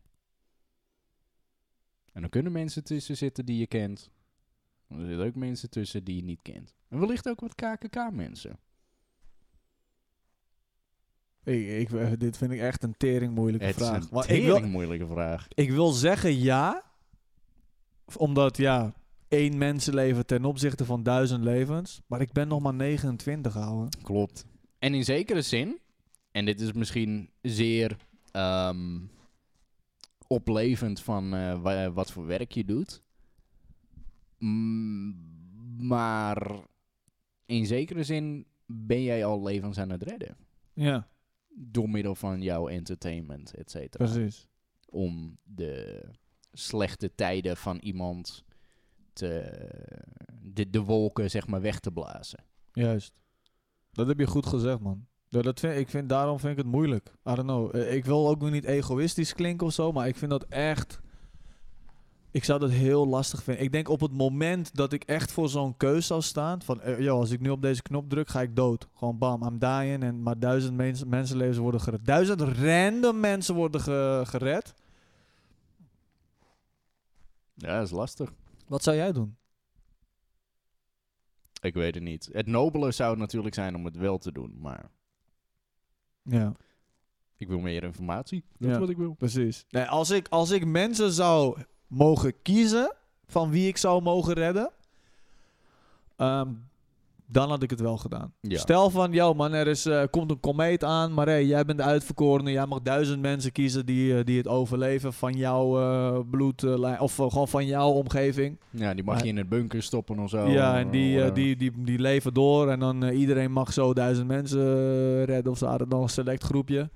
[SPEAKER 3] En dan kunnen mensen tussen zitten die je kent. Maar er zitten ook mensen tussen die je niet kent. En wellicht ook wat KKK-mensen.
[SPEAKER 2] Ik, ik- dit vind ik echt een tering moeilijke
[SPEAKER 3] Het
[SPEAKER 2] vraag.
[SPEAKER 3] is een
[SPEAKER 2] Maar ik, wil,
[SPEAKER 3] tering moeilijke vraag.
[SPEAKER 2] ik wil zeggen ja. Omdat ja, één mensenleven ten opzichte van duizend levens. Maar ik ben nog maar 29, ouwe.
[SPEAKER 3] Klopt. En in zekere zin, en dit is misschien zeer ehm, oplevend van eh, wa- wat voor werk je doet. Mm, maar in zekere zin ben jij al levens aan het redden.
[SPEAKER 2] Ja,
[SPEAKER 3] Door middel van jouw entertainment, et cetera.
[SPEAKER 2] precies.
[SPEAKER 3] om de slechte tijden van iemand te, de, de wolken zeg maar weg te blazen.
[SPEAKER 2] Juist. Dat heb je goed gezegd, man. Ja, dat vind, ik vind, daarom vind ik het moeilijk. I don't know. Eh, Ik wil ook nog niet egoïstisch klinken of zo, maar ik vind dat echt... Ik zou dat heel lastig vinden. Ik denk op het moment dat ik echt voor zo'n keuze zou staan... van, eh, yo, als ik nu op deze knop druk, ga ik dood. Gewoon bam, I'm dying. En maar duizend mens, mensenlevens worden gered. Duizend random mensen worden ge- gered.
[SPEAKER 3] Ja, dat is lastig.
[SPEAKER 2] Wat zou jij doen?
[SPEAKER 3] Ik weet het niet. Het nobele zou natuurlijk zijn om het wel te doen, maar
[SPEAKER 2] Ja.
[SPEAKER 3] ik wil meer informatie. Dat
[SPEAKER 2] Ja.
[SPEAKER 3] is wat ik wil.
[SPEAKER 2] Precies. Nee, als, ik, als ik mensen zou mogen kiezen van wie ik zou mogen redden, ehm, dan had ik het wel gedaan.
[SPEAKER 3] Ja.
[SPEAKER 2] Stel van, joh man, er is, eh, komt een komeet aan, maar hey, jij bent de uitverkorene. Jij mag duizend mensen kiezen die, eh, die het overleven van jouw eh bloed, eh, lijn- of eh, gewoon van jouw omgeving.
[SPEAKER 3] Ja, die mag
[SPEAKER 2] Maar-
[SPEAKER 3] je in het bunker stoppen of zo.
[SPEAKER 2] ja, en die, eh,
[SPEAKER 3] Whatever.
[SPEAKER 2] die, die, die leven door en dan eh, iedereen mag zo duizend mensen eh, redden of ze hadden dan een select groepje.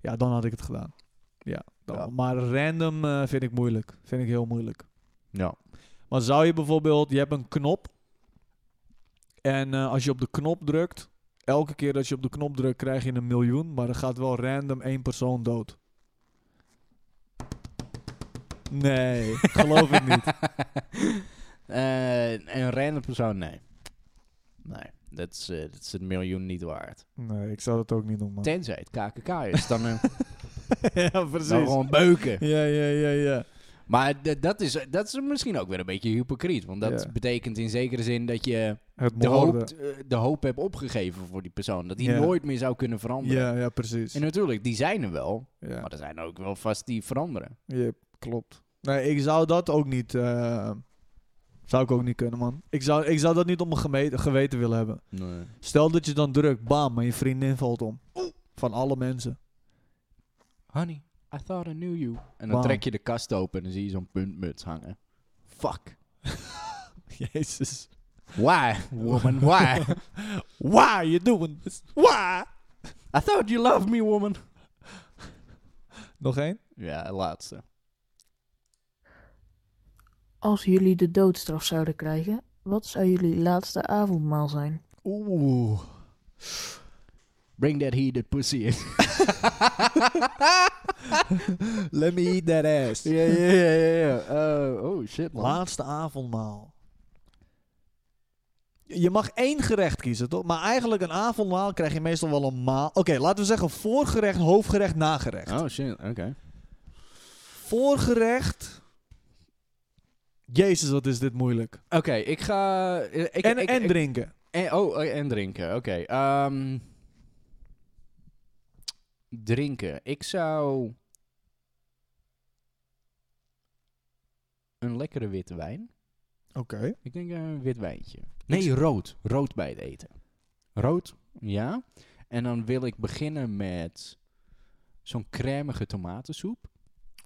[SPEAKER 2] Ja, dan had ik het gedaan. Ja, dan-
[SPEAKER 3] Ja.
[SPEAKER 2] maar random eh, vind ik moeilijk. Vind ik heel moeilijk.
[SPEAKER 3] Ja.
[SPEAKER 2] Maar zou je bijvoorbeeld, je hebt een knop en eh, als je op de knop drukt, elke keer dat je op de knop drukt krijg je een miljoen, maar er gaat wel random één persoon dood. Nee, *laughs* geloof ik niet.
[SPEAKER 3] *laughs* Eh, een random persoon, nee. Nee, dat is, eh, dat is het miljoen niet waard.
[SPEAKER 2] Nee, ik zou dat ook niet doen, man.
[SPEAKER 3] Tenzij het KKK is,
[SPEAKER 2] *laughs*
[SPEAKER 3] dan, eh,
[SPEAKER 2] ja,
[SPEAKER 3] dan
[SPEAKER 2] precies.
[SPEAKER 3] gewoon beuken.
[SPEAKER 2] Ja, ja, ja, ja.
[SPEAKER 3] Maar d- dat is, dat is misschien ook weer een beetje hypocriet. Want dat
[SPEAKER 2] Ja.
[SPEAKER 3] betekent in zekere zin dat je
[SPEAKER 2] Het
[SPEAKER 3] de hoop, eh, de hoop hebt opgegeven voor die persoon. Dat die
[SPEAKER 2] Ja.
[SPEAKER 3] nooit meer zou kunnen veranderen.
[SPEAKER 2] Ja, ja, precies.
[SPEAKER 3] En natuurlijk, die zijn er wel.
[SPEAKER 2] Ja,
[SPEAKER 3] Maar er zijn ook wel vast die veranderen.
[SPEAKER 2] ja, klopt. Nee, ik zou dat ook niet... eh, zou ik ook niet kunnen, man. Ik zou, ik zou dat niet op mijn geme- geweten willen hebben.
[SPEAKER 3] Nee.
[SPEAKER 2] Stel dat je dan drukt, bam, en je vriendin valt om. Van alle mensen.
[SPEAKER 3] Honey, I thought I knew you. En dan
[SPEAKER 2] Wauw.
[SPEAKER 3] trek je de kast open en dan zie je zo'n puntmuts hangen. Fuck.
[SPEAKER 2] *laughs* Jezus.
[SPEAKER 3] Why, woman, why?
[SPEAKER 2] *laughs* Why you doing this? Why?
[SPEAKER 3] I thought you loved me, woman.
[SPEAKER 2] Nog één?
[SPEAKER 3] Ja, laatste.
[SPEAKER 7] Als jullie de doodstraf zouden krijgen, wat zou jullie laatste avondmaal zijn?
[SPEAKER 2] Oeh.
[SPEAKER 3] Bring that heated pussy in.
[SPEAKER 2] *laughs* Let me eat that ass.
[SPEAKER 3] Ja, ja, ja, oh, ja. ja. Eh, oh, shit, man.
[SPEAKER 2] Laatste avondmaal. Je mag één gerecht kiezen, toch? Maar eigenlijk een avondmaal krijg je meestal wel een maal. Oké, laten we zeggen voorgerecht, hoofdgerecht, nagerecht.
[SPEAKER 3] Oh shit, oké.
[SPEAKER 2] Voorgerecht. Jezus, wat is dit moeilijk.
[SPEAKER 3] Oké, ik ga... eh, Ik, ik-
[SPEAKER 2] en,
[SPEAKER 3] ik-
[SPEAKER 2] en
[SPEAKER 3] ik-
[SPEAKER 2] drinken.
[SPEAKER 3] en- oh, eh, en drinken, oké. Ehm, drinken. Ik zou... Een lekkere witte wijn.
[SPEAKER 2] Oké.
[SPEAKER 3] Ik denk eh, een wit wijntje. Nee, rood. Rood bij het eten. Rood, ja. En dan wil ik beginnen met zo'n crèmige tomatensoep.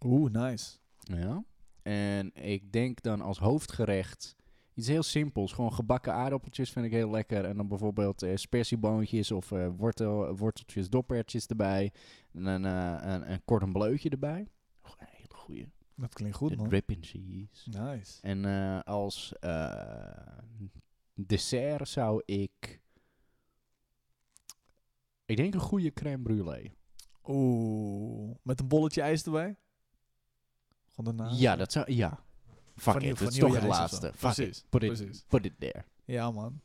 [SPEAKER 2] Oeh, nice.
[SPEAKER 3] Ja. En ik denk dan als hoofdgerecht iets heel simpels. Gewoon gebakken aardappeltjes vind ik heel lekker. En dan bijvoorbeeld eh spersieboontjes of eh, wortel, worteltjes, dopertjes erbij. En een, eh, een, een cordon bleutje erbij. Oh, een hele goeie.
[SPEAKER 2] Dat
[SPEAKER 3] De
[SPEAKER 2] klinkt goed, man.
[SPEAKER 3] drip in cheese.
[SPEAKER 2] Nice.
[SPEAKER 3] En eh, als eh, dessert zou ik... Ik denk een goede crème brûlée.
[SPEAKER 2] Oeh. Met een bolletje ijs erbij? Gewoon daarna?
[SPEAKER 3] Ja, dat zou... Ja. Fuck
[SPEAKER 2] Vanille-
[SPEAKER 3] it, dat is toch
[SPEAKER 2] vanille
[SPEAKER 3] het
[SPEAKER 2] ijs of
[SPEAKER 3] laatste.
[SPEAKER 2] zo.
[SPEAKER 3] Fuck
[SPEAKER 2] Precies,
[SPEAKER 3] it, put it,
[SPEAKER 2] precies.
[SPEAKER 3] put it there.
[SPEAKER 2] Ja, man.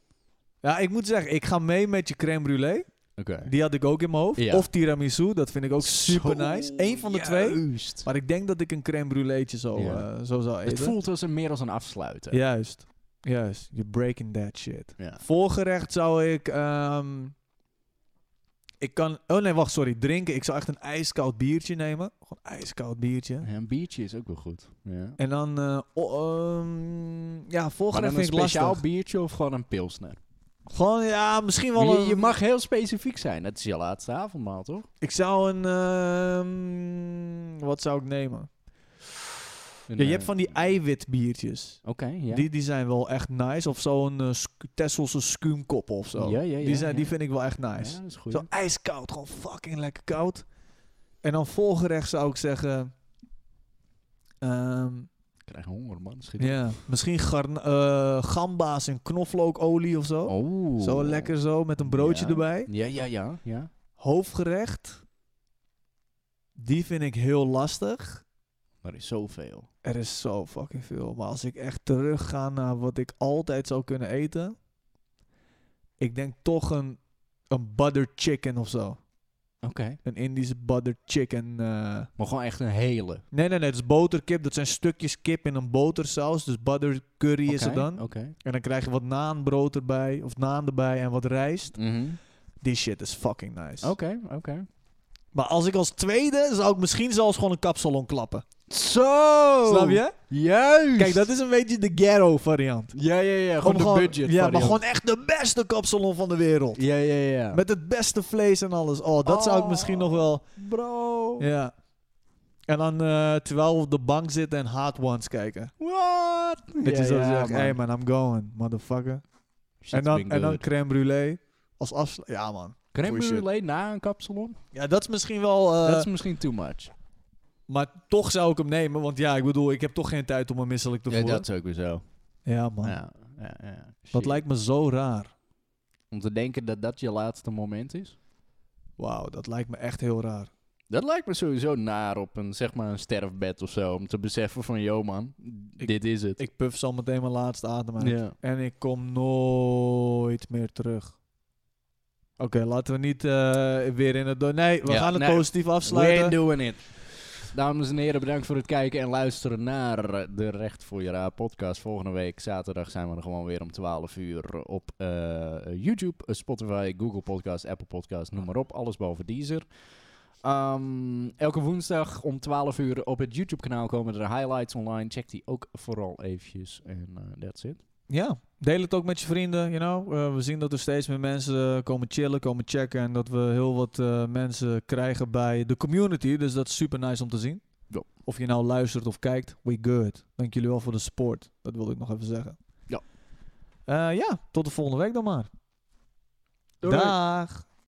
[SPEAKER 2] Ja, ik moet zeggen, ik ga mee met je crème brûlée.
[SPEAKER 3] Oké.
[SPEAKER 2] Die had ik ook in mijn hoofd.
[SPEAKER 3] Ja.
[SPEAKER 2] Of tiramisu, dat vind ik ook super nice. Eén van de twee.
[SPEAKER 3] Juist.
[SPEAKER 2] Maar ik denk dat ik een crème brûléetje zo,
[SPEAKER 3] Ja.
[SPEAKER 2] eh, zo zou eten.
[SPEAKER 3] Het voelt als een, meer als een afsluiten.
[SPEAKER 2] Juist. Juist. You're breaking that shit.
[SPEAKER 3] Ja.
[SPEAKER 2] Voorgerecht zou ik... ehm, ik kan... Oh nee, wacht, sorry. Drinken. Ik zou echt een ijskoud biertje nemen. Gewoon ijskoud biertje.
[SPEAKER 3] Ja, Een biertje is ook wel goed. Ja.
[SPEAKER 2] En dan... eh, o- ehm, ja,
[SPEAKER 3] Maar
[SPEAKER 2] voorgerecht
[SPEAKER 3] dan een
[SPEAKER 2] vind ik lastig.
[SPEAKER 3] speciaal biertje of gewoon een pilsner?
[SPEAKER 2] Gewoon, ja, misschien wel
[SPEAKER 3] Je,
[SPEAKER 2] een...
[SPEAKER 3] je mag heel specifiek zijn. Dat is je laatste avondmaal, toch?
[SPEAKER 2] Ik zou een... ehm, wat zou ik nemen?
[SPEAKER 3] Een,
[SPEAKER 2] Ja, je
[SPEAKER 3] eh,
[SPEAKER 2] hebt van die eiwitbiertjes.
[SPEAKER 3] Oké, ja.
[SPEAKER 2] Die, die zijn wel echt nice. Of zo'n eh, sk- Tesselse skuumkop of zo.
[SPEAKER 3] Ja, ja, ja,
[SPEAKER 2] die, zijn, die
[SPEAKER 3] ja.
[SPEAKER 2] vind ik wel echt
[SPEAKER 3] Ja,
[SPEAKER 2] nice.
[SPEAKER 3] dat is goed.
[SPEAKER 2] Zo ijskoud, gewoon fucking lekker koud. En dan volgerecht zou ik zeggen... ehm,
[SPEAKER 3] Ik krijg honger, man. Schiet op.
[SPEAKER 2] ja, misschien garn- eh, gamba's in knoflookolie of zo.
[SPEAKER 3] Oh.
[SPEAKER 2] Zo lekker zo, met een broodje
[SPEAKER 3] Ja.
[SPEAKER 2] erbij.
[SPEAKER 3] Ja, ja, ja. ja.
[SPEAKER 2] Hoofdgerecht. Die vind ik heel lastig.
[SPEAKER 3] Maar er is zoveel.
[SPEAKER 2] Er is zo fucking veel. Maar als ik echt terug ga naar wat ik altijd zou kunnen eten. Ik denk toch een, een butter chicken of zo.
[SPEAKER 3] Oké.
[SPEAKER 2] Een Indische butter chicken. eh.
[SPEAKER 3] Maar gewoon echt een hele.
[SPEAKER 2] Nee, nee, nee. Het is boterkip. Dat zijn stukjes kip in een botersaus. Dus butter curry is er
[SPEAKER 3] Oké, Oh.
[SPEAKER 2] dan.
[SPEAKER 3] Oké.
[SPEAKER 2] En dan krijg je wat naanbrood erbij. Of naan erbij en wat rijst.
[SPEAKER 3] Mhm.
[SPEAKER 2] Die shit is fucking nice.
[SPEAKER 3] Oké, oké.
[SPEAKER 2] Maar als ik als tweede zou ik misschien zelfs gewoon een kapsalon klappen.
[SPEAKER 3] Zo!
[SPEAKER 2] Snap
[SPEAKER 3] *laughs*
[SPEAKER 2] je?
[SPEAKER 3] Juist!
[SPEAKER 2] Kijk, dat is een beetje de ghetto variant.
[SPEAKER 3] Ja, ja, ja.
[SPEAKER 2] Om
[SPEAKER 3] Gewoon de budget
[SPEAKER 2] Ja, maar
[SPEAKER 3] variant.
[SPEAKER 2] gewoon echt de beste kapsalon van de wereld.
[SPEAKER 3] Ja, ja, ja.
[SPEAKER 2] Met het beste vlees en alles. Oh, dat zou ik misschien nog wel...
[SPEAKER 3] Bro.
[SPEAKER 2] Ja. En dan eh, terwijl we op de bank zitten en Hard Ones kijken.
[SPEAKER 3] What?
[SPEAKER 2] Dat je zo zegt,
[SPEAKER 3] man.
[SPEAKER 2] hey man, I'm going, motherfucker.
[SPEAKER 3] Shit's
[SPEAKER 2] En dan,
[SPEAKER 3] been
[SPEAKER 2] en dan
[SPEAKER 3] good.
[SPEAKER 2] crème brûlée als afsluit. Ja man.
[SPEAKER 3] crème
[SPEAKER 2] shit.
[SPEAKER 3] brûlée na een kapsalon?
[SPEAKER 2] Ja, dat is misschien wel... eh,
[SPEAKER 3] Dat is misschien too much.
[SPEAKER 2] Maar toch zou ik hem nemen, want ja, ik bedoel, ik heb toch geen tijd om me misselijk te
[SPEAKER 3] Ja,
[SPEAKER 2] voelen.
[SPEAKER 3] dat is ook weer zo.
[SPEAKER 2] Ja man,
[SPEAKER 3] Ja, ja, ja.
[SPEAKER 2] dat
[SPEAKER 3] Shit.
[SPEAKER 2] lijkt me zo raar.
[SPEAKER 3] Om te denken dat dat je laatste moment is?
[SPEAKER 2] Wauw, dat lijkt me echt heel raar.
[SPEAKER 3] Dat lijkt me sowieso naar op een, zeg maar een sterfbed of zo. Om te beseffen van, yo man, dit is het.
[SPEAKER 2] Ik puf zo meteen mijn laatste adem uit.
[SPEAKER 3] ja.
[SPEAKER 2] En ik kom nooit meer terug. Oké, laten we niet eh, weer in het... do- Nee, we
[SPEAKER 3] Ja,
[SPEAKER 2] gaan het
[SPEAKER 3] nee.
[SPEAKER 2] positief
[SPEAKER 3] We're
[SPEAKER 2] afsluiten.
[SPEAKER 3] doing it. Dames en heren, bedankt voor het kijken en luisteren naar eh, de Recht voor je Raar podcast. Volgende week zaterdag zijn we er gewoon weer om 12 uur op eh, YouTube, eh, Spotify, Google Podcast, Apple Podcast, noem maar op. Alles behalve Deezer. Ehm, elke woensdag om 12 uur op het YouTube kanaal komen er highlights online. Check die ook vooral eventjes. En eh, that's it.
[SPEAKER 2] Ja, deel het ook met je vrienden, you know. Eh, we zien dat er steeds meer mensen eh, komen chillen, komen checken. En dat we heel wat eh, mensen krijgen bij de community. Dus dat is super nice om te zien.
[SPEAKER 3] Ja.
[SPEAKER 2] Of je nou luistert of kijkt, we good. Dank jullie wel voor de support. Dat wilde ik nog even zeggen.
[SPEAKER 3] Ja.
[SPEAKER 2] Eh, ja, tot de volgende week dan maar.
[SPEAKER 3] Doei.
[SPEAKER 2] Dag.